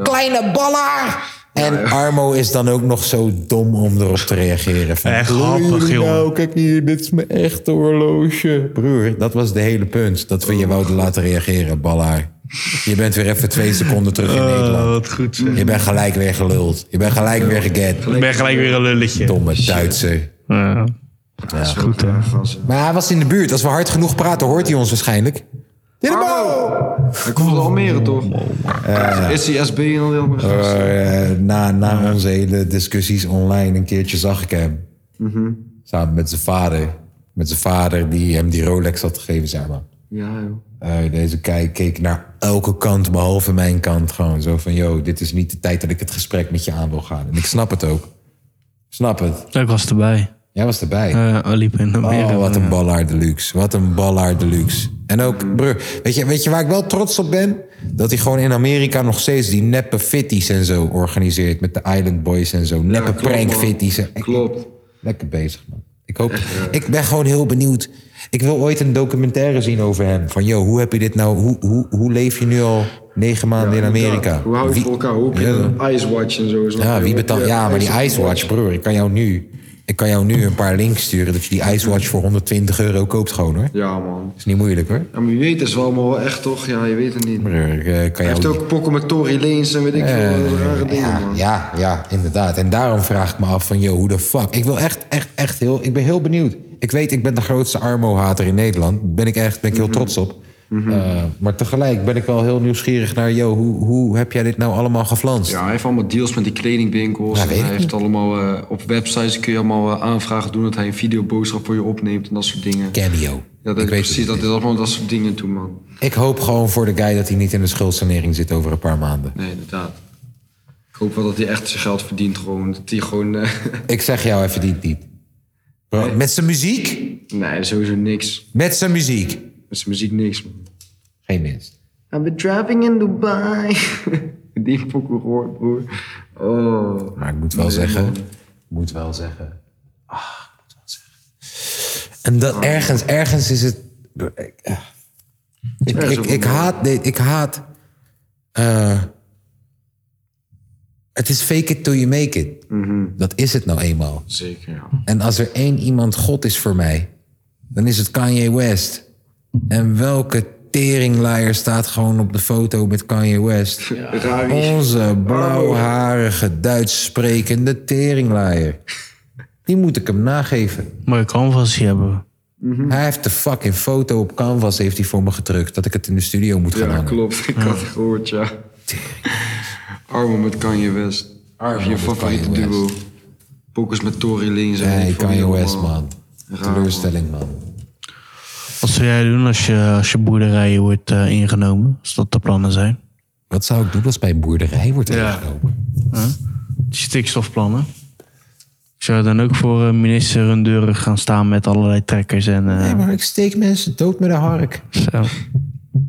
Kleine baller. En Armo is dan ook nog zo dom om erop te reageren. Van, Echt "Horen grappig, jullie jongen." Nou, kijk hier, dit is mijn echte horloge. Broer, dat was de hele punt. Dat we je wouden laten reageren, ballaar. Je bent weer even twee seconden terug in Nederland. Oh, Wat goed zeg. Je bent gelijk weer geluld. Je bent gelijk weer geget. Ik ben gelijk weer een lulletje. Domme Duitser. Ja. is goed hè. Maar hij was in de buurt. Als we hard genoeg praten, hoort hij ons waarschijnlijk. Hij komt Oh, uit Almere, toch? Is hij SB en al die andere gasten. Eh, na na onze hele discussies online, een keertje zag ik hem. Mhm. Samen met zijn vader. Met zijn vader die hem die Rolex had gegeven, zeg maar. Ja, joh. Eh, deze kijk keek naar elke kant, behalve mijn kant. Gewoon zo van, yo, dit is niet de tijd dat ik het gesprek met je aan wil gaan. En ik snap het ook. Snap het. Ik was erbij. Eh, Jij was erbij. Ja, liep in de Oh, wat een ballaard deluxe. Wat een ballaard deluxe. En ook, broer, weet je, weet je waar ik wel trots op ben? Dat hij gewoon in Amerika nog steeds die neppe fitties en zo organiseert. Met de Island Boys en zo. Neppe klopt, prank man. fitties. en- Klopt. Lekker bezig, man. Ik, hoop, ik ben gewoon heel benieuwd. Ik wil ooit een documentaire zien over hem. Van, yo, hoe heb je dit nou... Hoe, hoe, hoe leef je nu al negen maanden in Amerika? Hoe hou je het voor elkaar? Hoe heb je Ja. een Icewatch en zo? Ja, wie betaalt? Ja, maar die Icewatch. Icewatch, broer, ik kan jou nu, ik kan jou nu een paar links sturen dat je die Icewatch voor 120 euro koopt gewoon hoor. Ja, man. Is niet moeilijk hoor. Ja, maar je weet het is wel allemaal wel echt, toch? Ja, je weet het niet. Broer, ik, eh, kan Hij jou heeft ook pokken met Tory Lanez en weet ik Eh, veel. wat rare dingen, ja, man. ja, ja, inderdaad. En daarom vraag ik me af van, yo, hoe de fuck? Ik wil echt, echt, echt heel, ik ben heel benieuwd. Ik weet, ik ben de grootste Armo-hater in Nederland. Ben ik echt, ben ik Mhm. heel trots op. Eh, maar tegelijk ben ik wel heel nieuwsgierig naar, yo, hoe, hoe heb jij dit nou allemaal geflanst? Ja, hij heeft allemaal deals met die kledingwinkels. Ja, en weet ik hij heeft allemaal eh, op websites kun je allemaal eh, aanvragen doen dat hij een videoboodschap voor je opneemt en dat soort dingen. Cameo. Ja, dat, precies. Dat is allemaal dat soort dingen toe, man. Ik hoop gewoon voor de guy dat hij niet in de schuldsanering zit over een paar maanden. Nee, inderdaad. Ik hoop wel dat hij echt zijn geld verdient. Gewoon, dat hij gewoon... eh, *laughs* Ik zeg jou even die niet. Bro, Met zijn muziek? Nee, sowieso niks. Met zijn muziek? Met zijn muziek niks, man. Geen minst. I've been driving in Dubai. *laughs* die pokoe gehoord, broer. Oh. Maar ik moet wel zeggen, moet wel zeggen. En dat ergens, ergens is het. Ik, eh, ik, Ergens ik, ook ik wel. haat dit. Ik haat. eh, het is fake it till you make it. Dat is het nou eenmaal. Mhm. Zeker, ja. En als er één iemand God is voor mij, dan is het Kanye West. En welke teringlaaier staat gewoon op de foto met Kanye West? Raar. Oh. Onze blauwharige, Duits sprekende teringlaaier. Die moet ik hem nageven. Mooie canvas hebben. Mhm. Hij heeft de fucking foto op canvas heeft hij voor me gedrukt. Dat ik het in de studio moet gaan Ja, hangen. Ah. klopt. Ik had het gehoord, ja. Armo met Kanye West. Armo je met favoriete Kanye duo. Pokus met Tory Lanez. en Nee, die van Kanye die West, allemaal. man. Raar, Teleurstelling, man. Wat zou jij doen als je, als je boerderijen wordt eh, ingenomen? Als dat de plannen zijn? Wat zou ik doen als mijn boerderij wordt ingenomen? Die stikstofplannen. Zou je dan ook voor eh, minister een deuren gaan staan met allerlei trekkers en... eh, Nee, maar ik steek mensen dood met een hark. Zo.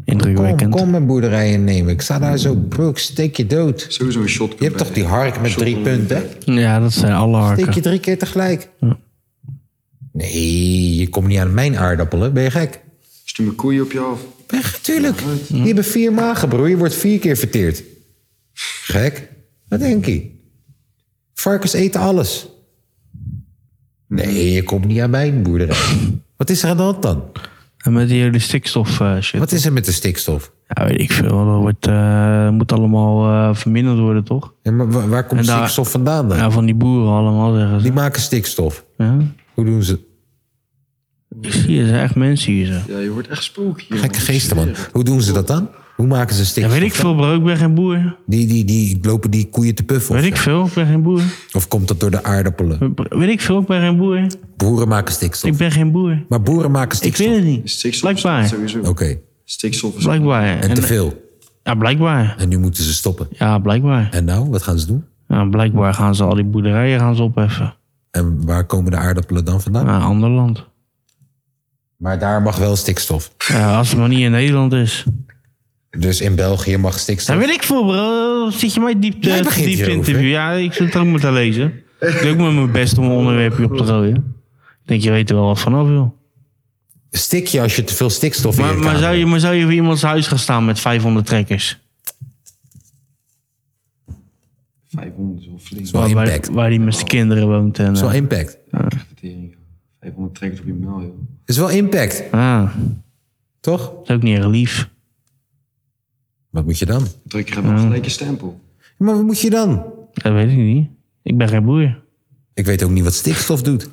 Indrukwekkend. Kom, kom mijn boerderij innemen. Ik sta daar zo, bro, ik steek je dood. Sowieso een shotgun. Je hebt toch die hark met drie punten? Ja, dat zijn alle Steek je harken. drie keer tegelijk. Nee, je komt niet aan mijn aardappelen. Ben je gek? Stuur mijn koeien op je af. Echt, tuurlijk. Die hebben vier magen, broer. Je wordt vier keer verteerd. Gek? Wat denk je? Varkens eten alles. Nee, je komt niet aan mijn boerderij. Wat is er aan de hand dan? En met die hele stikstof eh, shit. Wat is er met de stikstof? Ja, weet ik veel. Dat wordt, eh, moet allemaal eh, verminderd worden, toch? maar waar, komt stikstof vandaan dan? Ja, van die boeren allemaal, zeggen ze. Die maken stikstof. Ja. Hoe doen ze? Ik zie, er zijn echt mensen hier, zo. Ja, je wordt echt spook hier. Gekke geesten, man. Hoe doen ze dat dan? Hoe maken ze stikstof? weet ik veel, bro. Ik ben geen boer. Die, die, die lopen die koeien te puffen. Weet ik veel, ik ben geen boer. Of komt dat door de aardappelen? Weet ik veel, ik ben geen boer. Boeren maken stikstof. Ik ben geen boer. Maar boeren maken stikstof. Ik weet het niet. blijkbaar. Oké. Stikstof is- Blijkbaar. En te veel. Ja, blijkbaar. En nu moeten ze stoppen. Ja, blijkbaar. En nou, wat gaan ze doen? Nou, blijkbaar gaan ze al die boerderijen gaan ze opheffen. En waar komen de aardappelen dan vandaan? Naar een ander land. Maar daar mag wel stikstof. Ja, als het maar niet in Nederland is. Dus in België mag stikstof. Dat weet ik veel, bro. Zit je mij diep, Jij eh, begint diep te hierover. interview? Ja, ik zit er ook met te lezen. Ik doe ook met mijn best om een onderwerpje op te gooien. Ik denk, je weet er wel wat vanaf, joh. Stik je als je te veel stikstof in Maar, je maar, kamer zou je, maar zou je voor iemands huis gaan staan met 500 trekkers? 500 is wel flink. Waar, waar, waar die met zijn kinderen woont. En, Zo'n eh, impact. Tering, 500 trekkers op je mail, joh. is wel impact. Ah. Toch? Dat is ook niet erg lief. Wat moet je dan? Druk je gewoon wel gelijk je stempel. Maar wat moet je dan? Dat weet ik niet. Ik ben geen boer. Ik weet ook niet wat stikstof doet.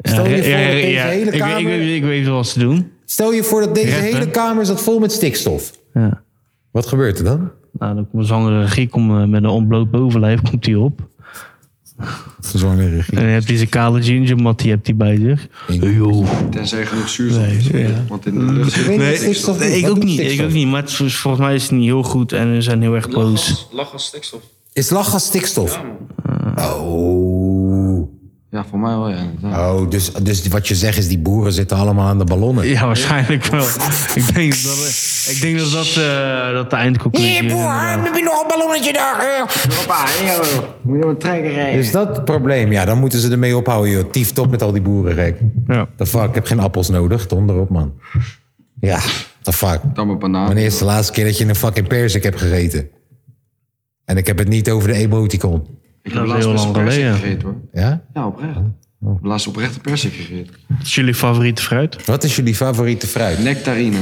Stel je voor Ja, ja, dat ja, deze ja. hele Ik weet- kamer- Ik, weet- ik weet wel wat ze doen. Stel je voor dat deze Reppen. hele kamer zat vol met stikstof. Ja. Wat gebeurt er dan? Nou, dan komt een zwangere Griek om, eh, met een ontbloot bovenlijf komt hij op. Zwangere En dan hebt hij zijn kale gingermat, die hebt hij bij zich. Hey, joh. Tenzij je genoeg zuurstof hebt. Want in de lucht zit Nee, geen ik, stikstof. nee, ik ook niet. Ik ook niet. Maar het is- volgens mij is het niet heel goed en we zijn heel erg boos. Lach als stikstof. Is lachgas stikstof? oh. Ja, voor mij wel, ja. Oh, dus, dus wat je zegt is die boeren zitten allemaal aan de ballonnen. Ja, waarschijnlijk wel. ik denk dat eh, ik denk dat, dat, eh, dat de eindconclusie Hier, is. boer, heb je nog een ballonnetje daar? Papa, Moet je nog een trekker rijden? Is Dus dat het probleem? Ja, dan moeten ze ermee ophouden, joh. Tief top met al die boeren, gek. Ja. The fuck, ik heb geen appels nodig. Donder op, man. Ja, the fuck. Dan maar bananen. Wanneer is de laatste keer dat je een fucking persik hebt gegeten? En ik heb het niet over de emoticon. Ik heb laatst best een persik gegeten, hoor. Ja? Ja, oprecht. Oh, Ik heb laatst oprecht een persik gegeten. Wat is jullie favoriete fruit? Wat is jullie favoriete fruit? Nectarine.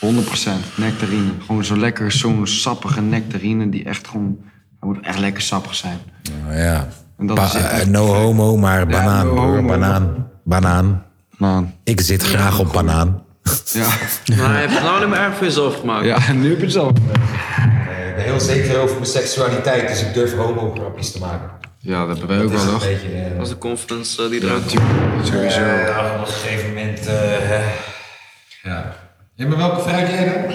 100% nectarine. Gewoon zo lekker, zo'n sappige nectarine die echt gewoon... Hij moet echt lekker sappig zijn. Oh, Nou ja. En dat Ba- is het. eh, no homo, maar banaan, no broer. homo. Banaan. Banaan. Ik zit graag op banaan. *laughs* Ja. Maar heb je het nou niet meer erg voor jezelf gemaakt? Ja, nu heb je het zelf Eh, Ik ben heel zeker over mijn seksualiteit, dus ik durf homo-grapjes te maken. Ja, dat hebben wij ook is wel een nog. beetje, eh, Dat is de conference eh, die Ja, eruit natuurlijk. Sowieso. Ja, op een gegeven moment. eh, ja. Ja, maar welke fruit jij dan?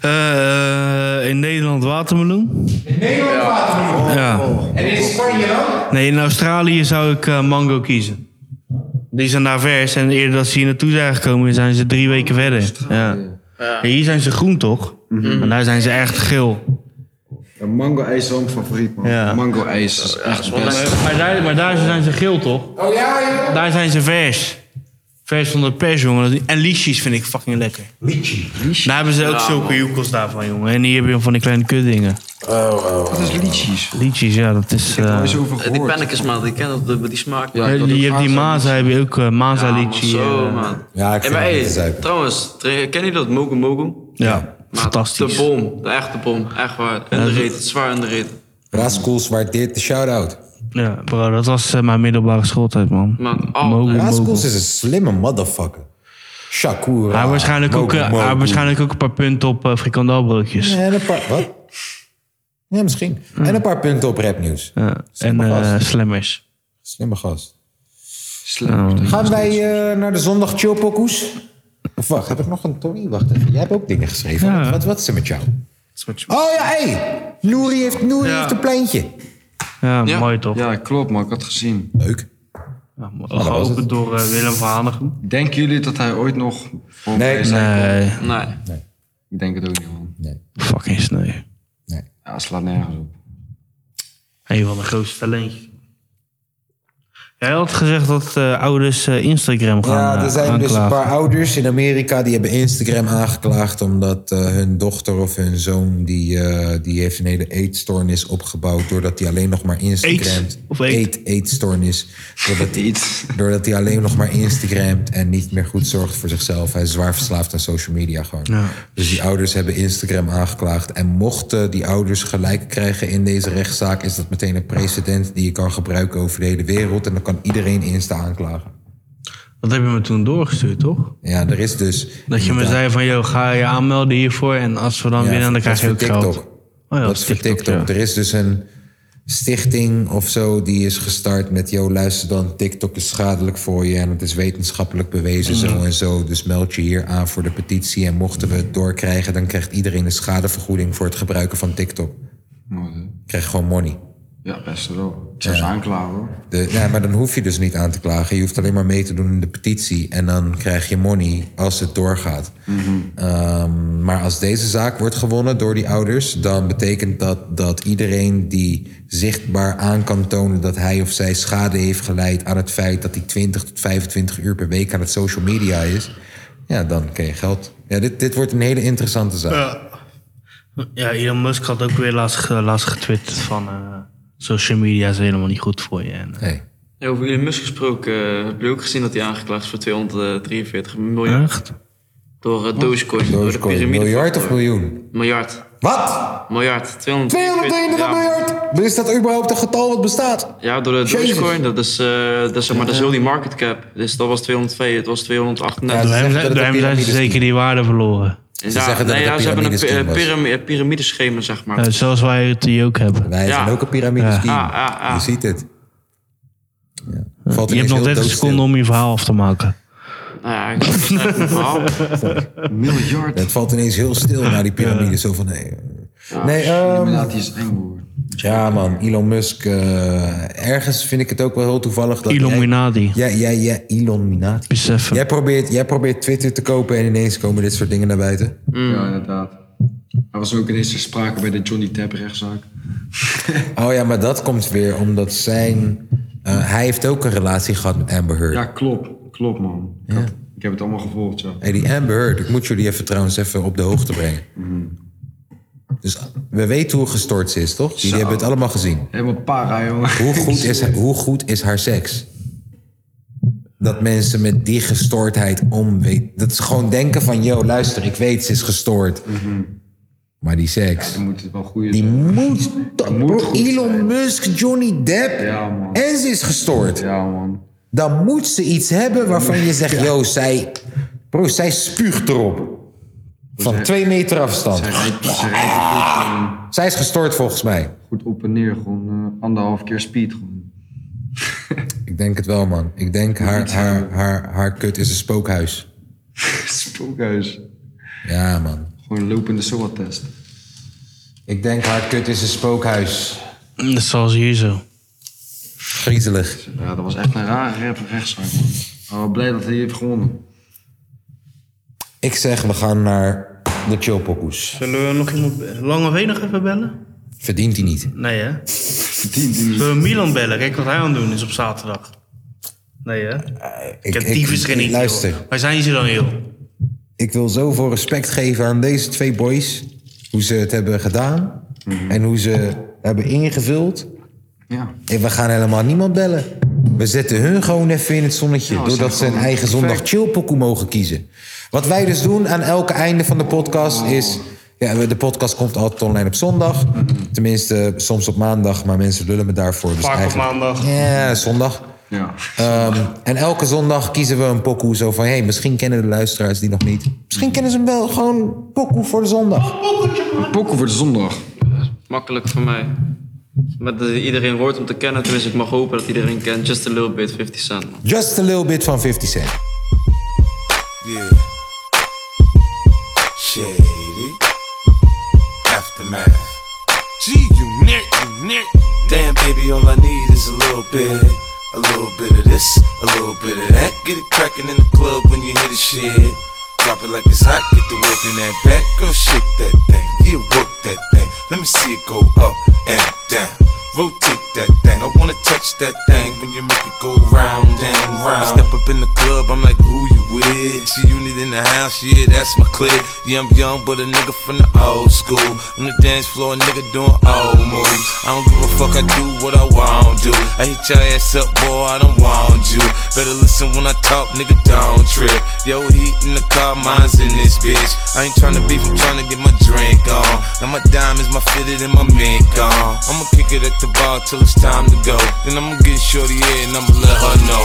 Eh, in Nederland watermeloen. In Nederland watermeloen. Ja. En in Spanje dan? Nee, in Australië zou ik eh, mango kiezen. Die zijn daar vers en eerder dat ze hier naartoe zijn gekomen, zijn ze drie weken verder. Ja. Ja, hier zijn ze groen toch? Mhm. En daar zijn ze echt geel. Ja, mango-ijs is wel mijn favoriet, man. Ja. Mango-ijs is echt het beste. Maar daar, maar daar zijn ze geel toch? Oh ja, joh. Daar zijn ze vers. Vers van de pers, jongen. En liedjes vind ik fucking lekker. Lychee. Daar hebben ze ook Ja, zulke man. joekels daarvan, jongen. En hier heb je van die kleine kutdingen. Oh, oh, Wat is lychees? Liedjes, ja, dat is... eh, Eh, Die pennekensmaat, die ken dat, die- die smaak. Ja, je hebt Eh, die maza, heb je ook eh maza Ja, man, liedje. Zo, eh. man. Ja, ik En vind maar, het hey, niet te zuipen. Trouwens, tre- ken je dat Mogu Mogu? Ja, Maar De bom, de echte bom, echt waar. Underrated, zwaar underrated. Raskool waardeert de shout-out. Ja, bro, dat was eh, mijn middelbare schooltijd, man. Man, Mogu, mogu. Raskool is een slimme motherfucker. Shakura. Hij had waarschijnlijk, ook, eh, hij had waarschijnlijk ook een paar punten op eh, frikandelbroodjes. En een paar... Wat? Ja, misschien. En een paar punten op rapnieuws. en Slimme eh gast. slemmers. Slimme gast. Nou, Gaan wij eh, naar de zondag chillpokoes? Of wacht, heb ik nog een Tony? Wacht even, jij hebt ook dingen geschreven. Wat, wat is er met jou? Oh ja, hé! Hey. Nouri heeft, Nouri heeft een pleintje. Ja, mooi toch? Ja, klopt man, ik had het gezien. Leuk. Nou, geopend door eh, Willem van Hanegem. Denken jullie dat hij ooit nog... voor Nee. prijs uitkomt? Nee. Ik denk het ook niet, man. Nee. Fucking sneu. Ja, het slaat nergens op. Een van de grootste talentjes. Jij had gezegd dat eh, ouders eh, Instagram gaan Ja, er eh, zijn dus een aanklagen. paar ouders in Amerika die hebben Instagram aangeklaagd omdat eh, hun dochter of hun zoon die, eh, die heeft een hele eetstoornis opgebouwd doordat hij alleen nog maar Instagramt. Eet, of eet? eetstoornis. Doordat hij, doordat hij alleen nog maar Instagramt en niet meer goed zorgt voor zichzelf. Hij is zwaar verslaafd aan social media gewoon. Ja. Dus die ouders hebben Instagram aangeklaagd. En mochten die ouders gelijk krijgen in deze rechtszaak, is dat meteen een precedent die je kan gebruiken over de hele wereld. En dan kan iedereen Insta aanklagen. Dat heb je me toen doorgestuurd, toch? Ja, er is dus... Dat je me inderdaad- zei van, joh, ga je aanmelden hiervoor en als we dan Ja, winnen, dan krijg je dat ook is voor geld. Oh TikTok. dat is voor TikTok. Er is dus een stichting of zo die is gestart met... joh, luister dan, TikTok is schadelijk voor je... en het is wetenschappelijk bewezen Mm. zo en zo. Dus meld je hier aan voor de petitie... en mochten we het doorkrijgen... dan krijgt iedereen een schadevergoeding voor het gebruiken van TikTok. Krijg gewoon money. Ja, best wel. Ik zou ze Ja. aanklagen hoor. De, nee, maar dan hoef je dus niet aan te klagen. Je hoeft alleen maar mee te doen in de petitie. En dan krijg je money als het doorgaat. Mhm. Ehm, maar als deze zaak wordt gewonnen door die ouders, dan betekent dat dat iedereen die zichtbaar aan kan tonen dat hij of zij schade heeft geleid aan het feit dat hij 20 tot 25 uur per week aan het social media is, ja, dan krijg je geld. Ja, dit, dit wordt een hele interessante zaak. Ja, Elon Musk had ook weer laatst, ge- laatst getwitterd van eh, social media is helemaal niet goed voor je. En, eh, Ja, over Elon Musk gesproken, eh, heb je ook gezien dat hij aangeklaagd is voor 243 miljoen? Echt? Door eh, Dogecoin, door de piramide. Miljard of miljoen? Miljard. Wat? Miljard. 243 231 miljard! Is dat überhaupt een getal wat bestaat? Ja, door de Jezus. Dogecoin. Dat is, eh, dat is, zeg maar, dat is heel die market cap. Dus dat was 202, het was 238. door hem, door hem zijn ze zeker die waarde verloren. Ja, nee, ja, ze hebben een pi- eh, piram- eh, piramideschema, zeg maar. Eh, zoals wij het hier ook hebben. Wij Ja. zijn ook een piramideschema. Ja, ja, ja. Je ziet het. je hebt nog 30 seconden om je verhaal af te maken. Nou ja, ik snap het verhaal. Miljard. Het valt ineens heel stil naar die piramide. Zo van, nee. nee, ehm dus is eng hoor. ja man, Elon Musk. eh, ergens vind ik het ook wel heel toevallig dat Illuminati. Ja, ja, ja, Illuminati. Beseffen. Jij probeert, jij probeert Twitter te kopen en ineens komen dit soort dingen naar buiten. Mm. Ja, inderdaad. Er was ook ineens sprake bij de Johnny Depp rechtszaak. Oh ja, maar dat komt weer omdat zijn... eh, hij heeft ook een relatie gehad met Amber Heard. Ja, klopt. Klopt man. Ik, had- ik heb het allemaal gevolgd, ja. Hey, die Amber Heard, ik moet jullie even trouwens even op de hoogte brengen. Dus we weten hoe gestoord ze is, toch? Jullie Zo. hebben het allemaal gezien. Helemaal para, jongen. Hoe goed is, hoe goed is haar seks? Dat mensen met die gestoordheid om weten. Dat ze gewoon denken van, yo, luister, ik weet, ze is gestoord. Maar die seks. Mhm. moet het wel goede die moet, toch- bro, Elon Musk, Johnny Depp. En ze is gestoord. Ja, man. Dan moet ze iets hebben waarvan je zegt, yo, zij. Bro, zij spuugt erop. Van twee meter afstand. Zij is gestoord volgens mij. Goed op en neer, gewoon eh, anderhalf keer speed. Gewoon. Ik denk het wel, man. Ik denk haar, haar, haar, haar kut is een spookhuis. Spookhuis. Ja, man. Gewoon een lopende SOA-test. Ik denk haar kut is een spookhuis. Mm, Dat zoals hier zo. Griezelig. Ja, dat was echt een rare rap- rechtszaak, man. Maar wel blij dat hij heeft gewonnen. Ik zeg, we gaan naar de chillpokoes. Zullen we nog iemand lange wenig even bellen? Verdient hij niet. Nee, hè? Zullen we Milan bellen? Kijk wat hij aan het doen is op zaterdag. Nee, hè? Eh, ik heb ik- tyfus ik- geen idee. luister. joh. Waar zijn ze dan, joh? Ik wil zoveel respect geven aan deze twee boys. Hoe ze het hebben gedaan. En hoe ze hebben ingevuld. Ja. En we gaan helemaal niemand bellen. We zetten hun gewoon even in het zonnetje. Ja, we zijn doordat ze een gewoon eigen perfect. zondag chillpokoe mogen kiezen. Wat wij dus doen aan elke einde van de podcast is... Ja, we- de podcast komt altijd online op zondag. Tenminste, soms op maandag. Maar mensen lullen me daarvoor. Dus Vaak op eigenlijk- maandag. Ja, zondag. Ja. Ehm, en elke zondag kiezen we een pokoe zo van... hey, misschien kennen de luisteraars die nog niet. Misschien kennen ze hem wel. Gewoon pokoe voor de zondag. Pokken voor de zondag. Makkelijk voor mij. Met de- iedereen hoort om te kennen, tenminste ik mag hopen dat iedereen kent. Just a little bit, 50 cent. man. Just a little bit van 50 Cent. Yeah. Shady. Aftermath. Gee, you nick, you nick. Damn, baby, all I need is a little bit. A little bit of this, a little bit of that. Get it crackin' in the club when you hear the shit. Drop it like it's hot, get the work in that back. Girl, shake that thing. Yeah, work that thing. Let me see it go up and down. Rotate that thing. I wanna touch that thing when you make it go round and round. Step up in the club, I'm like, who you with? She unit in the house, yeah, that's my clique. Yeah, I'm young, but a nigga from the old school. On the dance floor, a nigga doing old moves. I don't give a fuck, I do what I want to. I hit your ass up, boy, I don't want you. Better listen when I talk, nigga, don't trip. Yo, heat in the car, mine's in this bitch. I ain't tryna beef, I'm tryna get my drink on. Now my diamonds, my fitted, and my mink on. I'ma kick it at the bar till it's time to go. Then I'ma get shorty, yeah, and I'ma let her know.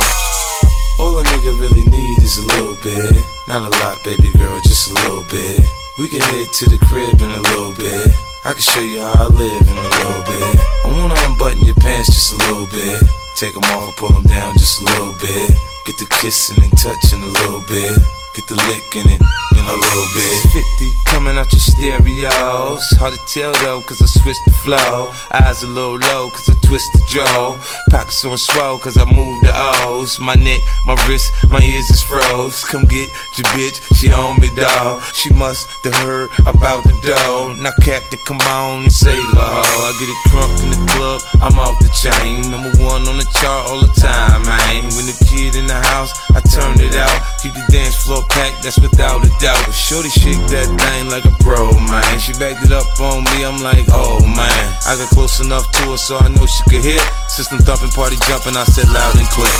All a nigga really need is a little bit. Not a lot, baby girl, just a little bit. We can head to the crib in a little bit. I can show you how I live in a little bit. I wanna unbutton your pants just a little bit. Take them off, pull them down just a little bit. Get the kissing and touching a little bit. Get the licking it in a little bit. 50 coming out your stereos. Hard to tell though, cause I switched the flow. Eyes a little low, cause I twist the jaw. Pockets on swell, cause I move the O's. My neck, my wrist, my ears is froze. Come get your bitch, she on me, dog. She must have heard about the dough. Now, Captain, come on and say, low. I get it crunk in the club, I'm off the chain. Number one on the chart all the time, man. When the kid in the house, I turn it out. Keep the dance floor packed, that's without a doubt. Shorty shake that thing like a pro, man. She backed it up on me, I'm like, oh man. I got close enough to her so I know she could hear. System thumping, party jumping, I said loud and clear.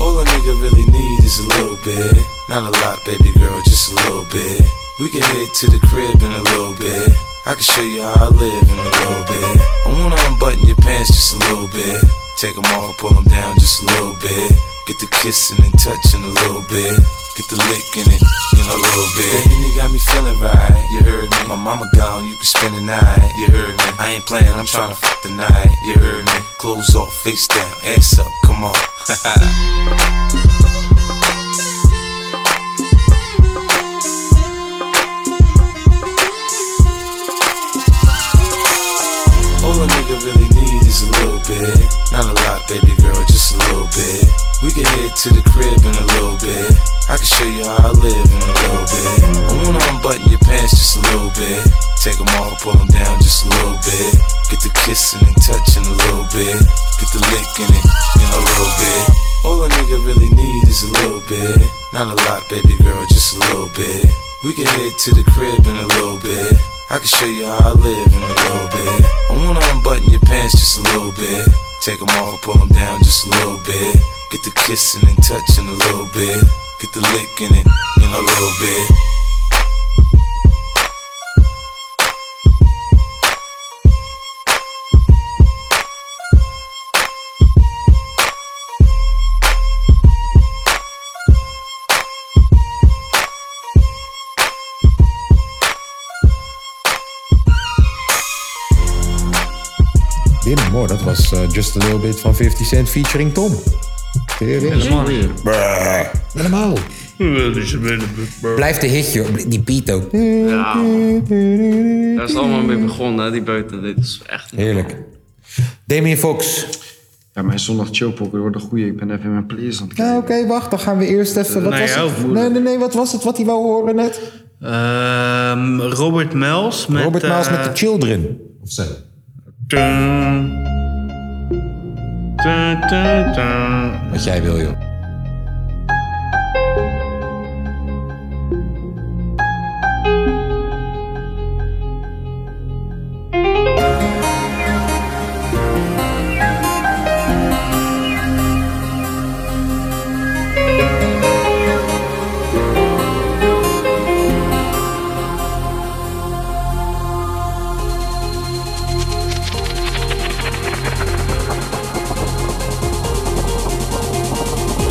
All a nigga really need is a little bit. Not a lot, baby girl, just a little bit. We can head to the crib in a little bit. I can show you how I live in a little bit. I wanna unbutton your pants just a little bit. Take them off, pull them down just a little bit. Get the kissing and touching a little bit. Get the licking it in a little bit. Baby, you got me feeling right. You heard me. My mama gone, you can spend the night. You heard me. I ain't playing, I'm trying to fuck the night. You heard me. Clothes off, face down, ass up. Come on. *laughs* All a nigga really need is a little bit. Not a lot, baby girl, just a little bit. We can head to the crib in a little bit. I can show you how I live in a little bit. I wanna unbutton your pants just a little bit. Take them off, pull them down just a little bit. Get the kissing and touching a little bit. Get the licking it in a little bit. All a nigga really need is a little bit. Not a lot, baby girl, just a little bit. We can head to the crib in a little bit. I can show you how I live in a little bit. I wanna unbutton your pants just a little bit. Take them off, pull them down just a little bit. Get the kissing and touching a little bit. Get the licking it in a little bit. Wim, mooi. Dat was eh, Just a Little Bit van 50 Cent featuring Tom. Helemaal. Brrr. Helemaal. Blijft een hitje, hoor. die beat ook. Ja. Daar is het allemaal mee begonnen, hè, die buiten. Dit is echt... Heerlijk. Damien Fox. Ja, mijn zondag chillpokken wordt een goeie. Ik ben even in mijn playlist aan het Nou, oké, wacht. Dan gaan we eerst even... Wat Nee, was jouw het? moeder. Nee, nee, nee. Wat was het wat hij wou horen net? Ehm, Robert Miles met... eh, Robert Miles met The Children. Of zo. Wat jij wil, joh. Thank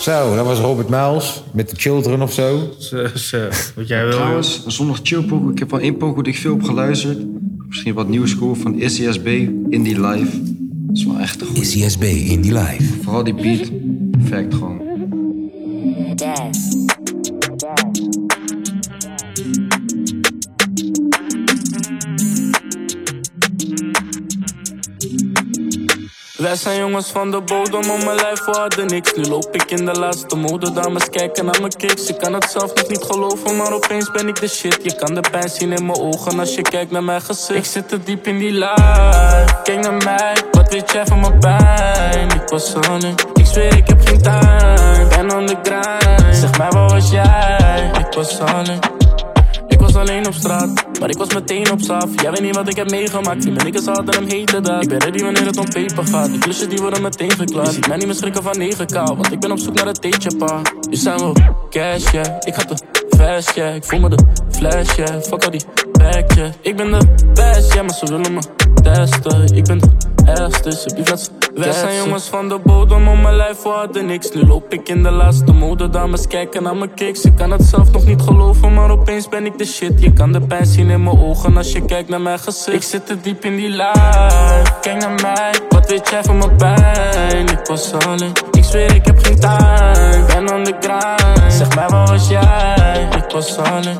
Zo, dat was Robert Miles met de Children of zo. Dus, eh, Wat jij wil. Trouwens, zondag chillpokoe. Ik heb al één pokoe die ik veel heb geluisterd. Misschien wat nieuws gehoord van ICSB, Indie Live. Dat is wel echt een goede. ICSB, Indie Live. Vooral die beat, perfect gewoon. Wij zijn jongens van de bodem, om mijn lijf we hadden niks. Nu loop ik in de laatste mode, dames kijken naar mijn kicks. Ik kan het zelf nog niet geloven, maar opeens ben ik de shit. Je kan de pijn zien in mijn ogen als je kijkt naar mijn gezicht. Ik zit er diep in die life, kijk naar mij. Wat weet jij van mijn pijn? Ik was on it. ik zweer ik heb geen time. Ben on the grind, zeg mij waar was jij? Ik was on it. Ik was alleen op straat, maar ik was meteen op saf. Jij weet niet wat ik heb meegemaakt, die niggas hadden hem hete daad. Ik ben ready wanneer het om peper gaat, die klussen die worden meteen verklaard. Je ziet mij niet meer schrikken van 9k, want ik ben op zoek naar het theetje pa. Nu zijn we op cash, yeah. ik ga te fast, yeah. Ik voel me de flash, yeah. fuck al die back, yeah. Ik ben de best, ja, maar ze willen me testen. Ik ben de ergste, ze blijven Wij zijn jongens van de bodem, om mijn lijf we hadden niks. Nu loop ik in de laatste mode, dames kijken naar mijn kicks. Ik kan het zelf nog niet geloven, maar opeens ben ik de shit. Je kan de pijn zien in mijn ogen als je kijkt naar mijn gezicht. Ik zit te diep in die life, kijk naar mij. Wat weet jij van mijn pijn? Ik was alleen, ik zweer ik heb geen tijd. Ben on the grind, zeg mij waar was jij? Ik was alleen.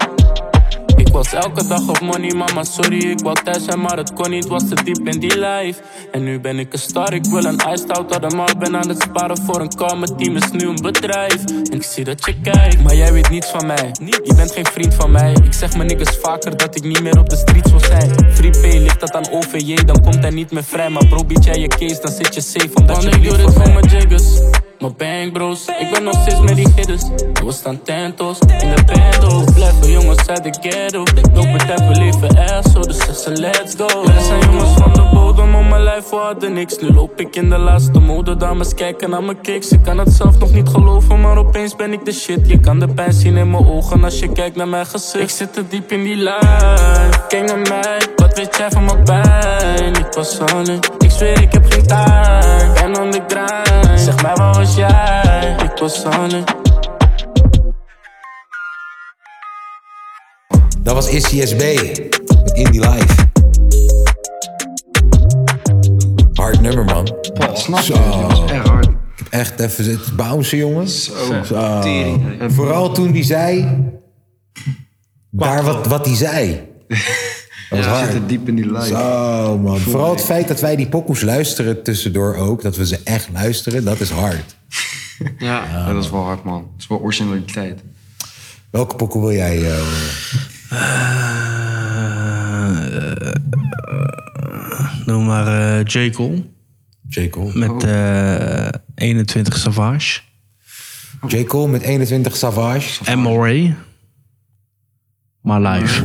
Ik was elke dag op money, mama sorry Ik wou thuis zijn, maar het kon niet, was te diep in die life En nu ben ik een star, ik wil een iced out allemaal Ben aan het sparen voor een car, mijn team is nu een bedrijf En ik zie dat je kijkt, maar jij weet niets van mij Je bent geen vriend van mij Ik zeg mijn niggas vaker dat ik niet meer op de streets wil zijn Free P ligt dat aan OVJ, dan komt hij niet meer vrij Maar bro, bied jij je case, dan zit je safe Omdat je Want ik lief doe dit voor voor mij mijn jiggers, mijn bang bros. Ik ben nog steeds met die hitters. We staan tentos in de bando. We blijven jongens uit de ghetto. Loop het even leven echt zo, dus zeg ze let's go. Wij zijn jongens van de bodem, om mijn lijf we hadden niks. Nu loop ik in de laatste mode, dames kijken naar mijn kicks. Ik kan het zelf nog niet geloven, maar opeens ben ik de shit. Je kan de pijn zien in mijn ogen als je kijkt naar mijn gezicht. Ik zit te diep in die life. Kijk naar mij, wat weet jij van mijn pijn? Ik was alleen, ik zweer ik heb geen tijd. Ben on the grind, zeg mij waar was jij? Ik was alleen. Dat was ICSB met Indie Live. Hard nummer, man. Snap Zo. je? Dat was echt hard. Ik heb echt even zitten bouncen, jongens. Zo. Zo. Tering. En vooral toen die zei... Daar wat, wat die zei. Dat was Ja, hard. zitten diep in die live. Zo, man. Vooral het feit dat wij die pokoes luisteren tussendoor ook. Dat we ze echt luisteren, dat is hard. *laughs* Ja. dat is wel hard, man. Dat is wel originaliteit. Welke pokoe wil jij? eh, Eh, Noem maar eh J. Cole. J. Cole. Met eh 21 Savage. J. Cole met 21 Savage. En Moray. My Life.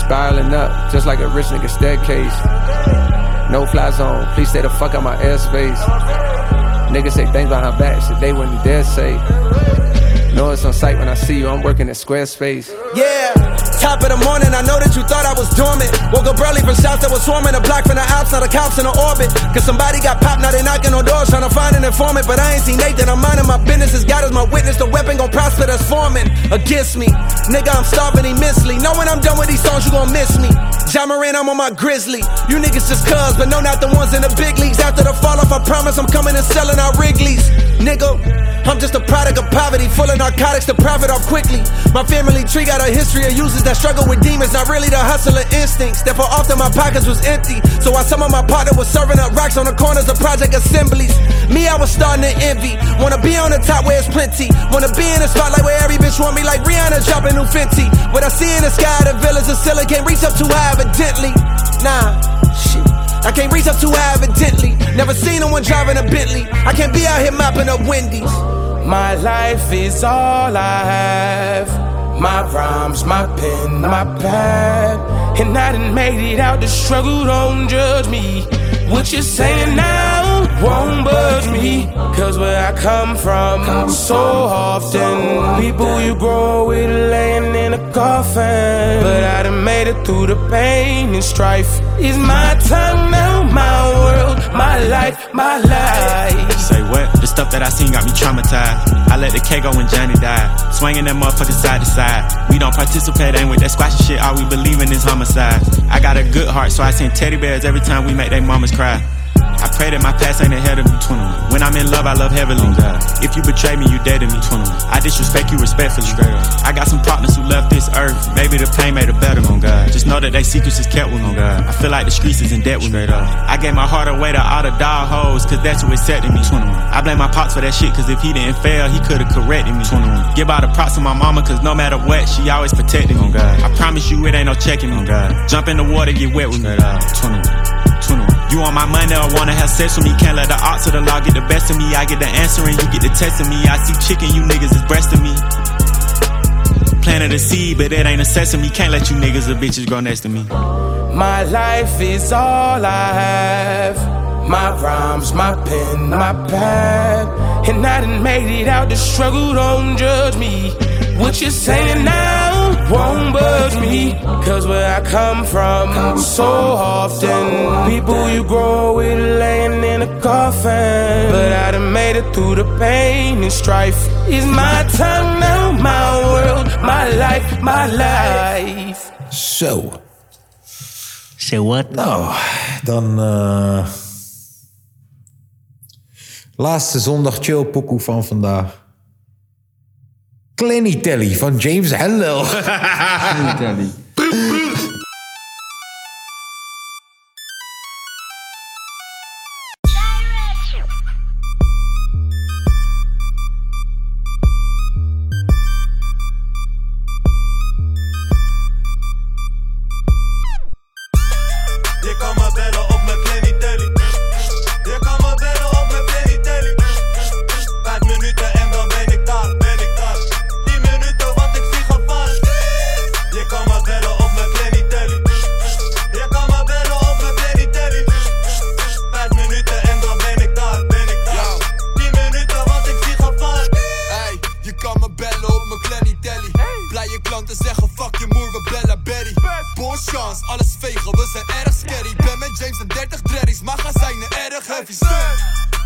Spiraling up, just like a rich nigga staircase. No fly zone, please stay the fuck out my airspace. Niggas say things behind back, shit they wouldn't dare say. Know it's on sight when I see you, I'm working at Squarespace. Yeah, top of the morning, I know that you thought I was dormant. Woke up early from shots that was swarming the block from the ops, now the cops in the orbit. Cause somebody got popped, now they knocking on doors trying to find an informant. But I ain't seen Nathan, I'm minding my business, as God is my witness. The weapon gon' prosper that's forming against me. Nigga, I'm starving immensely. Know when I'm done with these songs, you gon' miss me. John Moran, I'm on my grizzly. You niggas just cuz, but no, not the ones in the big leagues. After the fall off, I promise I'm coming and selling out Wrigley's. Nigga, I'm just a product of poverty, full of narcotics to profit off quickly. My family tree got a history of users that struggle with demons, not really the hustler instincts. Therefore, often my pockets was empty. So I some of my partner was serving up rocks on the corners of project assemblies. Me, I was starting to envy. Wanna be on the top where it's plenty. Wanna be in the spotlight where every bitch want me like Rihanna dropping new Fenty. What I see in the sky, the villas of silicon reach up too high evidently. Nah, shit. I can't reach up too high evidently. Never seen no one driving a Bentley. I can't be out here mopping up Wendy's. My life is all I have. My rhymes, my pen, my pad. And I done made it out the struggle, don't judge me. What you saying now won't budge me. Cause where I come from, so often, people you grow with laying in in a coffin. But I done made it through the pain and strife. Is my time now my world, my life, my life? Say what? The stuff that I seen got me traumatized. I let the K go when Johnny died. Swinging that motherfucker side to side. We don't participate, ain't with that squashy shit. All we believe in is homicide. I got a good heart, so I send teddy bears every time we make they mamas cry. I pray that my past ain't ahead of me, 21. When I'm in love, I love heavily. If you betray me, you dead to me, 21. I disrespect you respectfully. I got some partners who left this earth. Maybe the pain made it better, on God. Just know that they secrets is kept with, on God. I feel like the streets is in debt with me. I gave my heart away to all the dog hoes, cause that's who accepted me, 21. I blame my pops for that shit, cause if he didn't fail, he could've corrected me, 21. Give all the props to my mama, cause no matter what, she always protected me, on God. I promise you, it ain't no checking, on God. Jump in the water, get wet with me, 21. 21. You on my money or wanna have sex with me? Can't let the odds of the law get the best of me. I get the answer and you get the test of me. I see chicken, you niggas is breasting me. Planted a seed, but it ain't a sesame. Can't let you niggas or bitches grow next to me. My life is all I have. My rhymes, my pen, my pad. And I done made it out. The struggle don't judge me. What you saying now won't budge me. Cause where I come from, so often, people you grow with laying in a coffin. But I done made it through the pain and strife. Is my time now my world, my life, my life? Zo. Say what? Nou, dan... eh, laatste zondag chill pokoe van vandaag. Clenny Telly van James Hendel. Clenny Telly. Je kan me bellen op mijn Clenny Telly. Je kan me bellen op mijn Clenny Telly. Vijf minuten en dan ben ik daar, ben ik daar. Tien minuten, want ik zie gevaar. Je kan me bellen op mijn Clenny Telly. Je kan me bellen op mijn Clenny Telly. Vijf minuten en dan ben ik daar, ben ik daar. Tien minuten, want ik zie gevaar. Hey, je kan me bellen op mijn Clenny Telly. Blije klanten zeggen fuck je moer, we bellen Betty. Bon chance, alles vegen, we zijn erg scary. Ben met James en 30 dreddies, maar gaan zijn erg heavy. Stuk.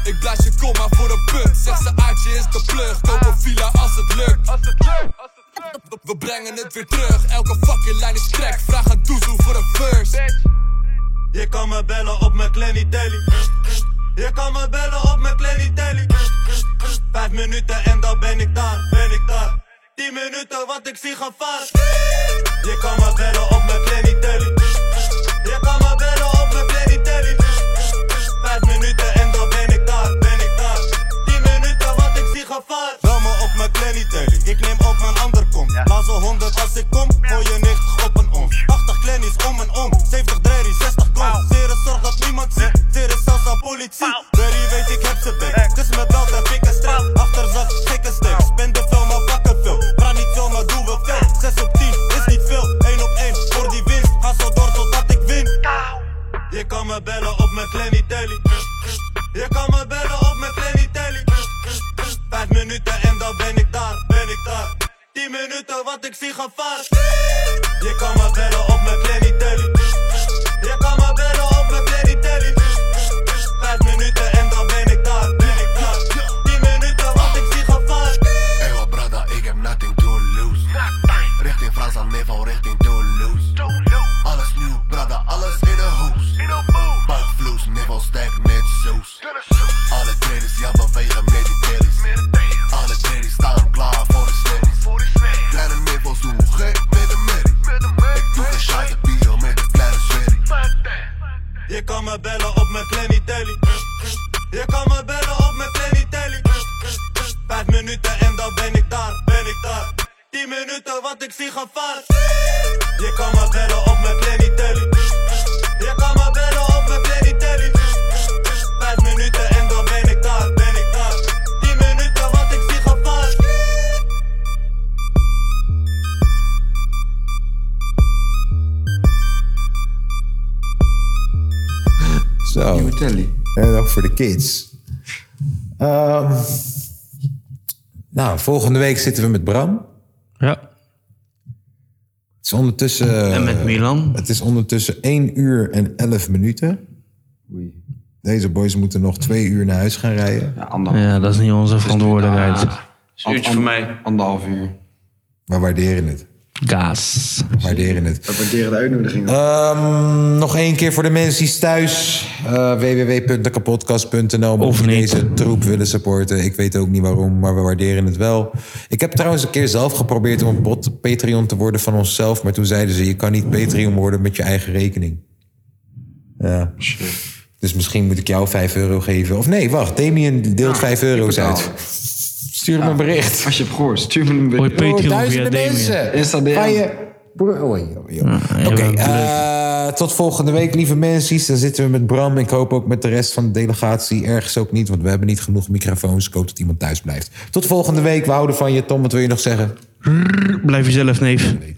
Ik blaas je komma voor een pub. Zeg ze aardje is de plug. Koop een villa als het lukt. We- We brengen het weer terug. Elke fucking lijn is crack. Vraag aan Doezoe voor een verse. Je kan me bellen op mijn Clenny Telly. Je kan me bellen op mijn Clenny Telly. Vijf minuten en dan ben ik daar, ben ik daar. Tien minuten, want ik zie gevaar. Je kan me bellen op mijn Clenny Telly. Je kan me bellen op mijn Clenny Telly. Vijf minuten en dan ben ik daar, ben ik daar. Tien minuten, want ik zie gevaar. Bel me op mijn Clenny Telly. Ik neem op mijn ander kom. Blaas al 100 als ik kom. Gooi je 90 op en om. 80 Clennies om en om. 70 drerries, 60 goals. Zere zorg dat niemand ziet. Zere zelfs aan politie. Berry weet ik heb ze bek. Dus met belt heb ik een strap. Achter zat gekke stuk. Spende veel, maar pakken veel. Praat niet veel, maar doe wel veel. 6 op 10 is niet veel. 1 op 1 voor die winst. Ga zo door totdat ik win. Je kan me bellen op mijn Clenny Telly. Je kan me bellen op mijn Clenny Telly. Vijf minuten en dan ben ik daar, ben ik daar. 10 minuten, want ik zie gevaar. Je kan me bellen op mijn Clenny Telly. Je kan me bellen op mijn Clenny Telly. Vijf minuten en dan ben ik daar, ben ik daar. 10 minuten, want ik zie gevaar. Ey, oh, brother, ik heb nothing to lose. Richting Frans aan Neval, richting Toulouse. Alles nieuw, brother, alles in een hoes. Buikvloes, Neval sterk met soes. Alle traders, ja, bewegen met die tellies. Alle traders staan klaar voor de snacks. Kleine Nevels doen gek met de merrie. Ik doe geen shite bier met de kleine sweaty. Je kan me bellen op mijn Clenny Telly. Je kan me bellen op mijn Clenny Telly. Vijf minuten en dan ben ik daar, ben ik daar. 10 minuten, want ik zie gevaar. Je kan me bellen op mijn Clenny Telly. Je kan me bellen op mijn Clenny Telly. Vijf minuten en dan ben ik daar, ben ik daar. 10 minuten, want ik zie gevaar. Zo. En ook voor de kids. Ehm, Nou, volgende week zitten we met Bram. Ja. Het is ondertussen... En met Milan? Het is ondertussen 1 uur en 11 minuten. Deze boys moeten nog twee uur naar huis gaan rijden. Ja, dat is niet onze verantwoordelijkheid. is een uurtje voor mij. Anderhalf uur. We waarderen het. Kaas. Waarderen het. We waarderen de uitnodiging. Ehm, nog één keer voor de mensen thuis. eh www.dekapodcast.nl. Of die deze troep willen supporten. Ik weet ook niet waarom, maar we waarderen het wel. Ik heb trouwens een keer zelf geprobeerd om bot Patreon te worden van onszelf. Maar toen zeiden ze, je kan niet Patreon worden met je eigen rekening. Ja. Dus misschien moet ik jou 5 euro geven. Of nee, wacht. Damien Ah, deelt 5 euro's uit. Stuur me een bericht. Oh, Als je hebt gehoord, stuur me een bericht. Hoi, Patreon via Damien. Insta DM. Waar je- Bro- oh, joh, joh. Oké, eh, tot volgende week, lieve mensen. Dan zitten we met Bram. Ik hoop ook met de rest van de delegatie. Ergens ook niet, want we hebben niet genoeg microfoons. Ik hoop dat iemand thuis blijft. Tot volgende week. We houden van je. Tom, wat wil je nog zeggen? Blijf jezelf, neef.